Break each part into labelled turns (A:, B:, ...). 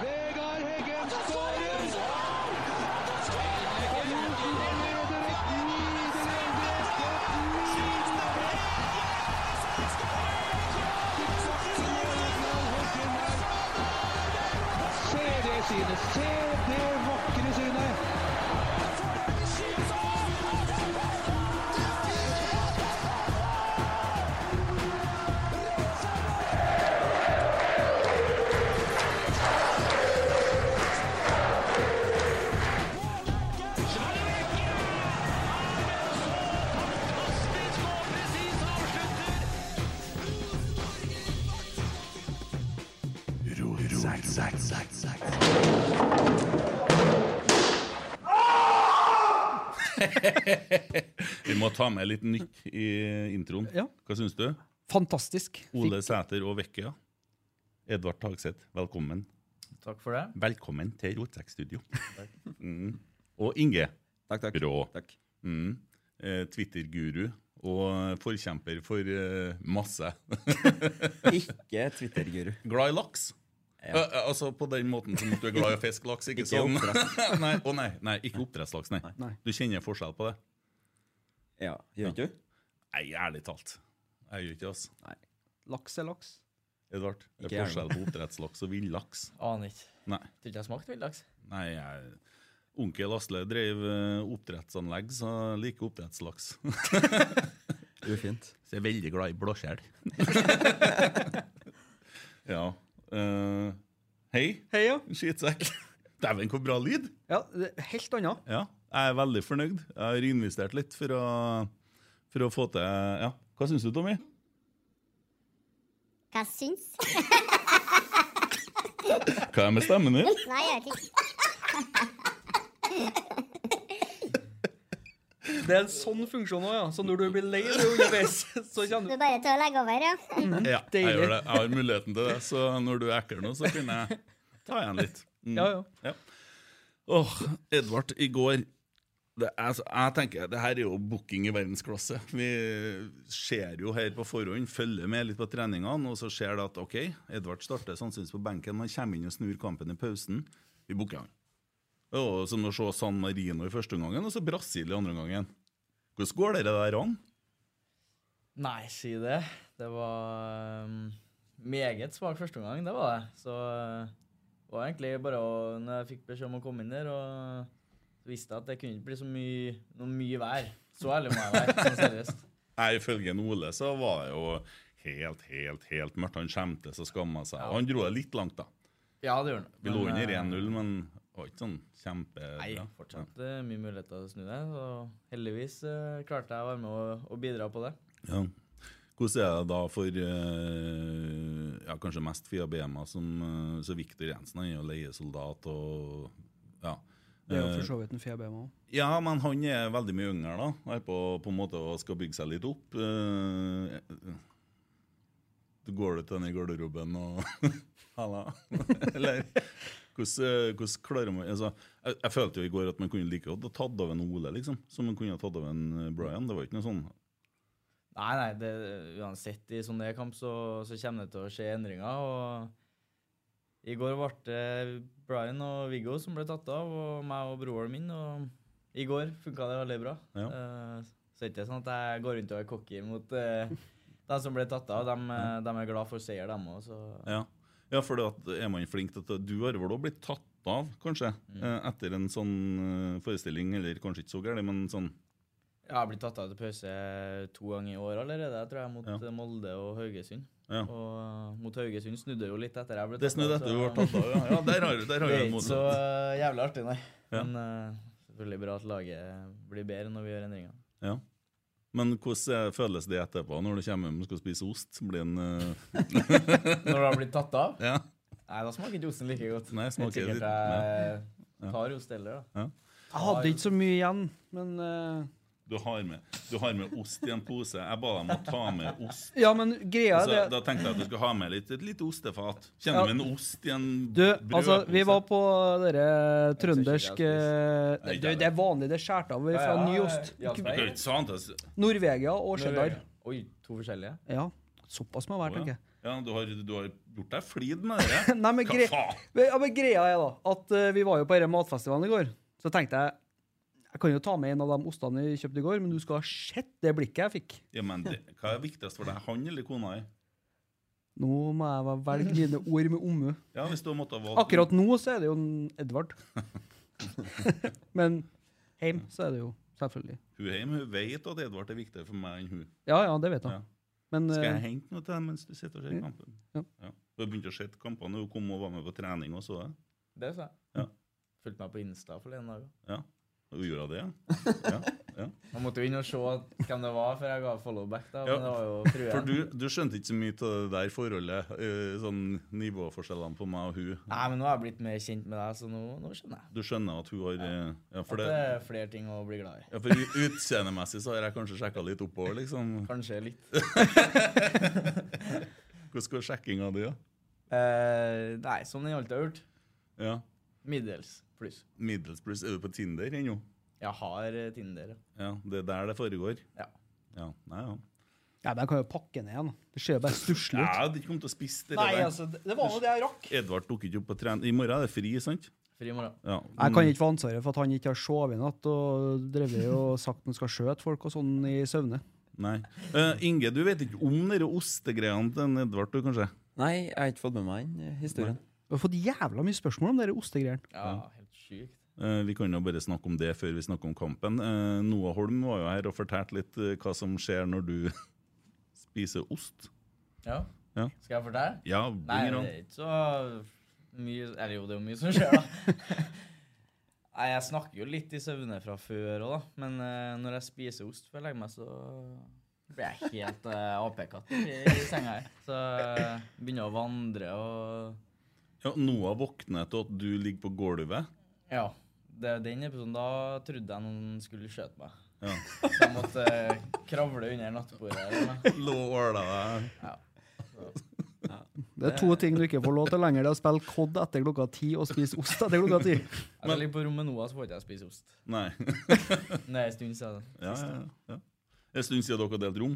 A: Vegard Heggen skårer! Se det synet! Se det vakre synet!
B: Vi må ta med litt nytt i introen.
C: Ja.
B: Hva syns du?
C: Fantastisk.
B: Ole Sæter og Vekkøya. Edvard Tagseth, velkommen.
D: Takk for det.
B: Velkommen til Rotsekkstudio. Mm. Og Inge,
E: Takk, takk.
B: Rå.
E: takk.
B: mm. eh, Twitter-guru og forkjemper for eh, masse.
E: Ikke Twitter-guru.
B: Glad i laks. Eh, eh, altså På den måten som at du er glad i å fiske laks. Ikke,
E: Ikke
B: sånn. nei, å nei, nei, ikke oppdrettslaks. Nei.
E: Nei.
B: Du kjenner forskjell på det?
E: Ja, gjør ikke du?
B: Nei, ærlig talt. Jeg gjør ikke det. ass.
C: Laks er laks.
B: Edvard, det
E: Ikke
B: er
E: jeg.
B: forskjell på oppdrettslaks og villaks.
D: Aner ikke.
B: Nei.
D: Tror ikke jeg har smakt villaks.
B: Nei, jeg, onkel Asle drev eh, oppdrettsanlegg, så jeg liker oppdrettslaks.
E: Ufint.
B: Så jeg er veldig glad i blåskjell. ja. eh, hei,
C: Hei, ja.
B: skitsekk. Dæven, hvor bra lyd!
C: ja det er helt annet.
B: Ja, jeg er veldig fornøyd. Jeg har investert litt for å, for å få til Ja, hva syns du, Tommy?
F: Hva syns?
B: Hva er med stemmen din?
F: Nei, jeg vet ikke.
C: Det er en sånn funksjon òg, ja. Så når du blir lei deg underveis, så
F: Du
C: kjenner
F: er bare til å legge over, ja.
B: Ja, jeg
C: Deilig.
B: gjør det. Jeg har muligheten til det, så når du er ekkel nå, så kan jeg ta igjen litt. Mm.
C: du Ja, ja.
B: Ja. Åh, Edvard, i går det er, så- Jeg tenker, det her er jo booking i verdensklasse. Vi ser jo her på forhånd, følger med litt på treningene, og så ser det at ok, Edvard starter sannsynligvis på benken, men kommer inn og snur kampen i pausen. Vi booker han. Det var jo som å se San Marino i første omgangen, og så Brasil i andre omgangen. Hvordan går dere der an?
D: Nei, si det. Det var um, meget svak første omgang, det var det. Så uh, det var egentlig bare å, når jeg fikk beskjed om å komme inn der, og visste jeg at det kunne ikke bli så mye, noe mye vær. Så ærlig må jeg være, sånn seriøst.
B: Nei, Ifølge en Ole så var det jo helt, helt, helt mørkt. Han skjemte seg og skamma seg. Og han dro det litt langt, da.
D: Ja, det gjør han.
B: Vi lå
D: Men,
B: under
D: eh,
B: 1-0, men det var ikke sånn kjempebra.
D: Nei, fortsatt eh, mye muligheter til å snu det. Så heldigvis eh, klarte jeg å være med og, og bidra på det.
B: Ja. Hvordan er det da for eh, ja, kanskje mest for IABMA, som eh, så Viktor Jensen han er jo leiesoldat og ja.
D: Det er jo
B: Eh,
D: for så vidt en FBM òg.
B: ja, men han er veldig mye yngre, da. Han er på, på en måte og skal bygge seg litt opp. Eh, Du går du til den i garderoben og Halla. Eller hvordan, eh, hvordan klarer man altså, jeg, jeg følte jo i går at man kunne like godt ha tatt av en Ole, liksom. Som man kunne ha tatt av en eh, Brian. Det var ikke noe sånn
A: Nei, nei, det, uansett i
D: sånn
A: sånne kamp så, så kommer det til å skje endringer. og I går ble det Brian og Viggo som ble tatt av, og meg og broren min. og I går funka det veldig bra.
B: Ja.
A: Eh, så det er ikke sånn at jeg går rundt og er cocky mot eh, de som ble tatt av. De, de er glad for seier, dem òg.
B: Ja, ja for er man flink til at eh, Du har vel også blitt tatt av, kanskje,
A: Mm.
B: eh, etter en sånn eh, forestilling, eller kanskje ikke så gærent, men sånn
A: Jeg har blitt tatt av til pause to ganger i år allerede, tror jeg, mot
B: Ja.
A: eh, Molde og Haugesund.
B: Ja.
A: Og eh, mot Haugesund snudde jo litt etter jeg ble
B: Det snudde
A: så-
B: etter du ble tatt av, ja. Ja, der har du- der har
A: det
B: du
A: er
B: en
A: ikke så eh, jævlig artig, nei.
B: Ja.
A: Men eh, selvfølgelig bra at laget blir bedre når vi gjør endringer.
B: Ja. Men hvordan eh, føles det etterpå, når du kommer hjem og skal spise ost? Blir en Når
A: Når du har blitt tatt av?
B: Ja.
A: Nei, da smaker ikke osten like godt.
B: Nei, smaker
A: det er
B: litt-
A: sikkert jeg tar ost heller, da.
B: Ja.
D: Jeg hadde ikke så mye igjen, men eh,
B: Du har, med, du har med ost i en pose. Jeg ba dem å ta med ost.
D: Ja, men greia
B: Og så,
D: er det
B: Altså, Da tenkte jeg at du skulle ha med litt, et lite ostefat.
D: Ja.
B: Kjenner du med en ost i en
D: Du,
B: brødpose?
D: altså, vi var på dere trøndersk
B: Jeg
D: eh,
B: Nei,
D: det, det er vanlig, det er skåret av fra
A: Ja, ja,
D: ny ost.
A: ja,
B: Du kan jo ikke sant, altså.
D: Norvegia og cheddar.
A: Oi, to forskjellige?
D: Ja, såpass må det være, tenker jeg.
B: Ja, du har, du har gjort deg flid med det.
D: Nei, men, gre
B: Hva faen?
D: Men- ja, men greia er da at eh, vi var jo på denne matfestivalen i går. Så tenkte jeg jeg kan jo ta med en av de ostene jeg kjøpte i går, men du skal ha sett det blikket jeg fikk.
B: Ja, men det, Hva er viktigst for deg, han eller kona di?
D: Nå må jeg vel velge mine ord med omhu.
B: Ja, hvis du måtte ha valgt
D: Akkurat nå så er det jo en Edvard. Men heim så er det jo selvfølgelig.
B: Hun hjemme hun vet at Edvard er viktigere for meg enn hun.
D: Ja, ja, det vet jeg.
B: Ja.
D: Men
B: Skal jeg
D: eh,
B: hente noe til deg mens du sitter og ser
D: Ja.
B: kampen?
D: Ja.
B: Hun har begynt å se kampene. Hun kom og var med på trening og så det.
A: Det sa jeg.
B: Ja.
A: Fulgte meg på Insta forleden dag. også.
B: Ja. Hun gjorde det, ja. ja. ja.
A: Man måtte jo inn og se at- hvem det var før jeg ga followback, da.
B: Ja,
A: Men det var jo fruen.
B: For du, du skjønte ikke så mye av det der forholdet, eh, sånn nivåforskjellene på meg og hun.
A: Nei, men nå har jeg blitt mer kjent med deg, så nå, nå skjønner jeg.
B: Du skjønner at hun har eh, Ja,
A: At
B: for,
A: det
B: det,
A: er flere ting å bli glad i.
B: ja, for u- utseendemessig så har jeg kanskje sjekka litt oppover, liksom.
A: Kanskje litt.
B: Hvordan går sjekkinga di, da?
A: Eh, nei, som den alltid har gjort.
B: Ja.
A: Middels pluss.
B: Middlesbrough, er du på Tinder ennå?
A: Jeg har eh, Tinder.
B: Ja, det er der det foregår?
A: Ja.
B: Ja, nei, ja.
D: ja, men jeg kan jo pakke ned igjen. Det ser jo bare stusslig
B: Jeg
D: ut.
B: hadde ikke kommet til å spise det
D: Nei,
B: der.
D: altså, det det var nå det jeg rakk.
B: Edvard dukker ikke opp på trening. I morgen er det fri, sant?
A: Fri i morgen.
B: Ja.
D: Jeg kan ikke få ansvaret for at han ikke har sovet i natt og drevet og sagt han skal skjøte folk og sånn i søvne.
B: Nei. Eh, Inge, du vet ikke om de ostegreiene til en Edvard, du, kanskje?
G: Nei, jeg har ikke fått med meg den eh, historien.
D: Vi har fått jævla mye spørsmål om de ostegreiene.
A: Ja, helt sykt.
B: Eh, vi kan jo bare snakke om det før vi snakker om kampen. Eh, Noah Holm var jo her og fortalte litt eh, hva som skjer når du spiser ost.
A: Ja.
B: Ja.
A: Skal jeg fortelle?
B: Ja,
A: Nei,
B: bring it
A: det
B: on.
A: er ikke så mye Eller jo, det er jo mye som skjer, da. Nei, jeg snakker jo litt i søvne fra før òg, da. Men eh, når jeg spiser ost før jeg legger meg, så blir jeg helt uh, apekatt i, i senga her. Så jeg begynner å vandre og
B: Ja, Noah våkner til at du ligger på gulvet.
A: Ja. Det er den episoden da trodde jeg noen skulle skjøte meg.
B: Ja.
A: Så jeg måtte eh, kravle under nattbordet. Eller noe.
B: Lå og åla deg.
D: Det er to ting du ikke får lov til lenger. Det er å spille COD etter klokka ti og spise ost etter klokka ti.
A: Jeg ligger på rommet nå, så får ikke jeg spise ost.
B: Nei.
A: Men Det er en stund siden.
B: Ja, ja, ja. Det er En stund siden dere har delt rom.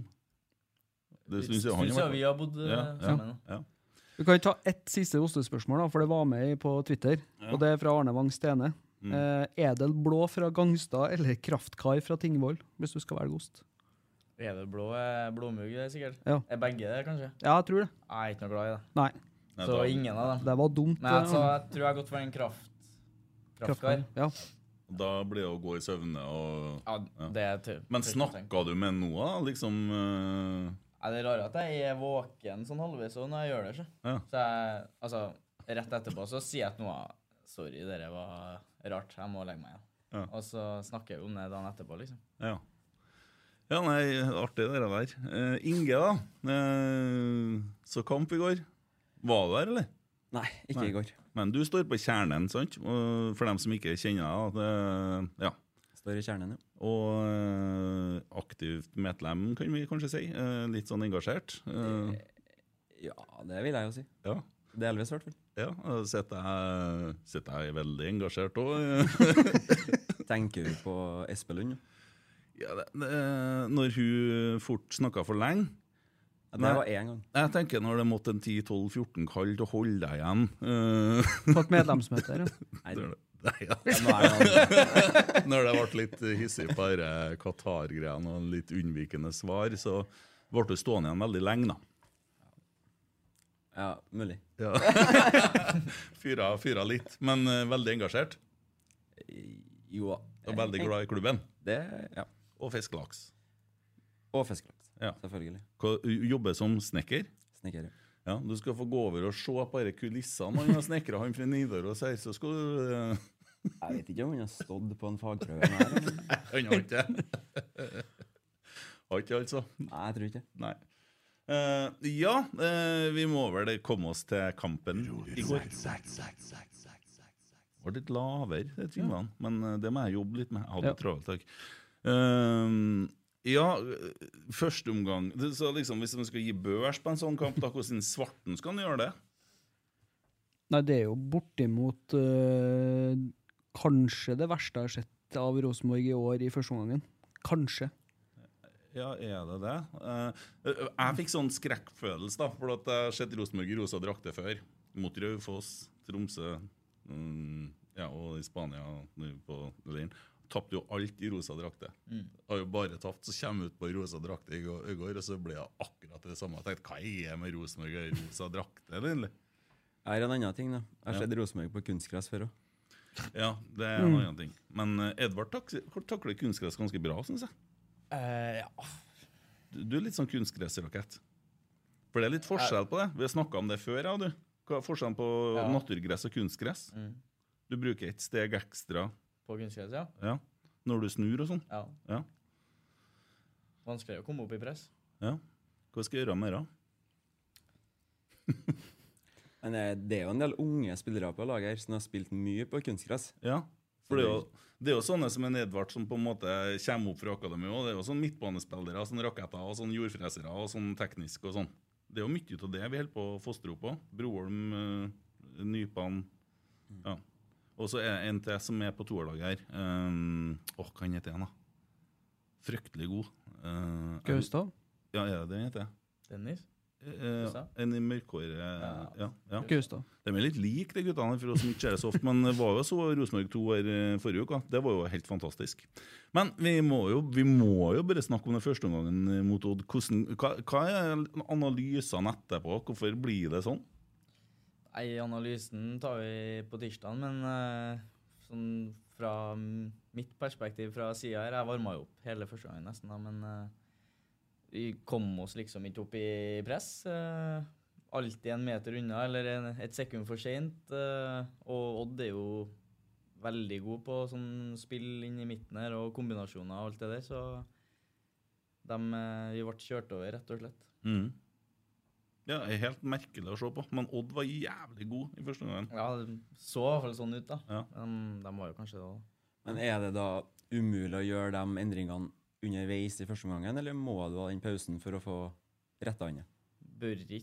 B: Det er en stund siden han har
A: vi
B: vært
A: har bodd eh,
B: Ja, ja.
A: sammen.
B: på. Ja.
D: Vi kan ta ett siste ostespørsmål, da, for det var med i- på Twitter. Og det er fra Arne Wang Stene. Eh, edel blå fra Gangstad eller kraftkai fra Tingvoll, hvis du skal velge ost?
A: Er det blå eh, blåmugg, det er sikkert?
D: Ja.
A: Er begge det, kanskje?
D: Ja, jeg tror det.
A: Jeg er ikke noe glad i det.
D: Nei,
B: Nei,
A: Så
B: da-
A: ingen av dem.
D: det var dumt. eh,
A: Nei, altså, jeg tror jeg har gått for en kraft... kraftkar.
D: Ja.
B: Da blir det å gå i søvne og
A: Ja, det er tøv.
B: Men
A: tøft å tenke.
B: snakka du med Noah, liksom eh,
A: Ja, det er rart at jeg er våken sånn halvveis også når jeg gjør det. Så,
B: Ja.
A: så jeg, altså, rett etterpå så sier jeg at noe Sorry, dere var rart. Jeg må legge meg igjen.
B: Ja.
A: Og så snakker vi om det dagen etterpå, liksom.
B: Ja. Eh, Ja, nei, artig det der. Eh, Inge, da. Eh, så kamp i går. Var du der, eller?
G: Nei, ikke
B: Nei.
G: i går.
B: Men du står på kjernen, sant? Og for dem som ikke kjenner deg. at, eh, Ja.
G: Står i kjernen, jo.
B: Og eh, aktivt medlem, kan vi kanskje si. Eh, litt sånn engasjert. Eh,
G: Ja, det vil jeg jo si.
B: ja.
G: Delvis, i hvert fall.
B: Ja, og sitter jeg, sitter jeg veldig engasjert eh. òg.
G: Tenker du på Espelund? jo?
B: Ja, det- det- når hun fort snakka for lenge
G: Ja,
B: Nei.
G: det var én gang.
B: Jeg tenker når det måtte en 10-12-14 kall til å holde deg igjen. Eh,
D: På et medlemsmøte her, ja.
G: Nei,
B: når, det, nei ja.
G: ja, nå er det andre.
B: når det ble litt hissig på disse Qatar-greiene og litt unnvikende svar, så ble du stående igjen veldig lenge, da.
G: Ja, mulig.
B: Fyra, fyra litt, men eh, veldig engasjert.
G: Jo da.
B: Og veldig glad i klubben.
G: Det, ja.
B: Og fiske laks.
G: Og fiskelaks.
B: Ja.
G: Selvfølgelig.
B: Hva- Jobber som snekker.
G: Snekker.
B: Ja, Du skal få gå over og se på disse kulissene han har snekra, han fra Nidaros her. Så skal du eh,
G: Jeg vet ikke om han har stått på en fagprøve. Nei, men-
B: Han har ikke det. Har ikke, altså.
G: Nei, jeg tror ikke det.
B: Nei. Eh, ja, eh, vi må vel komme oss til kampen i går. Var litt lavere, det tvingene. Men eh, det må jeg jobbe litt med. Jeg hadde
D: Ja.
B: det travelt, takk. Eh, ja, eh, første omgang Det- Så liksom, Hvis man skal gi børs på en sånn kamp, da, hvordan svarten skal han gjøre det?
D: Nei, det er jo bortimot øh, kanskje det verste jeg har sett av Rosenborg i år i første omgangen. Kanskje.
B: Ja, er det det? Eh, eh, jeg fikk sånn skrekkfølelse, da, for at jeg har sett Rosenborg i rosa drakter før. Mot Raufoss, Tromsø mm, ja, og i Spania nå på leiren. Tapte jo alt i rosa drakter.
G: Mm.
B: Har jo bare tapt, så kommer jeg ut på rosa drakter i går, i går, og så blir jeg akkurat det samme. Jeg tenkte, Hva er det med Rosenborg og rosa drakter, egentlig?
G: Jeg har en annen ting, da. Jeg har sett Rosenborg på kunstgress før òg.
B: Ja, det er en annen ting. Men eh, Edvard tak takler kunstgress ganske bra, syns jeg.
A: Eh, ja.
B: Du, du er litt sånn kunstgressrakett. For det er litt forskjell på det. Vi har snakka om det før. Ja, du. Hva er forskjellen på
A: Ja.
B: naturgress og kunstgress?
A: Mm.
B: Du bruker et steg ekstra
A: På kunstgress, ja.
B: ja, når du snur og sånn.
A: ja.
B: Ja.
A: Vanskelig å komme opp i press.
B: Ja. Hva skal jeg gjøre med det?
G: Men eh, det, det er jo en del unge spillere på laget her som har spilt mye på kunstgress.
B: Ja. For det er, jo, det er jo sånne som en Edvard som på en måte kommer opp fra akademi òg. Det er jo sånn midtbanespillere, sånn raketter og sånn jordfresere og sånn teknisk og sånn. Det er jo mye av det vi holder på å fostre opp på. Broholm, eh, Nypan ja. Og så er det en til som er på toerlaget her. Um, åh, hva han heter han, da? Fryktelig god. Eh,
D: Gaustad?
B: Ja, er det det han heter?
A: Dennis?
B: Eh,
A: Gaustad?
B: en i mørkhåret ja, ja.
D: Gaustad.
B: De er litt like, de guttene her, for oss som ikke ser det så ofte. Men det var jo så Rosenborg 2 her eh, forrige uke. da. Det var jo helt fantastisk. Men vi må jo, vi må jo bare snakke om den første omgangen eh, mot Odd. Hvordan, hva, hva er analysene etterpå? Hvorfor blir det sånn?
A: Nei, analysen tar vi på tirsdag, men eh, sånn fra mm, mitt perspektiv fra sida her, jeg varma jo opp hele første gangen nesten, da, men eh, vi kom oss liksom ikke opp i press. eh, alltid en meter unna eller en, et sekund for seint. eh, og Odd er jo veldig god på sånn spill inn i midten her og kombinasjoner og alt det der, så dem, eh, vi ble kjørt over, rett og slett.
B: Mm. Ja, det er Helt merkelig å se på. Men Odd var jævlig god i første omgangen.
A: Ja, det så i hvert fall sånn ut, da.
B: Ja.
A: Men de var jo kanskje det òg.
G: Men er det da umulig å gjøre de endringene underveis i første omgangen, eller må du ha den pausen for å få retta han?
A: bør ikke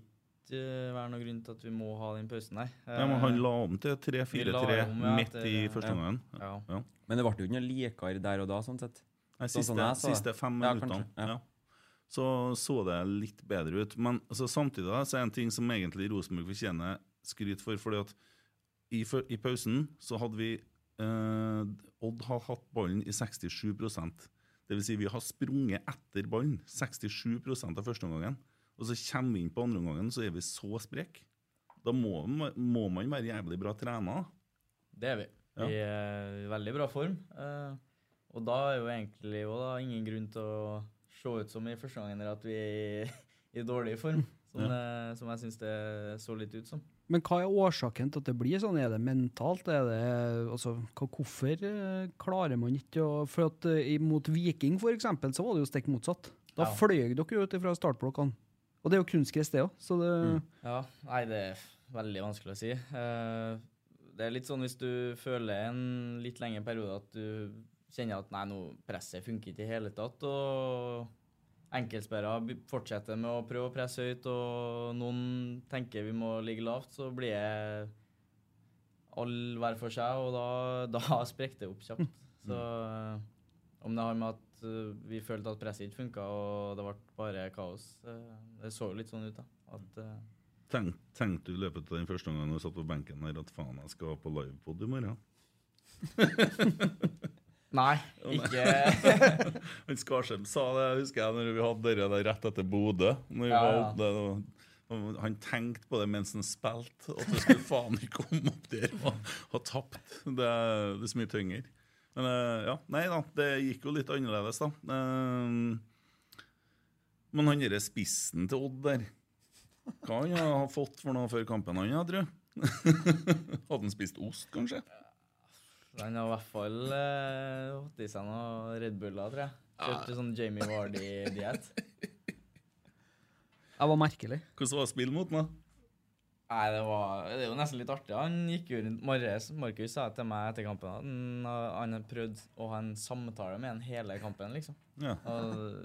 A: eh, være noen grunn til at vi må ha den pausen, nei.
B: Ja, men han la om til
A: Eh, vi la
B: 3-4-3
A: om, ja,
B: midt
A: til-
B: i første
G: ja.
B: omgangen.
A: Ja.
B: Ja.
G: Men det ble jo ikke noe likere der og da, sånn sett.
B: Nei,
G: Sånn
B: siste,
G: som jeg sa det.
B: siste fem
G: Ja,
B: minuttene.
G: kanskje, ja.
B: Ja. Så så det litt bedre ut. Men altså, samtidig da, så er det en ting som egentlig Rosenborg fortjener skryt for. fordi at i, fø- i pausen så hadde vi eh, Odd har hatt ballen i 67 Det vil si vi har sprunget etter ballen 67 av første omgangen. Og så kommer vi inn på andre omgangen, så er vi så sprek. Da må, man- må man være jævlig bra trena.
A: Det er vi.
B: Ja.
A: Vi er i veldig bra form. eh, og da er jo egentlig også da, ingen grunn til å se ut som i første eh, gangen at vi er i, i dårlig form, som, det- som jeg syns det så litt ut som.
D: Men hva er årsaken til at det blir sånn? Er det mentalt? Er det, altså, hva, hvorfor eh, klarer man ikke å For at eh, mot Viking, for eksempel, så var det jo stikk motsatt. Da
A: Ja.
D: fløy dere ut fra startblokkene. Og det er jo kunstgress, det òg, så det
A: Ja, nei, det er veldig vanskelig å si. Eh, det er litt sånn hvis du føler en litt lengre periode at du kjenner at nei, nå presset funker ikke i hele tatt, og enkeltspillere be- fortsetter med å prøve å presse høyt, og noen tenker vi må ligge lavt, så blir det alle hver for seg, og da, da sprekker det opp kjapt. Så eh, om det har med at eh, vi følte at presset ikke funka, og det ble bare kaos eh, Det så jo litt sånn ut, da. At, eh,
B: Tenk, tenkte du i løpet av den første gangen du satt på benken her, at faen, jeg skal på livepod i morgen?
A: Nei, ikke
B: Han Skarsheim sa det, jeg husker jeg, når vi hadde dere der rett etter Bodø. Når vi
A: Ja,
B: var
A: ja.
B: oppe der, og- og han tenkte på det mens han spilte, at du skulle faen ikke komme opp der og ha tapt. Det, er- det er så mye tyngre. Men eh, ja, nei da, det gikk jo litt annerledes, da. Eh, Men han derre spissen til Odd der, hva han har fått for noe før kampen, han, jeg tror? Hadde han spist ost, kanskje?
A: Han har i hvert fall eh, hatt i seg noen Red Buller, tror jeg. Kjørte sånn Jamie Vardy-diett.
D: Jeg var merkelig.
B: Hvordan var spillet mot meg?
A: Nei, det, var, det er jo nesten litt artig. Han gikk jo rundt Marius, Markus sa til meg etter kampen at han, han hadde prøvd å ha en samtale med han hele kampen, liksom.
B: Ja.
A: Og,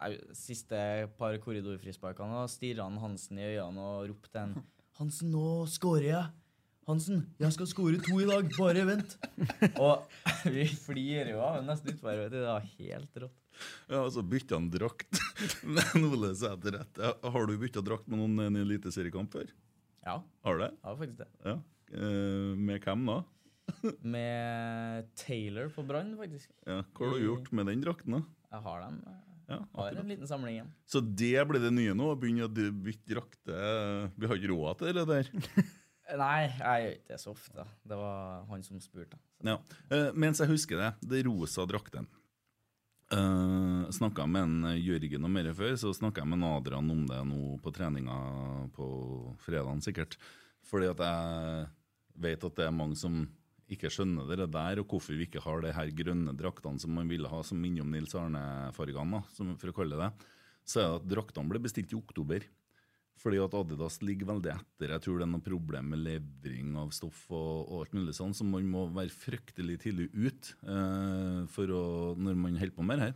A: nei, siste par korridorfrisparkene da stirra han Hansen i øynene og ropte til han Hansen, nå scorer jeg! Hansen, jeg skal score to i dag! Bare vent! og vi flirer jo av ham nesten utfor. vet du. Det var helt rått.
B: Ja, altså bytta han drakt. Men Ole Sæter rett. Ja, Har du bytta drakt med noen i en eliteseriekamp før?
A: Ja,
B: Har du det?
A: det var faktisk det.
B: Ja. Eh, med hvem da?
A: Med Taylor på Brann, faktisk.
B: Ja. Hva har du gjort med den drakten, da?
A: Jeg har dem.
B: Ja,
A: Har
B: akkurat.
A: en liten samling igjen.
B: Så det blir det nye nå? Å begynne å d- bytte drakter? Vi har ikke råd til det der.
A: Nei, jeg gjør ikke det så ofte. Det var han som spurte.
B: Ja. Eh, mens jeg husker det, det rosa drakten. Uh, snakka med en Jørgen om det før, så snakka jeg med en Adrian om det nå på treninga på fredagen sikkert. Fordi at jeg vet at det er mange som ikke skjønner det der, og hvorfor vi ikke har de her grønne draktene som man ville ha som minner om Nils Arne-fargene, da, som- for å kalle det det. Så er det at draktene ble bestilt i oktober. Fordi at Adidas ligger veldig etter. Jeg tror det er noe problem med levering av stoff og, og alt mulig sånn, så man må være fryktelig tidlig ut eh, for å, når man holder på med det her.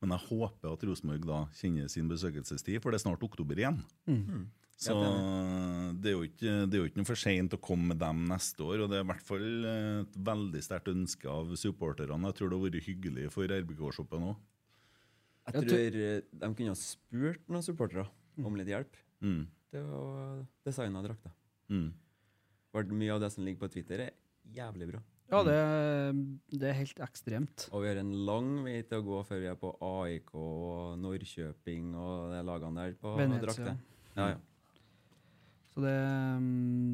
B: Men jeg håper at Rosenborg da kjenner sin besøkelsestid, for det er snart oktober igjen. Så Mm. det er, jo ikke, det er jo ikke noe for seint å komme med dem neste år. Og det er i hvert fall eh, et veldig sterkt ønske av supporterne. Jeg tror det har vært hyggelig for RBK-shoppen òg.
G: Jeg
D: Jeg
G: tror eh, de kunne ha spurt noen supportere om litt hjelp.
B: Mm.
G: Det var designa drakter.
B: Mm.
G: Var det Mye av det som ligger på Twitter, er jævlig bra.
D: Ja, det, det er helt ekstremt.
G: Og vi har en lang vei til å gå før vi er på AIK og Norrkjøping og de lagene der på
D: Venezia.
G: drakter. Ja, ja.
D: Så det, mm,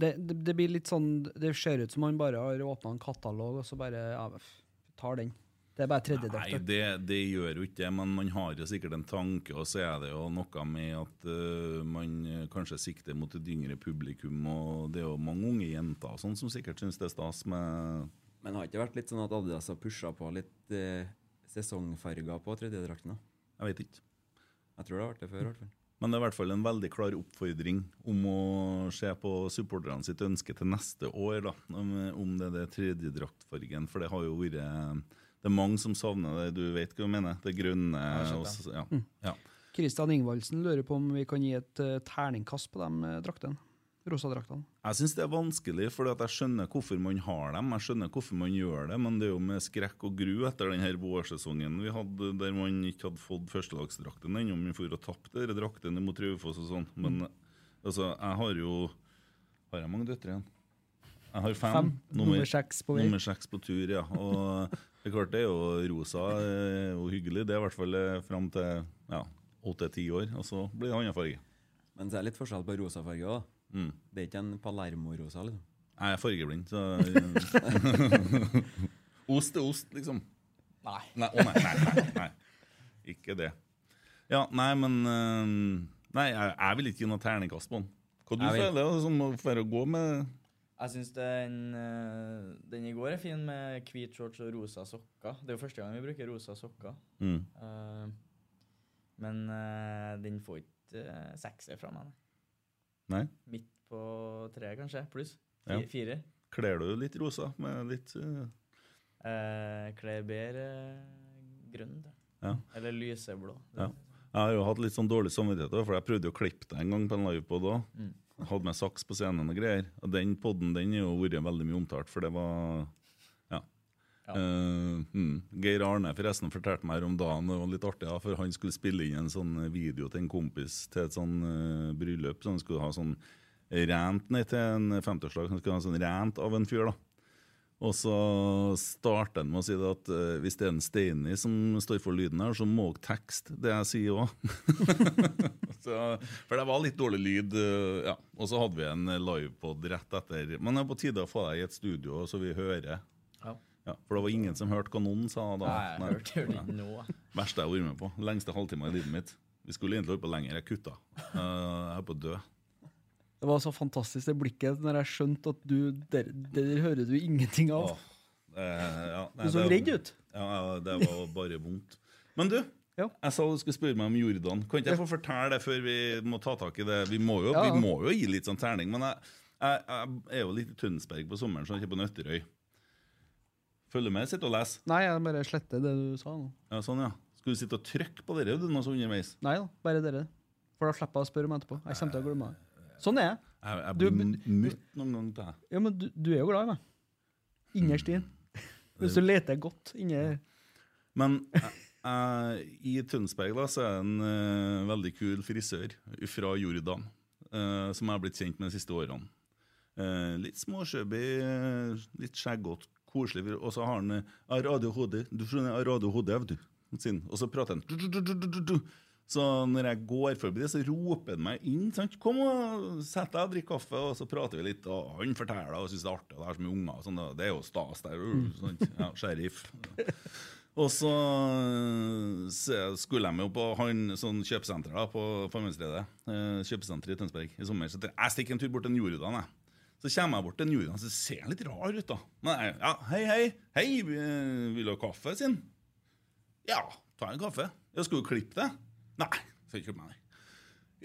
D: det, det Det blir litt sånn Det ser ut som man bare har åpna en katalog, og så bare ja, f- tar den. Det er bare
B: Nei,
D: tredjedrakta.
B: det, det gjør jo ikke det, men man har jo sikkert en tanke, og så er det jo noe med at øh, man øh, kanskje sikter mot et yngre publikum, og det er jo mange unge jenter og sånn som sikkert syns det er stas med
G: Men har det ikke vært litt sånn at Adidas har pusha på litt eh, sesongfarger på tredjedrakten? da?
B: Jeg vet ikke.
G: Jeg tror det har vært det før. i hvert fall.
B: Men det er i hvert fall en veldig klar oppfordring om å se på supporterne sitt ønske til neste år, da, om, om det er det tredje draktfargen. For det har jo vært Det er mange som savner det, du vet hva jeg mener? Det grønne og s- ja. ja.
D: Kristian Ingvaldsen lurer på om vi kan gi et eh, terningkast på de eh, draktene. Rosadraktene.
B: Jeg syns det er vanskelig, for jeg skjønner hvorfor man har dem. Jeg skjønner hvorfor man gjør det, men det er jo med skrekk og gru etter den her vårsesongen vi hadde, der man ikke hadde fått førstelagsdrakten ennå, men for å tappe dere draktene mot Raufoss og sånn. Men
D: Mm.
B: altså, jeg har jo Har jeg mange døtre igjen? Jeg har fem.
D: Fem. Nummer seks på vei.
B: Nummer seks på tur, ja. Og det er klart det er jo rosa eh, og hyggelig. Det er i hvert fall eh, fram til ja, åtte-ti år, og så blir det annen farge.
G: Men så er det litt forskjell på rosafarger òg. Det er ikke en Palermo-rosa. liksom.
B: Jeg er fargeblind, så Ost er ost, liksom.
A: Nei.
B: Nei, å nei, nei, nei, nei. Ikke det. Ja, nei, men eh, Nei, jeg, jeg vil ikke gi noe terningkast på den. Hva du
G: Jeg vil-
B: føler da, som å være å gå med
A: Jeg syns den, eh, den i går er fin med hvit shorts og rosa sokker. Det er jo første gang vi bruker rosa sokker.
B: mm.
A: Eh, men eh, den får ikke eh, sekser fra meg. nei.
B: Nei.
A: Midt på treet, kanskje. Pluss.
B: Ja.
A: Fi- Fire.
B: Kler du litt rosa med litt eh,
A: Uh, Kler bedre eh, grønn, da.
B: Ja.
A: Eller lyseblå.
B: Ja. Jeg har jo hatt litt sånn dårlig samvittighet, også, for jeg prøvde jo å klippe deg en gang på en livepod òg.
A: Mm.
B: Hadde med saks på scenen og greier. Og den podden den er jo vært veldig mye omtalt, for det var Ja.
A: Ja.
B: Eh, mm. Geir Arne forresten fortalte meg her om dagen, det var litt artig, ja, for han skulle spille inn en sånn video til en kompis til et sånn eh, bryllup. Så han skulle ha sånn rant ned til en 50-årsdag. så Han skulle ha en sånn rant av en fyr, da. Og så starter han med å si det at eh, hvis det er en Steini som står for lyden her, så må dere tekste det jeg sier òg. for det var litt dårlig lyd. eh, ja. Og så hadde vi en livepod rett etter. Men det er på tide å få deg i et studio, så vi hører.
A: Ja.
B: Ja, for det var ingen som hørte hva noen sa da.
A: Nei, jeg hørte jo den nå.
B: Verste jeg har vært med på. Lengste halvtime i livet mitt. Vi skulle egentlig holdt på lenger. Jeg kutta. Eh, jeg er på å dø.
D: Det var så fantastisk det blikket når jeg skjønte at du Der, der hører du ingenting av.
B: Åh, eh, ja, nei,
D: Du så
B: det-
D: redd ut.
B: Ja, ja, det var bare vondt. Men du,
D: Ja.
B: jeg sa du skulle spørre meg om Jordan. Kan ikke jeg få fortelle det før vi må ta tak i det? Vi må jo,
D: Ja, ja.
B: vi må jo gi litt sånn terning, men jeg, jeg, jeg er jo litt i Tønsberg på sommeren, så jeg er ikke på Nøtterøy. Følger med, sitter og leser.
D: Nei, jeg bare sletter det du sa nå.
B: Ja, sånn, ja. Skal du sitte og trykke på dere, du, nå så underveis?
D: Nei da, bare dere. For da slipper jeg å spørre om etterpå. Jeg kommer til å glemme det. Sånn er jeg.
B: Jeg, jeg
D: Du-
B: blir mutt noen gang til deg.
D: Ja, men du, du er jo glad i meg.
B: Mm.
D: Innerst inn. Hvis du leter godt inni
B: Men jeg, jeg, i Tønsberg da, så er det en eh, veldig kul frisør fra Jordan, eh, som jeg har blitt kjent med de siste årene. Eh, litt småskjøbig, eh, litt skjeggete, koselig. fyr. Og så har han eh, «Jeg har ADHD, du skjønner, jeg har ADHD, vet du. Sin. Og så prater han. Du, du, du, du, du, du. Så når jeg går forbi det, så roper han meg inn. Sant? 'Kom og sett deg og drikk kaffe', og så prater vi litt. Og han forteller og syns det er artig, og det er så mye unger. og Sånn, da. det er jo stas der. uh, Sant? Ja, sheriff. Og så, eh, så skulle de jo på han, sånn kjøpesenter da, på Farmundstredet. Eh, kjøpesenteret i Tønsberg i sommer. Så tenkte jeg jeg stikker en tur bort til en Jordan. Jeg. Så kommer jeg bort til en Jordan, så ser han litt rar ut. da. Men jeg, ja, Hei, hei, hei, vi- eh, vil du ha kaffe? sier han. Ja, ta en kaffe. Jeg skulle jo klippe det. Nei, skal ikke klippe meg. nei.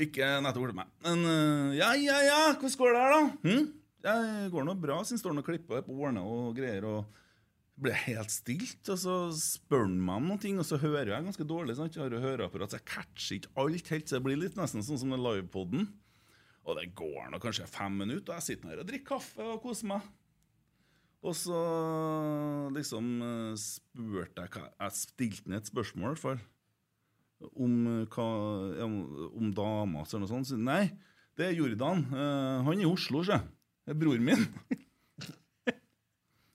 B: Ikke nettopp klippe meg. Men eh, ja, ja, ja, hvordan går det her, da? Hm? Det går nå bra, siden står han og klipper på årene og greier. og ble helt stilt, og så spør han meg om noen ting, og så hører jeg ganske dårlig. Sant? Jeg har jo høreapparat, så jeg catcher ikke alt helt, så det blir litt nesten sånn som den livepoden. Og det går nå kanskje fem minutter, og jeg sitter her og drikker kaffe og koser meg. Og så liksom eh, spurte jeg hva Jeg stilte ham et spørsmål, i hvert fall. Om, eh, hva, ja, om- om dama hans eller noe sånt. sånn. Så, nei, det er Jordan. Eh, han er i Oslo, sjø. Det er broren min.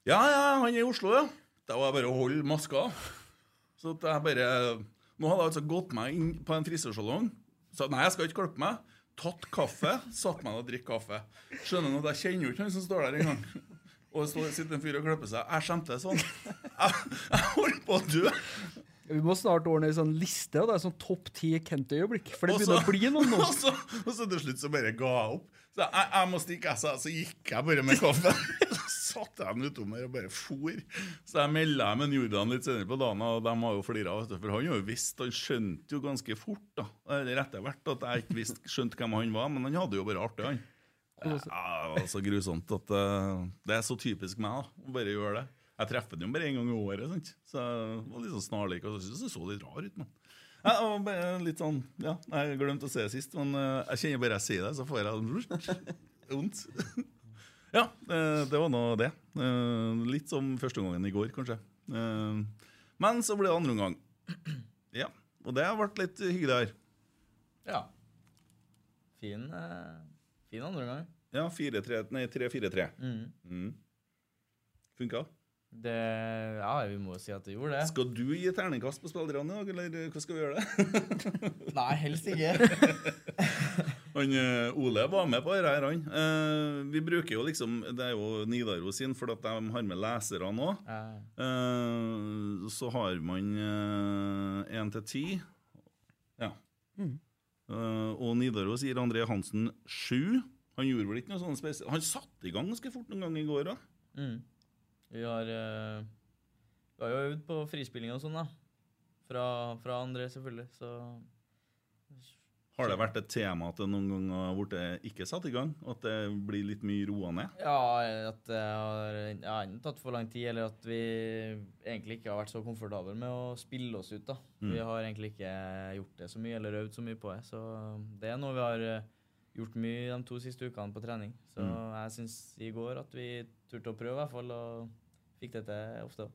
B: Ja, ja, han er i Oslo, ja. Da var det bare å holde maska. Så at jeg bare Nå hadde jeg altså gått meg inn på en frisørsalong. Så nei, jeg skal ikke klippe meg. Tatt kaffe, satt meg ned og drikk kaffe. Skjønner nå at jeg kjenner jo ikke han som står der engang. Og det står- sitter en fyr og klipper seg. Jeg skjemte sånn. Jeg, jeg holdt på å dø.
D: Vi må snart ordne en sånn liste, og det er sånn topp ti Kent-øyeblikk. For det
B: Og så-
D: begynner å bli noen nå.
B: Og så, og så til slutt så bare ga jeg opp. Så jeg, jeg må stikke, jeg sa. Så gikk jeg bare med kaffe. Så satte jeg den utom her og bare for. Så jeg melda med Jordan litt senere på dagen, og de har jo flira. vet du, For han har jo visst, han skjønte jo ganske fort, da. Eller etter hvert at jeg ikke visste, skjønte hvem han var, men han hadde jo bare artig, han. Ja, det var så grusomt at eh, Det er så typisk meg, da. Å bare gjøre det. Jeg treffer den jo bare én gang i året, sant? så jeg var litt sånn snarlik. Og så syntes jeg så litt rar ut, men ja, det var bare litt sånn, ja, Jeg glemte å se det sist, men eh, jeg kjenner bare jeg sier det, så får jeg vondt. ja, eh, det var nå det. Eh, litt som første gangen i går, kanskje. Eh, men så ble det andre omgang. Ja, og det ble litt hyggeligere.
A: Ja. Fin, eh, fin andre gang.
B: Ja, 4-3, nei, 3-4-3.
A: Mm.
B: Mm. Funka?
A: Det, ja, vi må jo si at det gjorde det.
B: Skal du gi terningkast på spillerne i dag, eller eh, hva skal vi gjøre det?
A: Nei, helst ikke.
B: Han, eh, Ole var med på dette, her, han. Eh, vi bruker jo liksom Det er jo Nidaros sin, for at de har med leserne òg.
A: Ja.
B: Eh, så har man én til ti. Eh, Ja. Eh, og Nidaros gir André Hansen sju. Han gjorde vel ikke noe sånn spesielt. Han satte i gang ganske fort noen gang i går òg.
A: Mm. Vi har eh, Vi har jo øvd på frispilling og sånn, da. Fra, fra andre, selvfølgelig. Så
B: Har det vært et tema at det noen ganger har blitt ikke satt i gang? At det blir litt mye roa ned?
A: ja, at det har ja, enten tatt for lang tid, eller at vi egentlig ikke har vært så komfortable med å spille oss ut. da.
B: Mm.
A: Vi har egentlig ikke gjort det så mye, eller øvd så mye på det. Så det er noe vi har eh, gjort mye de to siste ukene på trening. Så
B: Mm.
A: jeg syns i går at vi turte å prøve, i hvert fall, og fikk det til ofte.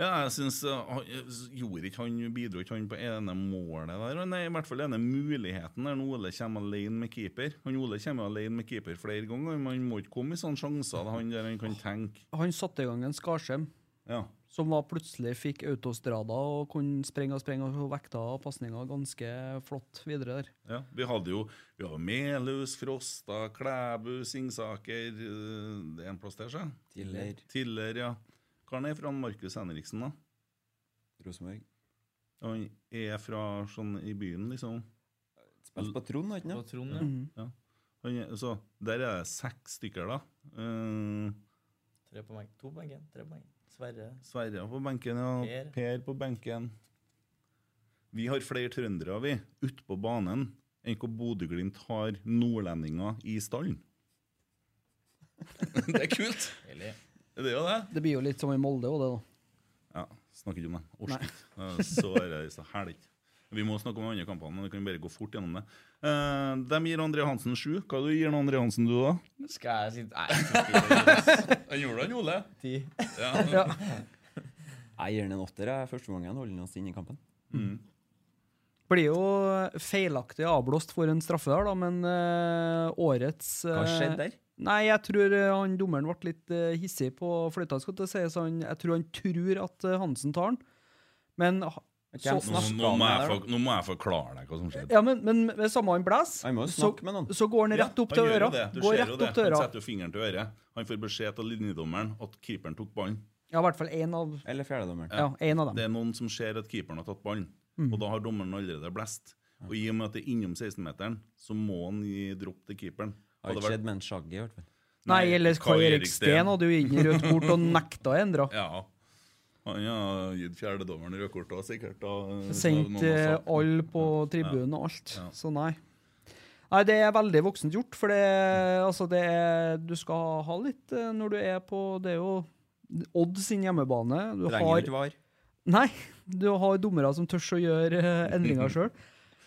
B: Ja, jeg synes, uh, han- jeg s- gjorde ikke han, Bidro ikke han på ene målet der? og Nei, i hvert fall ene muligheten der når Ole kommer alene med keeper. Han Ole kommer alene med keeper flere ganger, men han må ikke komme i sånne sjanser da han der han kan tenke.
D: Han satte i gang en skarskjem
B: Ja.
D: som var plutselig fikk autostrada og kunne sprenge og sprenge og vekta og pasninga ganske flott videre der.
B: Ja, Vi hadde jo vi hadde Melhus, Frosta, Klæbu, Singsaker øh, Det er en plass der, så?
G: Tiller,
B: Tiller, ja. Hvor er han fra Markus Henriksen, da?
G: Rosenborg.
B: Han er fra sånn i byen, liksom?
G: Spilte på Trond, har ikke
A: På
G: han?
A: Trond, ja.
B: Mm. Han er, så der er det seks stykker, da. Eh,
A: Tre på benken. To på benken. Tre på benken. Sverre.
B: Sverre på benken, ja. Per.
A: Per.
B: på benken. Vi har flere trøndere, vi, ute på banen enn hva Bodø-Glimt har nordlendinger i stallen. det er kult!
A: Eller
B: Det er jo det.
D: Det blir jo litt som i Molde òg, det, da.
B: Ja, Snakker ikke om det. Orsker ikke. Så er det så herlig. Vi må snakke om de andre kampene, men vi kan bare gå fort gjennom det. Eh, de gir André Hansen sju. Hva du gir du André Hansen, du, da?
A: Skal jeg sitte Nei. jeg skal ikke.
B: Han gjorde det, Ole.
A: Ti.
B: Ja.
G: Jeg gir han en åtter. jeg. Første gangen holder han oss inne i kampen.
D: Blir jo feilaktig avblåst for en straffe der, da, men eh, årets
G: Hva
D: eh,
G: skjedde der?
D: Nei, jeg tror eh, han dommeren ble litt eh, hissig på fløyta. skal det sies. Han, jeg tror han tror at eh, Hansen tar den, men ha-
G: Hvem
B: Nå,
G: snakket
B: nå,
G: han med
B: må jeg
G: der, da?
B: for, nå må jeg forklare deg hva som skjedde.
D: ja, men, men med samme han blåser,
G: Han må jo
D: så,
G: snakke med noen.
D: så går han rett opp til
B: han gjør jo
D: øra.
B: det. Du
D: Går
B: ser jo
D: rett
B: det.
D: opp til øra.
B: Han setter jo fingeren til øret. Han får beskjed av linjedommeren at keeperen tok ballen.
D: Ja, i hvert fall én av,
G: Eller fjerdedommeren.
D: ja, en av dem.
B: Det er noen som ser at keeperen har tatt ballen,
D: Mm.
B: og da har dommeren allerede blest. Og i og med at det er innom 16-meteren, så må han gi dropp til keeperen.
G: Har
B: Hadde
G: ikke
B: vært-
G: skjedd med en Shaggy, i hvert fall.
D: Nei,
B: Nei,
D: eller
B: Kai
D: Kai
B: Erik
D: Erik Steen
B: Steen.
D: hadde jo gitt den rødt kort og nekta å endre.
B: Ja. Han har gitt fjerdedommeren rødt kort òg, sikkert. og- noen
D: Sendt eh,
B: har sagt-
D: alle på tribunen og alt. Så nei. Nei, det er veldig voksent gjort, for det, altså det er, du skal ha litt eh, når du er på Det er jo Odd sin hjemmebane. Du
G: Trenger jo
D: har,
G: ikke var.
D: nei, du har dommere som tør å gjøre eh, endringer sjøl.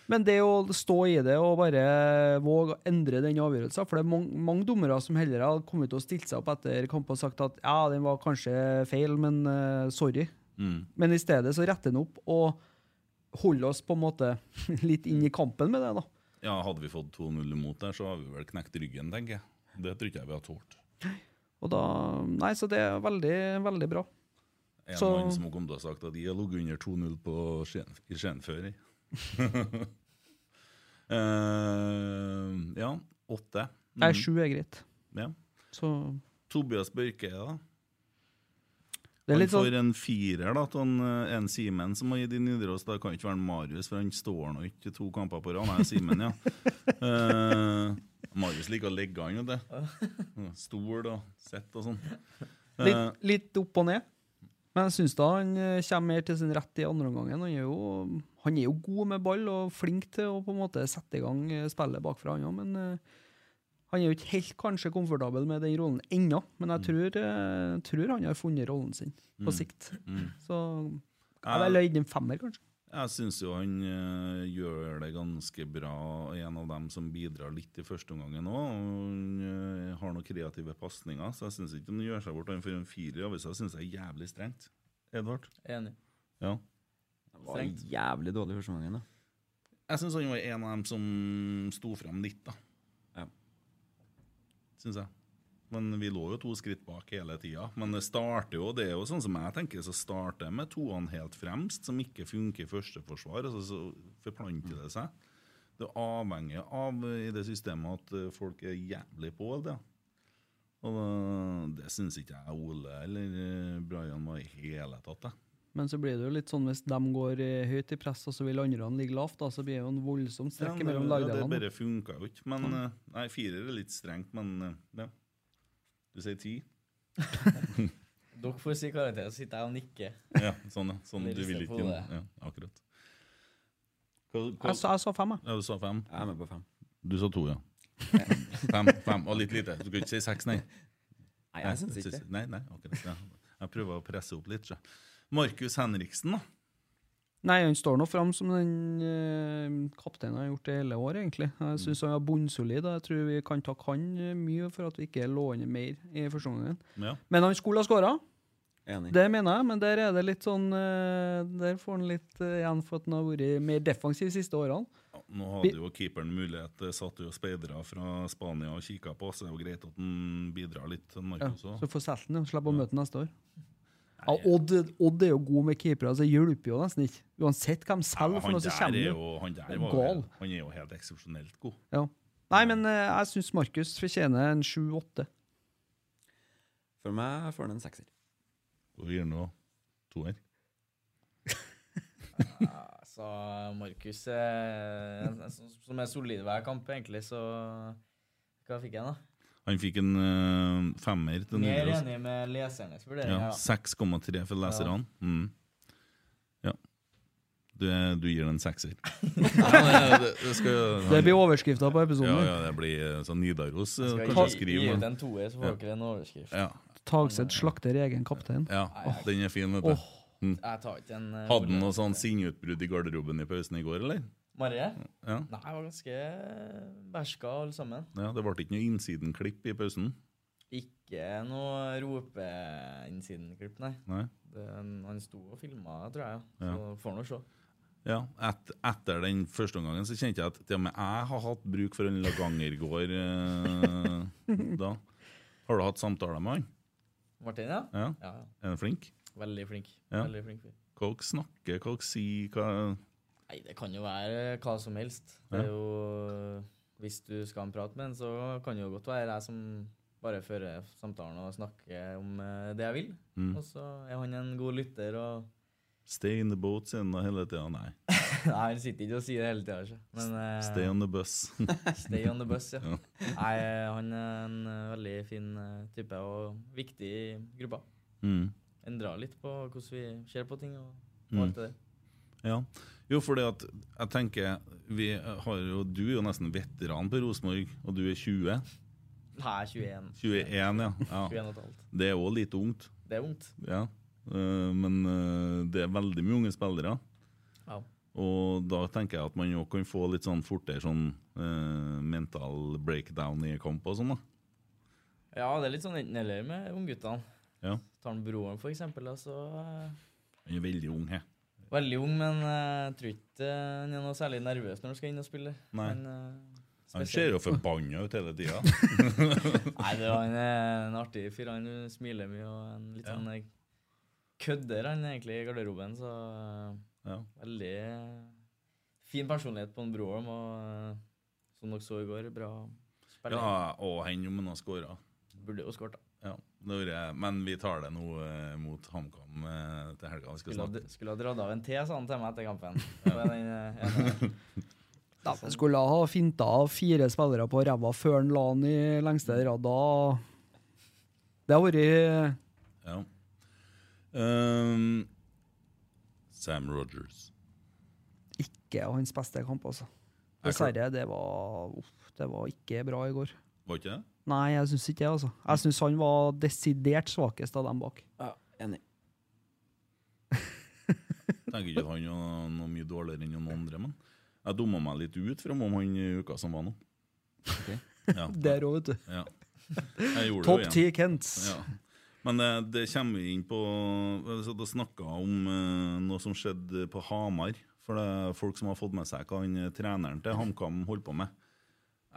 D: Men det å stå i det og bare våge å endre den avgjørelsen For det er mange, mange dommere som heller har kommet og stilt seg opp etter kamp og sagt at ja, den var kanskje feil, men eh, sorry.
B: Mm.
D: Men i stedet så retter den opp og holder oss på en måte litt inn i kampen med det. da.
B: Ja, hadde vi fått 2-0 imot der, så hadde vi vel knekt ryggen, tenker jeg. Det tror ikke jeg vi hadde tålt.
D: Og da, nei, Så det er veldig, veldig bra.
B: En
D: Så-
B: mann som har kommet og sagt at de har ligget under 2-0 på Skien, i Skien før. jeg. Eh, ja, åtte.
D: Nei,
B: Mm.
D: sju er greit.
B: Ja.
D: Så
B: Tobias Børke, da.
D: det er
B: Han
D: litt sånn
B: får en firer da, til han, eh, en Simen som har gitt i Nidaros. Det kan ikke være en Marius, for han står nå ikke to kamper på rad. Nei, Simen, ja. Eh, Marius liker å legge an, vet du. Stol og sett og sånn. Eh,
D: Litt, litt opp og ned. Men jeg syns da han eh, kommer mer til sin rett i andre omgang. Han, er jo- han er jo god med ball og flink til å på en måte sette i gang eh, spillet bakfra, han òg. Men eh, han er jo ikke helt kanskje komfortabel med den rollen ennå. Men jeg tror, eh, tror han har funnet rollen sin på sikt. Så jeg ville gitt en femmer, kanskje.
B: Jeg syns jo han eh, gjør det ganske bra. og En av dem som bidrar litt i første omgangen òg. Han eh, har noen kreative pasninger, så jeg syns ikke han gjør seg bort. Han får en firer i avisa, syns jeg er jævlig strengt. Edvard?
A: Enig.
B: Ja.
G: Det var jævlig dårlig første gangen. da.
B: Jeg syns han var en av dem som sto frem litt, da.
G: Ja.
B: Syns jeg. Men vi lå jo to skritt bak hele tida. Men det starter jo, det er jo sånn som jeg tenker, så starter det med toene helt fremst, som ikke funker i førsteforsvar, og så, så forplanter det seg. Det avhenger av eh, i det systemet at eh, folk er jævlig på det. Og eh, det syns ikke jeg Ole eller eh, Brian var i hele tatt. Jeg.
D: Men så blir det jo litt sånn hvis de går eh, høyt i press, og så vil andre ligge lavt, da, så blir det jo en
B: Ja,
D: voldsom strekk
B: men det-
D: mellom
B: ja, Det
D: lagdelene.
B: bare funka jo ikke. Men eh, Nei, firer er litt strengt, men eh, ja. Du sier ti?
A: Dere får si karakter, så sitter jeg og nikker.
B: Ja, sånn, ja. Sånn,
A: Det
B: du vil
A: rister på
B: ikke
A: hodet.
B: Ja, akkurat. Hva, hva,
D: Jeg, sa- jeg sa fem, jeg.
B: ja, du sa fem?
G: Jeg er med på fem.
B: Du sa to, ja. Fem, fem, og litt lite. Du kan ikke si seks, nei.
G: Nei, jeg syns ikke det.
B: Nei, nei, akkurat. Ja. Jeg prøver å presse opp litt. så. Markus Henriksen, da.
D: Nei, han står nå fram som den eh, kapteinen har gjort det hele året, egentlig. Jeg syns han var bunnsolid, og jeg tror vi kan takke han eh, mye for at vi ikke lå under mer i første omgang.
B: Ja.
D: Men han skulle ha skåra,
G: Enig.
D: det mener jeg, men der er det litt sånn eh, Der får han litt eh, igjen for at han har vært mer defensiv de siste årene.
B: Ja, Nå hadde jo keeperen mulighet. Det satt jo speidere fra Spania og kikka på, så det er jo greit at han bidrar litt. han
D: Ja,
B: Markus også.
D: så får solgt den, og slipper å møte den neste år. Ja, Odd, Odd er jo god med keepere, så det hjelper jo nesten ikke. Uansett hvem
B: Ja,
D: selger for
B: han
D: noe, så
B: der
D: kommer
B: er
D: det.
B: jo, han, der
D: er
B: var,
D: gal.
B: jo- han er jo helt eksepsjonelt god.
D: Ja. Nei, men eh, jeg syns Markus fortjener en sju-åtte.
G: For meg får han en sekser.
B: Og vi gir nå toer.
A: Så Altså, Markus eh, en- en som- som er solid hver kamp, egentlig, så Hva fikk jeg, da?
B: Han fikk en eh, femmer til
A: Mer
B: Nidaros.
A: enig med lesernes vurderinger.
B: Ja,
A: da.
B: 6,3 for leserne. Mm. Ja. Du, er- du gir den en sekser. Nei, det, det, skal,
D: Det blir overskrifta på episoden.
B: ja,
D: Ja,
B: ja, det blir eh, sånn Nidaros eh,
A: Skal
B: kanskje
A: gi, gi
B: skriver.
A: ut
B: men-
A: en toer, så får dere en overskrift.
B: Ja,
D: Tagseth slakter egen kaptein.
B: ja. Åh, den er fin, vet du.
A: Jeg tar ikke en eh,
B: Hadde han
A: ordet.
B: noe sånn sinneutbrudd i garderoben i pausen i går, eller?
A: Marie?
B: Ja,
A: Nei, jeg var ganske bæsjka, alle sammen.
B: ja Det ble ikke noe innsidenklipp i pausen?
A: Ikke noe ropeinnsidenklipp, nei.
B: Nei.
A: Det, han sto og filma, tror jeg. ja. Så får han jo se.
B: Ja, et, Etter den første omgangen så kjente jeg at til og med jeg har hatt bruk for en lagangergård eh, da. Har du hatt samtaler med han?
A: Martin, ja?
B: Ja,
A: Ja, ja.
B: Er han flink?
A: Veldig flink.
B: Ja.
A: Veldig flink fyr.
B: Hva dere snakker, hva dere sier hva...
A: Nei, det kan jo være hva som helst. Det
B: Ja.
A: er jo Hvis du skal ha en prat med en, så kan det jo godt være jeg som bare fører samtalen og snakker om eh, det jeg vil.
B: Mm.
A: Og så er han en god lytter og
B: Stay in the boat, sier han da hele tida. Nei.
A: Nei, han sitter ikke og sier det hele tida, ikke. Men eh,
B: Stay on the bus.
A: stay on the bus, ja. Nei, han er en eh, veldig fin eh, type og viktig i gruppa.
B: mm.
A: Endrer litt på hvordan vi ser på ting og, og alt det der.
B: Ja. Jo, fordi at jeg tenker vi har jo, Du er jo nesten veteran på Rosenborg, og du er 20.
A: Nei, 21.
B: 21, ja. ja.
A: 21 og et halvt.
B: Det er òg litt ungt.
A: Det er vondt.
B: Ja. Eh, men eh, det er veldig mye unge spillere.
A: Ja.
B: Og da tenker jeg at man jo kan få litt sånn fortere sånn eh, mental breakdown i kamp og sånn, da.
A: Ja, det er litt sånn enten-eller med ungguttene.
B: Ja.
A: Tar han broren, for eksempel, da, så eh,
B: Han er veldig ung her.
A: Veldig ung, men eh, jeg tror ikke eh, han er noe særlig nervøs når han skal inn og spille.
B: Nei.
A: Men, eh,
B: Han
A: spesielt-
B: ser jo forbanna ut hele tida.
A: Nei, det var en, eh, en artig fyr. Han smiler mye og en litt
B: Ja.
A: sånn eh, kødder, han egentlig, i garderoben. Så eh,
B: Ja.
A: veldig eh, fin personlighet på en Broholm, og eh, som dere så i går, bra spiller.
B: ja, og han om han har skåra.
A: Burde jo skåret, da.
B: Ja, det gjorde jeg. Men vi tar det nå eh, mot HamKam eh, til helga. Vi skal
A: Skulle ha,
B: snakke.
A: dr- skulle ha dratt av en T, sa han til meg etter kampen. På den, eh, ene-
D: Ja, men skulle ha finta av fire spillere på ræva før han la han i lengste rad. Da Det har vært
B: Ja. Ehm, Sam Rogers.
D: ikke hans beste kamp, altså.
B: Jeg kan-
D: Dessverre, det var, uff, det var ikke bra i går.
B: Var ikke det?
D: Nei, jeg syns ikke det. altså. Jeg syns han var desidert svakest av dem bak.
G: Ja, enig.
B: Tenker ikke at han var noe mye dårligere enn noen andre, men jeg dumma meg litt ut fra om han i uka som var nå. Ja,
D: Der òg, vet du.
B: ja. Jeg gjorde
D: Topp
B: det jo igjen.
D: ti Kents.
B: Ja. Men det, det kommer vi inn på altså, Da snakka jeg om eh, noe som skjedde på Hamar. For det er folk som har fått med seg hva han eh, treneren til HamKam holdt på med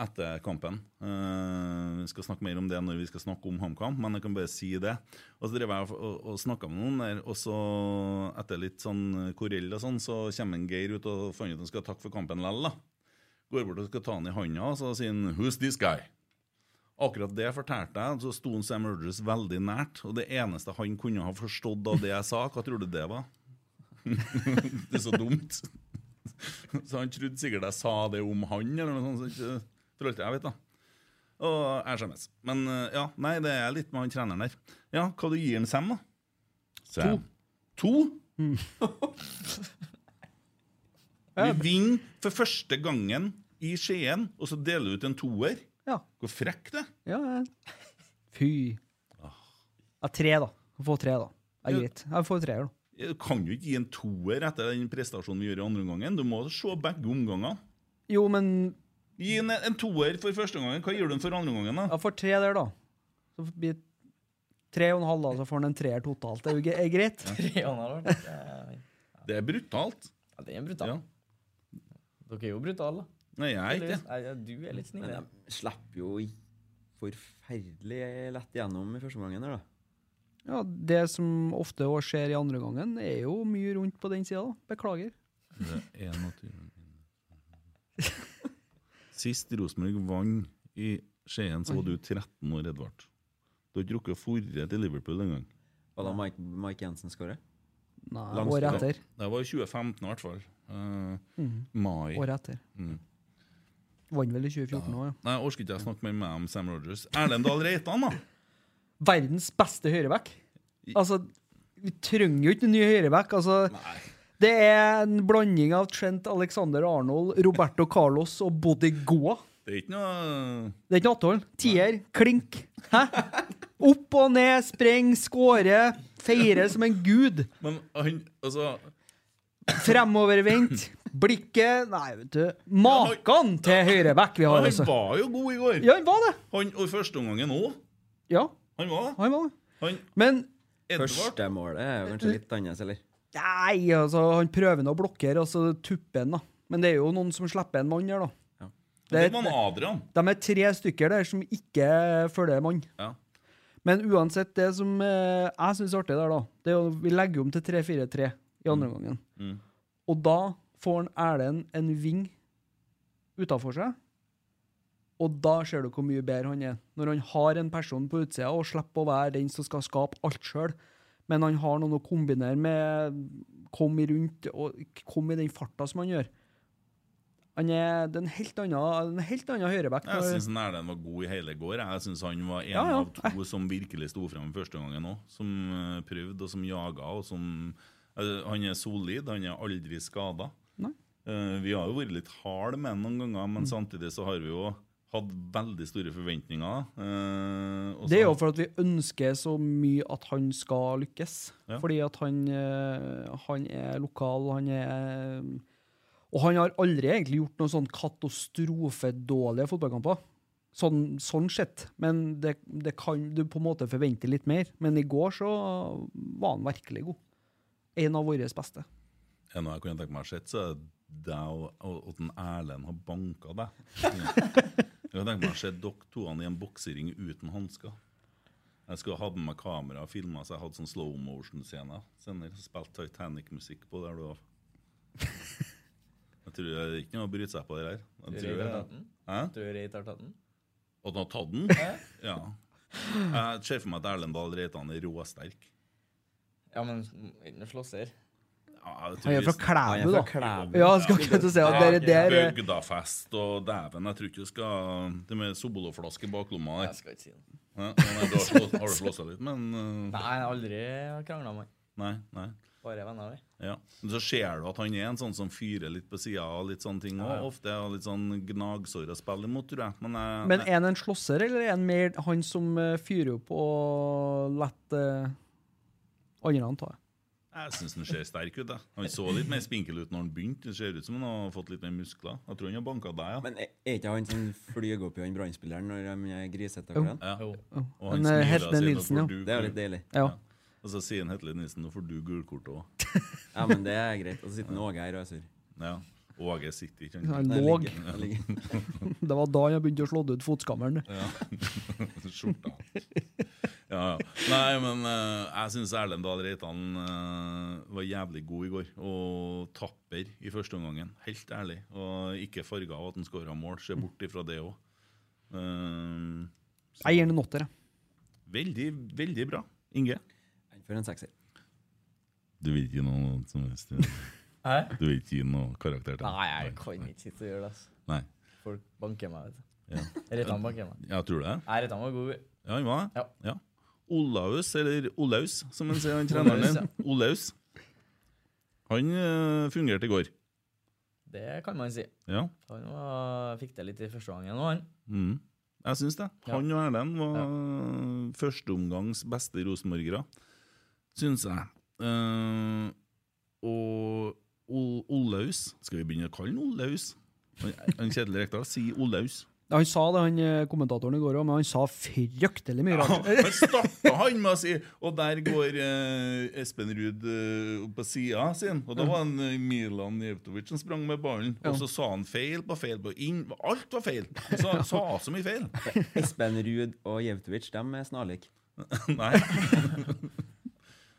B: etter kampen. Eh, vi skal snakke mer om det når vi skal snakke om HamKam, men jeg kan bare si det. Og så drev jeg og, og, og snakka med noen der, og så, etter litt sånn korell og sånn, så kommer en Geir ut og fant ut at han skal takke for kampen lell, da. Går bort og skal ta han i handa, og så sier han 'Who's this guy?' Akkurat det fortalte jeg, så sto han Sam Rogers veldig nært. Og det eneste han kunne ha forstått av det jeg sa, hva tror du det var? det er så dumt. Så han trodde sikkert jeg sa det om han, eller noe sånt. Så ikke, for alt jeg vet, da. Og jeg skjemmes. Men eh, ja, nei, det er litt med han treneren der. Ja, hva du gir han Sam, da? To? Vi vinner for første gangen i Skien, og så deler du ut en toer.
D: Ja.
B: Hvor frekk det er.
D: Ja, jeg- Fy.
B: Ah.
D: Ja, tre, da. Å få tre, da. Det er greit. Jeg får treer, da.
B: Du kan jo ikke gi en toer etter den prestasjonen vi gjør i andre omgangen. Du må se begge omganger.
D: Jo, men
B: Gi en, en toer for første omgangen. Hva gjør du for andre omgangen? da?
D: jeg får tre der, da. Så blir det tre og en halv, da, så får han en treer totalt. Det er jo gre- er greit.
A: Det
B: Det er brutalt.
A: er en brutal.
B: Ja.
A: Dere er jo brutale.
B: Nei, jeg er ikke det.
A: Heldigvis. Nei, ja, Du er litt snill.
G: Men
A: ja.
G: de slipper jo i- forferdelig lett gjennom i første gangen. her, da.
D: Ja, Det som ofte også skjer i andre gangen, er jo mye rundt på den sida, da. Beklager.
B: Det er naturen min. Sist Rosenborg vant i Skien, så var du 13 år, Edvard. Du har ikke rukket å forre til Liverpool engang.
G: Var det Mike, Mike Jensen skårer?
D: Nei,
B: Langs-
D: året etter. Mhm.
B: Det var i 2015 i hvert fall. Eh, Mai.
D: Året etter.
B: Mm.
D: Vant vel i 2014 òg, ja.
B: Nei, Jeg orker ikke jeg snakke mer med om Sam Rogers. Erlend Dahl Reitan, da!
D: Verdens beste høyreback. Altså, vi trenger jo ikke en ny høyreback. Altså, det er en blanding av Trent Alexander Arnold, Roberto Carlos og Bodi Goa.
B: Det er ikke noe
D: Det er ikke noe atthold. Tier, klink. Hæ? Opp og ned, spreng, skåre, feire som en gud.
B: Men han altså
D: Fremovervendt. Blikket Nei, vet du. Maken til høyreback vi har,
B: Han
D: altså.
B: var jo god i går!
D: Ja, han var det.
B: Han, og i første omgangen òg.
D: Ja,
B: Han var det.
D: han var det.
B: Han
D: Men
B: Edvard
G: Første målet er jo kanskje litt annerledes, eller?
D: Nei, altså, han prøver nå å blokkere, og så tupper han, da. Men det er jo noen som slipper en mann der, da.
B: Det var han Adrian.
D: de er tre stykker der som ikke følger mann.
B: Ja.
D: Men uansett, det som eh, jeg syns er artig der, da, det er jo vi legger om til 3-4-3 i andre omgangen. Og da får han Erlend en ving utafor seg, og da ser du hvor mye bedre han er. Når han har en person på utsida og slipper å være den som skal skape alt sjøl, men han har noen å kombinere med, komme rundt og komme i den farta som han gjør. Han er det er en helt annen, en helt annen høyreback.
B: Jeg
D: når-
B: syns Erlend var god i hele går. Jeg syns han var en
D: Ja, ja.
B: av to som virkelig sto frem første gangen òg. Som eh, prøvde, og som jaga, og som eh, Han er solid, han er aldri skada.
D: Nei. Mm.
B: vi har jo vært litt harde med han noen ganger, men samtidig så har vi jo hatt veldig store forventninger. eh, og
D: Det
B: så-
D: er jo for at vi ønsker så mye at han skal lykkes.
B: Ja.
D: Fordi at han, eh, han er lokal, han er Og han har aldri egentlig gjort noen sånn katastrofedårlige fotballkamper. Sånn, sånn sett. Men det, det kan du på en måte forvente litt mer. Men i går så var han virkelig god. En av våre beste.
B: Er det noe jeg kunne tenke meg å sett, så er det deg og- og at en Erlend har banka deg. Jeg kunne tenke meg å se dere to i en boksering uten hansker. Jeg skulle ha hatt med meg kamera og filma, så jeg hadde sånn slow motion-scene. Senere spilt Titanic-musikk på der du var. Jeg tror det er ikke noe å bryte seg på det her. Jeg tror
A: Tror du har
B: det-
A: tatt den?
B: Hæ?
A: Tror du Reitar har tatt den?
B: At han har tatt den? Ja. Jeg ser for meg at Erlend Dahl Reitan er råsterk.
A: Ja, men ikke noe slåsser.
B: Ja, jeg tror
D: Han er
B: vi-
D: fra Klæbu,
G: Han er
D: da.
G: fra Klæbu.
D: Ja, jeg skal ikke til å si at dere der eh,
B: Bøgdafest og dæven, jeg tror ikke du skal Det med Soboloflaske i baklomma der.
A: Jeg skal ikke si noe.
B: Ja, nei, du har slått- har du slått deg litt, men uh,
A: Nei, jeg har aldri krangla med han.
B: Nei. nei.
A: Bare venner, vi.
B: Ja. Men så ser du at han er en sånn som fyrer litt på sida og litt sånne ting òg. Ofte har litt sånn gnagsår å spille imot, tror jeg. Men, jeg,
D: Men
B: nei.
D: er han en slåsser, eller er han mer han som eh, fyrer opp og lar uh, andre ta det?
B: jeg syns han ser sterk ut. Jeg. Han så litt mer spinkel ut når han begynte. Det ser ut som han har fått litt mer muskler. Jeg tror han har banka deg, ja.
G: Men er er ikke han som flyr opp i han brannspilleren når han er grisete? og grann?
B: ja. Og
D: Han, eh, heter Nilsen, ja.
G: Det er jo litt deilig.
D: Ja.
B: Og så sier han Hetle Nilsen, nå får du gulkort òg.
G: Ja, men det er greit. Og så sitter han Åge her og er sur.
B: Ja. Åge sitter ikke
D: Han
G: Den
D: låg.
G: ligger- den ligger.
D: Det var da han begynte å slå ut fotskammeren.
B: Skjorta. Ja, ja. Nei, men eh, jeg syns Erlend Dahl Reitan eh, var jævlig god i går. Og tapper i første omgangen. Helt ærlig. Og ikke farga av at han skåra mål. Se bort ifra det Eh, òg.
D: Jeg gir ham en åtter. jeg.
B: veldig, veldig bra. Inge?
G: For en sekser.
B: Du vil ikke gi noe som helst? ja.
A: Hæ?
B: Du vil ikke gi noe karakter til?
A: Nei, jeg kan ikke sitte og gjøre det. ass.
B: Nei.
A: Folk banker meg, vet du.
B: Ja.
A: Rettan banker meg.
B: Jeg tror det.
A: Nei, Rettan var god.
B: Ja, han var det.
A: Ja.
B: Ja. Olaus, eller Olaus, som han sier, han treneren
A: Olaus,
B: din. Olaus. Han eh, fungerte i går.
A: Det kan man si.
B: Ja.
A: Han var, fikk det litt i første gangen òg, han.
B: Mm. Jeg syns det.
A: Ja.
B: Han og Erlend var førsteomgangs beste rosenborgere, syns jeg. Eh, og Ol- Olaus Skal vi begynne å kalle han Olaus? Han, han Kjetil Rekdal sier Olaus.
D: Han sa det, han eh, kommentatoren i går òg, men han sa fryktelig mye rart.
B: Han starta han med å si Og der går eh, Espen Ruud eh, opp på sida sin. Og da var han eh, Milan Jevtovic som sprang med ballen. Og så sa han feil på feil på inn. Alt var feil! Så han sa så mye feil.
G: Espen Ruud og Jevtovic de er snarlike.
B: Nei.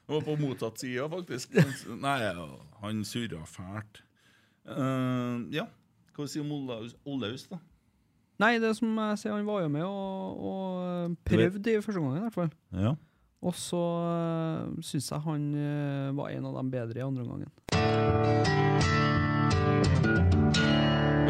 B: Han var på motsatt side, faktisk. Han- Nei, han surra fælt. Eh, ja, hva sier Olaus, Olaus, da?
D: Nei, det som jeg sier, han var jo med og, og prøvde i første gangen, i hvert fall.
B: Ja.
D: Og så øh, syns jeg han øh, var en av de bedre i andre omgangen.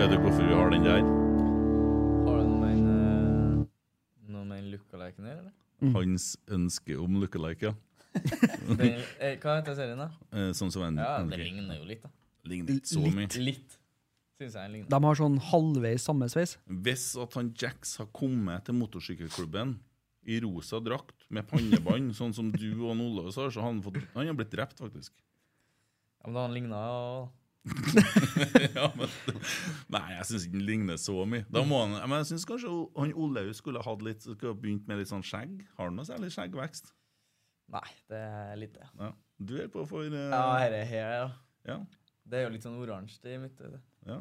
B: Vet du hvorfor vi har den der?
A: Har du noe med en, eh, noe med en look-a-liken her, eller?
B: Hans ønske om lookalike, ja.
A: Den, eh, hva heter serien, da?
B: Eh, sånn som en
A: Ja,
B: en-
A: det ligner jo litt, da.
B: ligner ikke så mye.
A: Litt, syns jeg den ligner.
D: De har sånn halvveis samme sveis.
B: Hvis at han Jax har kommet til motorsykkelklubben i rosa drakt med pannebånd, sånn som du og han Olaus har, så har han, fått, han har blitt drept, faktisk.
A: Ja, men da han ligna og
B: ja, men, nei, jeg syns ikke han ligner så mye. Da må han, men jeg syns kanskje O- han Olaus skulle ha hatt litt, skulle ha begynt med litt sånn skjegg. Har han noe særlig skjeggvekst?
A: Nei, det er lite.
B: Ja. Du er på for eh,
A: Ja, herre her, ja.
B: ja,
A: Det er jo litt sånn oransje i midten. det.
B: ja.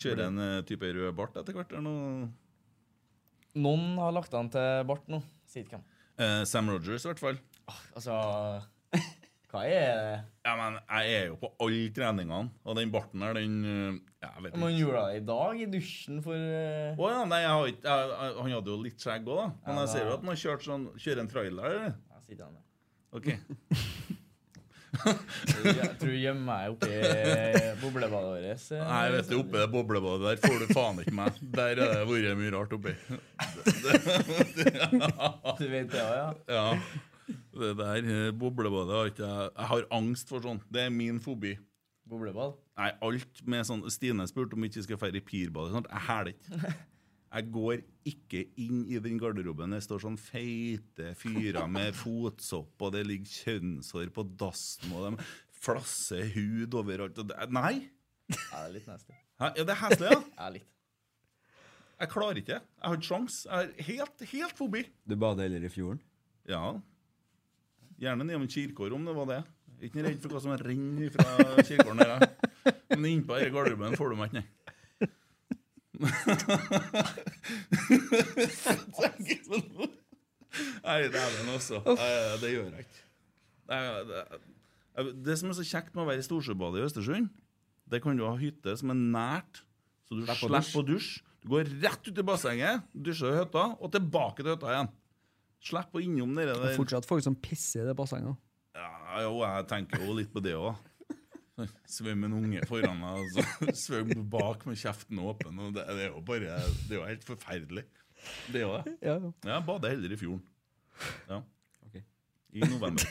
B: Kjøre en eh, type rød bart etter hvert? eller noe?
A: Noen har lagt han til bart nå. Sier ikke hvem.
B: Eh, Sam Rogers, i hvert fall.
A: Altså Hva er det?
B: Ja, men jeg er jo på alle treningene, og den barten her, den eh, ja, Jeg vet ikke.
A: Man gjorde det i dag, i dusjen, for eh,
B: Å ja, nei, jeg har ikke, jeg, jeg, han hadde jo litt skjegg òg, da. Men jeg ser jo at han har kjørt sånn Kjører en trailer, eller?
A: Jeg sitter han med.
B: OK.
A: Jeg tror jeg gjemmer meg oppi boblebadet vårt. eh.
B: Nei, vet du, oppi det boblebadet der får du faen ikke meg. Der har det vært mye rart oppi.
A: Du vet det òg, ja?
B: Ja. Det der eh, boblebadet har ikke jeg Jeg har angst for sånt. Det er min fobi.
A: Boblebad.
B: Nei, alt med sånn Stine spurte om vi ikke skal feire pirbadet. og sånt. Jeg hæler ikke. Jeg går ikke inn i den garderoben. Det står sånn feite fyrer med fotsopp, og det ligger kjønnshår på dassen, og de flasser hud overalt. Og det, nei!
A: Ja, det er litt nasty.
B: Hæ? Ja, det er heslig, ja.
A: Ja, litt.
B: Jeg klarer ikke. Jeg har ikke sjans. Jeg har helt, helt fobi.
G: Du bader heller i fjorden.
B: Ja. Gjerne ned om kirkegård, om det var det. Ikke redd for hva som renner fra kirkegården her. jeg. Men innpå denne garderoben får du meg ikke, nei. Tenk sånn. Nei, dæven også. Nei, Det gjør jeg ikke. Nei, det- jeg- Det som er så kjekt med å være i Storsjøbadet i Østersund, det kan du ha hytte som er nært, så du
G: Slipp å
B: slipper å dusje. Du går rett ut i bassenget, dusjer i hytta, og tilbake til hytta igjen. Slipp å innom dere
D: Det
B: der.
D: er fortsatt folk som pisser i det bassenget.
B: Ja, jo, jeg tenker jo litt på det òg. Svømme en unge foran meg, og så svømme bak med kjeften åpen. Og det, det er jo bare Det er jo helt forferdelig. Det er jo det.
D: Ja, ja.
B: Ja, Jeg bader heller i fjorden. Ja.
G: Ok.
B: I november.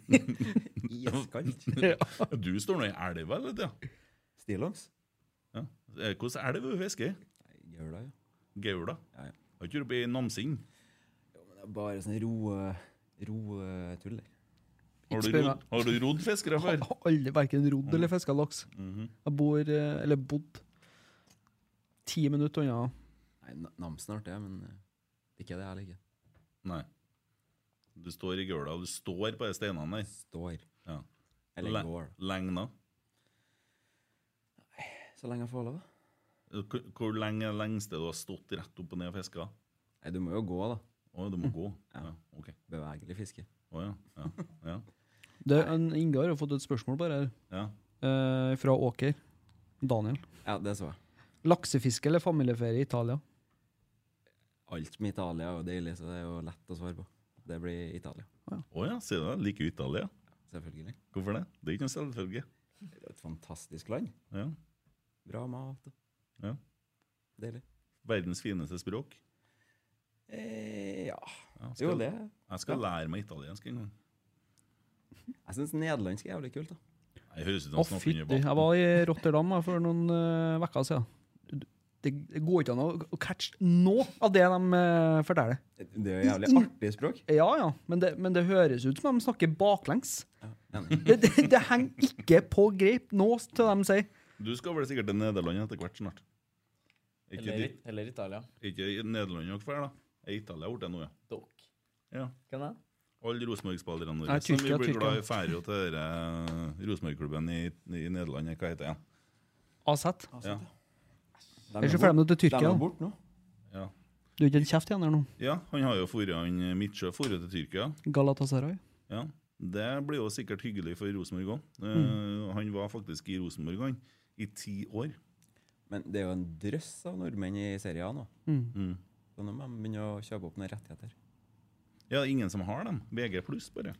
G: Iskaldt.
B: Du står nå i elva, eller? Ja.
G: Stillongs.
B: Ja. Eh, Hvordan elv er det du fisker i?
G: Gjør det, ja.
B: Gaula?
G: Ja, ja.
B: Har ikke du oppe i Namsing?
G: Det er bare sånn roe... Roetull der.
B: Har du
D: Ikke spør
B: rodd- har du rodd fiskere
D: Jeg
B: før?
D: har aldri verken rodd eller fiska laks. Jeg bor, øh, eller bodd, ti minutter unna.
G: Nei, Na- Namsen er artig, ja, men eh, ikke det jeg liker.
B: Nei. Du står i gaula, og du står på de steinene der.
G: Står.
B: Ja.
G: Eller går. da.
B: Lengna.
G: Så lenge jeg får lov, da.
B: Hvor hvor lenge er det lengste du har stått rett opp og ned og fiska?
G: Nei, du må jo gå, da.
B: Å, du må gå?
G: Mm. Ja.
B: Ja, ok.
G: Bevegelig fiske.
B: Å ja. Ja. ja.
D: Det, en- Inge har jo fått et spørsmål bare her,
B: ja.
D: øh, fra Åker. Daniel.
G: Ja, det så jeg.
D: Laksefiske eller familieferie i Italia?
G: Alt med Italia er jo deilig, så det er jo lett å svare på. Det blir Italia.
B: Å ja, sier du det? Liker du Italia?
G: Selvfølgelig.
B: Hvorfor det? Det er ikke noe selvfølge.
G: Det er et fantastisk land.
B: Ja.
G: Bra mat.
B: Ja.
G: Deilig.
B: Verdens fineste språk.
G: Eh, ja.
B: Ja, skal-
G: Jo, det
B: Jeg skal lære meg italiensk en gang.
G: Jeg syns nederlandsk er jævlig kult, da.
B: Jeg høres ut som
D: Å,
B: han snakker
D: fytti.
B: under
D: Jeg
B: Sånn vann.
D: var i Rotterdam jeg, for noen eh, uker siden. Du- Det, det går ikke an å- å catche noe av det de eh, forteller.
G: Det er jo jævlig artig språk.
D: Ja, ja, men det, men det høres ut som de snakker baklengs.
G: Enig.
D: Det, det, det henger ikke på greip nå til de sier.
B: Du skal vel sikkert til Nederland etter hvert snart. Ikke,
A: Eller,
B: dit,
A: eller Italia.
B: ikke i Nederland dere drar, da. Er Italia borte nå, ja.
A: Dok.
B: ja.
A: Kan jeg?
B: Alle Rosenborg-spillerne
D: Nei,
B: våre som vi
D: Tyrkia,
B: blir glad i,
D: Tyrkia.
B: drar jo til denne eh, Rosenborg-klubben i, i Nederland. Hva heter den?
D: Asett.
B: Ja.
G: De
D: Ellers så får de det til
G: De
D: Tyrkia.
G: er
D: da.
G: borte nå.
B: Ja.
D: Du er ikke en kjeft igjen her nå.
B: ja, han har jo forrige, han Midtsjø forrige til Tyrkia.
D: Galatasaray.
B: Ja, Det blir jo sikkert hyggelig for Rosenborg òg.
D: Mm.
B: Han var faktisk i Rosenborg han, i ti år.
G: Men det er jo en drøss av nordmenn i Serie A nå.
B: Mm.
G: Så nå må de begynne å kjøpe opp noen rettigheter.
B: Ja, ingen som har dem. VG pluss, bare.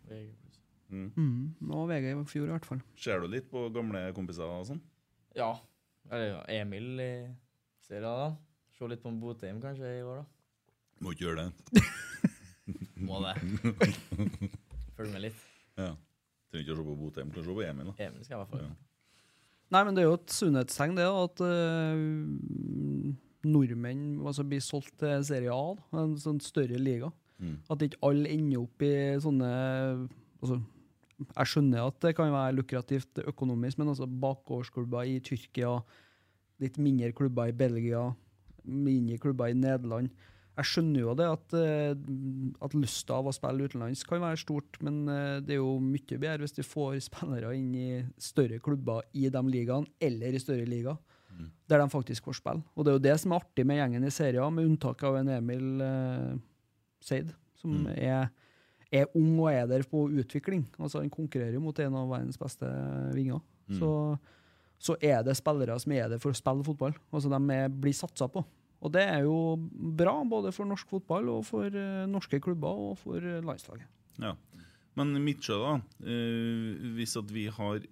D: Mm. Nå var VG i fjor i hvert fall.
B: Ser du litt på gamle kompiser og sånn?
A: Ja. Eller ja, Emil i serien, da. Se litt på en Botheim kanskje i år, da.
B: Må ikke gjøre det.
A: Må det. Følg med litt.
B: Ja. Trenger ikke å se på Botheim, kan se på Emil. da.
A: Emil skal jeg i hvert fall.
B: Ja.
D: Nei, men det er jo et sunnhetstegn, det, at eh, nordmenn altså, blir solgt til Serie A, da, en sånn større liga. At ikke alle ender opp i sånne altså, Jeg skjønner at det kan være lukrativt økonomisk, men altså bakgårdsklubber i Tyrkia, litt mindre klubber i Belgia, mindre klubber i Nederland. Jeg skjønner jo det at, eh, at lysta av å spille utenlands kan være stort, men eh, det er jo mye bedre hvis de får spillere inn i større klubber i de ligaene, eller i større ligaer, der de faktisk får spille. Og det er jo det som er artig med gjengen i serien, A, med unntak av en Emil eh, Seid, som er, er ung og er der på utvikling. Altså Han konkurrerer jo mot en av verdens beste vinger. Så, så er det spillere som er der for å spille fotball. Altså De er, blir satsa på. Og det er jo bra, både for norsk fotball og for eh, norske klubber og for eh, landslaget.
B: Ja. Men Midtsjø, da. eh, hvis at vi har eh,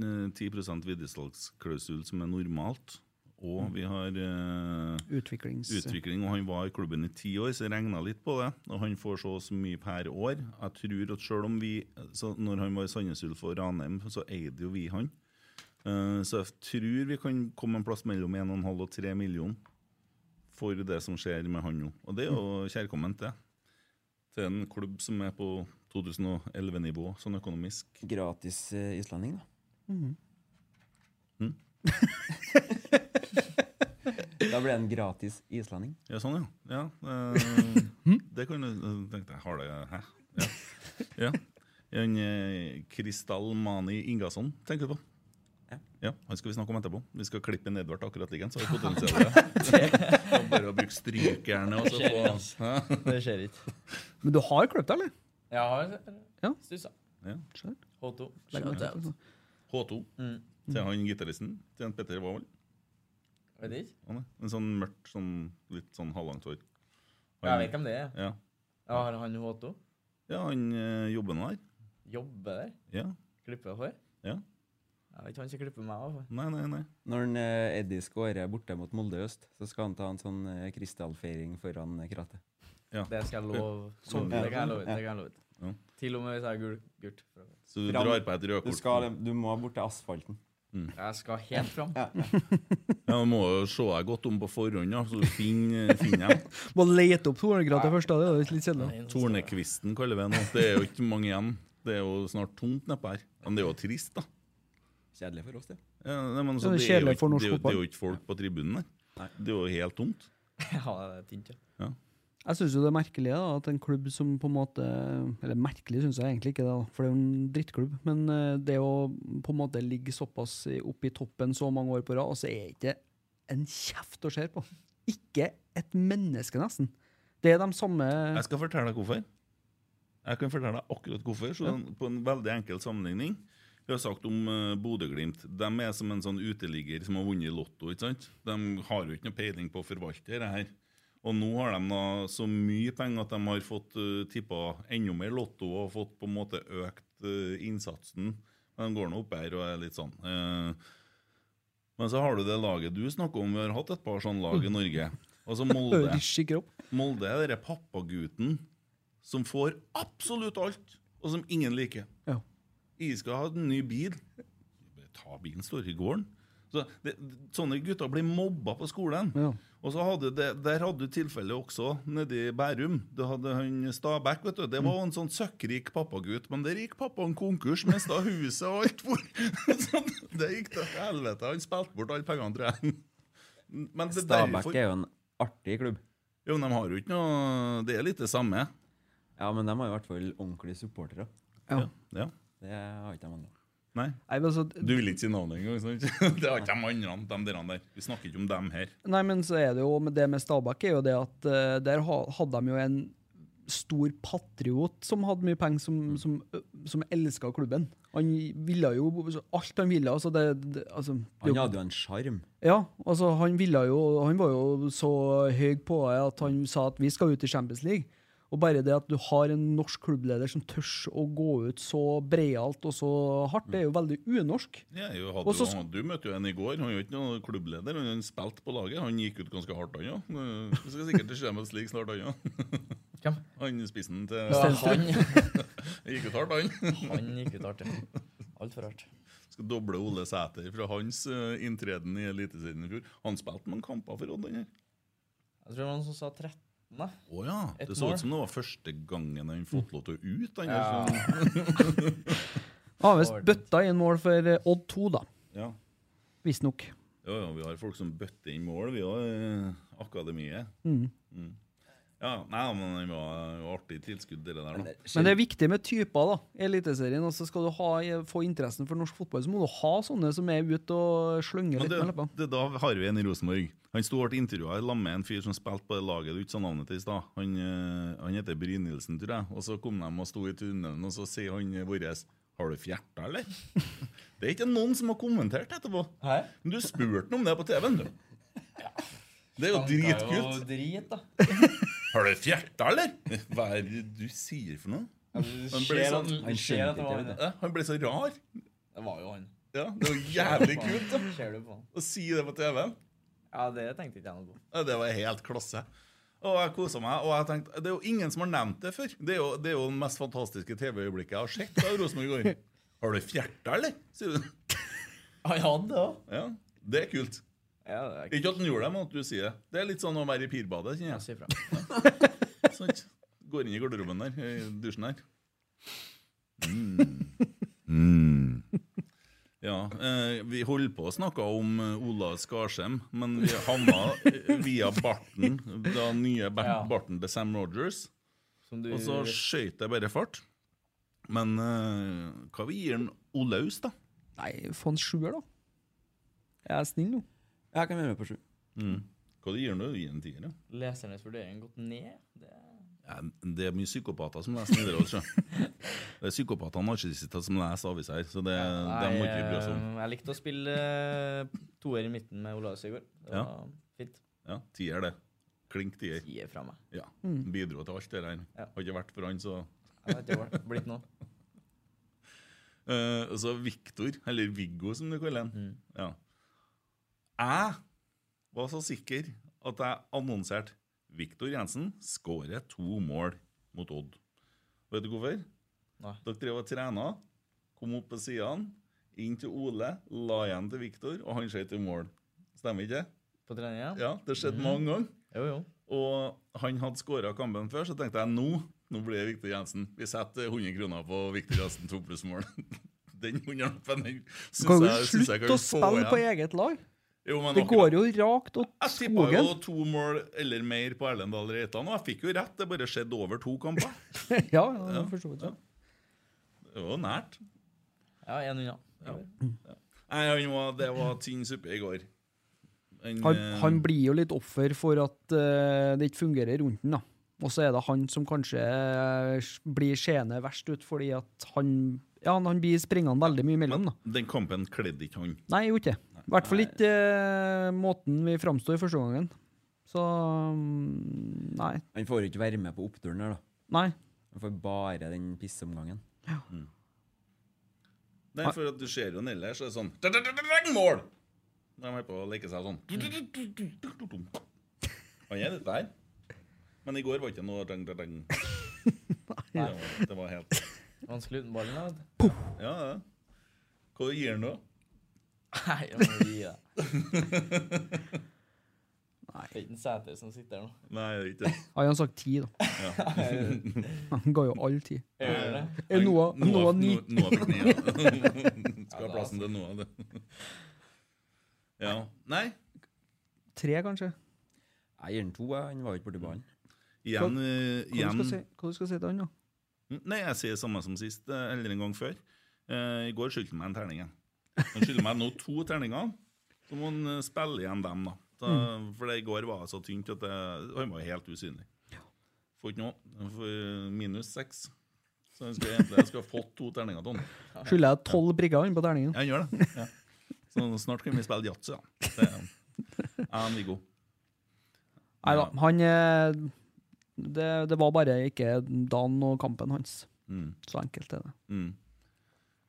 B: 10 videresalgsklausul, som er normalt, og vi har eh,
D: Utviklings...
B: utvikling, og han var i klubben i ti år, så jeg regna litt på det. Og han får så og så mye per år. Jeg tror at selv om vi så Når han var i Sandnes Ulf og Ranheim, så eide jo vi han. Eh, Så jeg tror vi kan komme en plass mellom 1,5 og 3 millioner for det som skjer med han nå. Og det er jo kjærkomment, det. Til en klubb som er på 2011-nivå, sånn økonomisk.
G: Gratis eh, islending, da.
A: Mhm.
B: Mm.
G: Da blir det en gratis islending.
B: Ja, sånn, ja. ja eh, det kan du eh, tenke deg. Har det Hæ? Ja. ja. En eh, Kristall Mani Ingasson tenker du på.
G: Ja.
B: Ja, Han skal vi snakke om etterpå. Vi skal klippe inn Edvard akkurat like ens. så har vi potensialet. Det altså. er Bare å bruke strykejernet og så få Hæ?
A: Det skjer ikke.
D: Men du har kløpt deg, eller?
A: Jeg har
D: Ja.
A: stussa.
B: Ja.
A: H2.
D: Legg meg til.
B: H2 til han gitaristen. Til en Petter Wold.
A: Vet ikke.
B: Han er En sånn mørkt, sånn, litt sånn halvlangt hår.
A: Jeg vet hvem det er.
B: Ja.
A: Ja, har han H2?
B: ja, han eh, jobber nå der.
A: Jobber der?
B: Ja.
A: Klipper hår?
B: ja.
A: Jeg vet ikke, han skal klippe meg altså. av.
B: Nei, nei, nei.
G: Når en, eh, Eddie skårer borte mot Molde i øst, så skal han ta en sånn eh, krystallfeiring foran eh, krattet.
A: Det skal jeg love.
B: Sånn.
A: Det kan jeg love. Det kan jeg love.
B: Ja.
A: Til og med hvis jeg har gul, gult.
B: Så du
G: Fram.
B: drar på et
G: Du,
B: rødkort.
G: skal, du må bort til asfalten.
A: Jeg skal helt fram.
B: Ja, Du må jo se deg godt om på forhånd, da, så du finner, finner dem.
D: Må lete opp tornegrader først, da. Det er jo litt kjedelig.
B: Tornekvisten kaller vi den. nå. Det er jo ikke mange igjen. Det er jo snart tomt nedpå her. Men det er jo trist, da.
G: Kjedelig for oss, det.
B: Ja, nei, men
D: Det er
B: altså, det, er jo
D: kjedelig for
B: ikke,
D: norsk
B: det, er jo, det er
D: fotball.
B: jo ikke folk på tribunen der. Det er jo helt tomt.
A: Ja, det er tynt, ja.
D: Jeg syns jo det er merkelig da, at en klubb som på en måte Eller merkelig syns jeg egentlig ikke det, da, for det er jo en drittklubb. Men eh, det å på en måte ligge såpass i- oppe i toppen så mange år på rad, og så er det ikke en kjeft å se på. Ikke et menneske, nesten. Det er de samme
B: Jeg skal fortelle deg hvorfor. Jeg kan fortelle deg akkurat hvorfor, så på en veldig enkel sammenligning. Vi har sagt om eh, Bodø-Glimt. De er som en sånn uteligger som har vunnet i Lotto. ikke sant? De har jo ikke noe peiling på å forvalte det her. Og nå har de da eh, så mye penger at de har fått uh, tippa enda mer Lotto og fått på en måte økt eh, innsatsen. Men de går nå opp her og er litt sånn. eh, men så har du det laget du snakker om. Vi har hatt et par sånne lag i Norge. Altså Molde.
D: Rysj i kropp.
B: Molde er den pappagutten som får absolutt alt, og som ingen liker.
D: Ja.
B: Jeg skal ha en ny bil. Bare Ta bilen, står i gården. Så det, sånne gutter blir mobba på skolen.
D: Ja.
B: Og så hadde det, Der hadde du tilfellet også nede i Bærum. Du hadde han Stabæk. vet du. Det var en sånn søkkrik pappagutt, men der gikk pappaen konkurs, mista huset og alt. For. Så det gikk til helvete. Han spilte bort alle pengene, tror jeg. Men det er
G: Stabæk
B: derfor-
G: er jo en artig klubb.
B: jo, men de har jo ikke noe Det er litt det samme.
G: Ja, men de har i hvert fall ordentlige supportere.
D: Ja.
B: Ja.
G: Det har ikke de andre.
B: Nei.
D: Nei, men altså,
B: Du vil ikke si navnet engang, sant? Det er ikke de andre, de der der. Vi snakker ikke om dem her.
D: Nei, men så er det jo med det med Stabæk er jo det at eh, der ha- hadde de jo en stor patriot som hadde mye penger, som, som, ø, som elska klubben. Han ville jo alt han ville. altså det, det altså, det er jo-
G: Han hadde jo en sjarm.
D: ja, altså han ville jo Han var jo så høy på det at han sa at vi skal ut i Champions League. Og bare det at du har en norsk klubbleder som tør å gå ut så breialt og så hardt, det er jo veldig unorsk.
B: Jeg jo hadde
D: Og så
B: jo, du møtte jo en i går. Han er jo ikke noen klubbleder. Han spilte på laget. Han gikk ut ganske hardt, han òg. Vi skal sikkert til Champions League snart, han òg.
A: Hvem?
B: Han spissen til
A: Ja, han,
B: Gikk ut hardt, han.
A: han gikk ut hardt. ja. Altfor hardt.
B: Skal doble Ole Sæter fra hans eh, inntreden i Eliteserien i fjor. Han spilte noen kamper for Odd, han her.
A: Jeg tror det var noen som sa 13. da.
B: Å ja.
A: Et
B: Det så
A: mål.
B: ut som det var første gangen han fått lov til å ut. Han,
A: Ja.
B: der, så-
D: Ja, hvis bøtta inn mål for eh, Odd 2, da.
B: ja.
D: Visstnok.
B: Ja, ja, vi har folk som bøtter inn mål, vi òg. eh, Akademiet. Mm. Ja, nei, men det var jo artig tilskudd, det der, da.
D: Men det er viktig med typer da, i Eliteserien. Altså skal du ha, få interessen for norsk fotball, så må du ha sånne som er ute og slynger
B: Men
D: litt
B: det,
D: med leppa.
B: det, da har vi en i Rosenborg. Han sto og ble intervjua sammen med en fyr som spilte på det laget du ikke sa navnet til i stad. Han, eh, han heter Brynildsen, tror jeg. Og så kom de og sto i tunnelen, og så sier han eh, vår Har du fjerta, eller? det er ikke noen som har kommentert etterpå.
A: Hæ?
B: Men du spurte han om det på TV-en, du. Det er jo
A: Det er
B: dritkult.
A: jo Drit, da.
B: Har du fjerta, eller? Hva er det du sier for noe?
A: Du
B: ble
A: ser
B: sånn-
A: at-
G: han
A: ser at
G: skjønte
A: det
G: ikke,
A: var
G: vet
A: han.
B: Ja, Han ble så rar.
A: Det var jo han.
B: Ja, Det var jævlig kult da,
A: Ser du på han?
B: å si det på TV-en.
A: Ja, det tenkte ikke jeg noe på.
B: Ja, Det var helt klasse. Og jeg koset meg. og jeg tenkte, Det er jo ingen som har nevnt det før. Det er jo det er jo den mest fantastiske TV-øyeblikket jeg har sett av Rosenborg i går. Har du fjerta, eller? sier du.
A: Han hadde det òg.
B: Ja, Det er kult.
A: Ja, det er
B: Ikke at den gjorde det, men at du sier det. Det er litt sånn å være i pirbadet. kjenner jeg.
A: Jeg sier fra.
B: Sant? Går inn i garderoben der, i dusjen der. Mm. Ja, eh, vi holder på å snakke om eh, Ola Skarsheim, men vi havna eh, via barten, da nye ba
A: Ja.
B: barten til Sam Rogers,
A: Som du
B: og så skøyt det bare fart. Men eh, hva vi gir han Olaus, da?
D: Nei, få en sjuer, da. Jeg er snill nå.
G: Jeg kan være med på sju.
B: Hva gir han du? Gir han en tier, ja.
A: lesernes vurdering gått ned. Det er
B: Ja, Det er mye psykopater som leser Nidaros. sjø. Det er psykopater og narsissister som leser aviser her, så det, dem må ikke vi bry oss om.
A: eh, jeg likte å spille eh, toer i midten med Olaus i går. Det
B: Ja.
A: var fint.
B: Ja, tier det. Klink tier.
A: Gi det fra meg.
B: Ja. Bidro til alt det der.
A: Mm. Ja.
B: Har ikke vært for han, så
A: Jeg vet ikke hva det har blitt nå.
B: Eh, Og så Viktor, eller Viggo som du kaller han. Ja. Jeg var så sikker at jeg annonserte Viktor Jensen skårer to mål mot Odd. Vet du hvorfor?
A: Nei.
B: Dere drev og trena, kom opp på sidene, inn til Ole, la igjen til Viktor, og han skjøt i mål. Stemmer ikke det?
A: På treninga?
B: Ja, det skjedde mange ganger.
A: Jo, jo.
B: Og han hadde skåra kampen før, så tenkte jeg nå nå blir det Viktor Jensen. Vi setter 100 kroner på Viktor Jensen to pluss mål. Den hundrelappen den syns
D: Kan du
B: jeg- syns jeg
D: slutte
B: kan
D: å
B: få
D: spille på
B: igjen.
D: eget lag?
B: Jo, men
D: Det
B: akkurat-
D: går jo rakt åt
B: Jeg tippa jo
D: skogen.
B: to mål eller mer på Erlend Dahl Reitan, og jeg fikk jo rett. Det bare skjedde over to kamper.
D: Ja, ja, for så vidt. ja.
B: Det var jo nært.
A: Ja, én unna.
B: Nei, han var, Det var tynn suppe i går. Han,
D: Han,
B: eh,
D: han blir jo litt offer for at eh, det ikke fungerer rundt den, da. Og så er det han som kanskje eh, blir seende verst ut, fordi at han Ja, han blir springende veldig mye imellom, da.
B: Den kampen kledde ikke han.
D: Nei, jo ikke. I hvert fall ikke eh, måten vi framstår første gangen. Så mm, nei.
G: Han får jo ikke være med på oppturen her, da.
D: Nei.
G: Han får bare den pisseomgangen.
D: Ah.
B: Nei, for at du ser jo den ellers, så er det sånn Mål! Når de holder på å leke seg sånn. Han er litt der. Men i går var ikke noe dang, dang, dang. Det var, det var helt
A: Vanskelig uten ballen, da. vet du.
B: Ja, ja. Hva gir han nå?
A: Nei, jeg må gi deg. Nei. Det er ikke en Sæter som sitter her nå.
B: Nei, det er ikke det.
D: Har han sagt ti, da? Han ga jo all ti.
A: Jeg gjør det.
D: Er Noah, Noah,
B: Noah,
D: ni?
B: Noah, Noah fikk ni, ja. Skal ha plassen til Noah, det. Ja. Nei,
D: Tre, kanskje?
G: Jeg gir den to, jeg. Han var jo ikke borti ballen.
B: igjen, eh,
D: Hva du skal
B: igjen
D: si, hva du skal si til han, da?
B: Nei, jeg sier det samme som sist, eh, eller en gang før. Eh, I går skyldte han meg en terning. igjen. Han skylder meg nå to terninger. Så må han eh, spille igjen dem, da. da
D: Mm.
B: For det i går var så tynt at jeg, han var helt usynlig. Får ikke noe. Han får eh, minus seks. Så jeg skulle egentlig jeg skulle ha fått to terninger til han.
D: Skylder jeg tolv prikker han på terningen?
B: Ja, han gjør det. Ja. Så snart kan vi spille yatzy, da. Det er jeg og Viggo.
D: Nei da, han eh, det, det var bare ikke dagen og kampen hans. Så enkelt er det.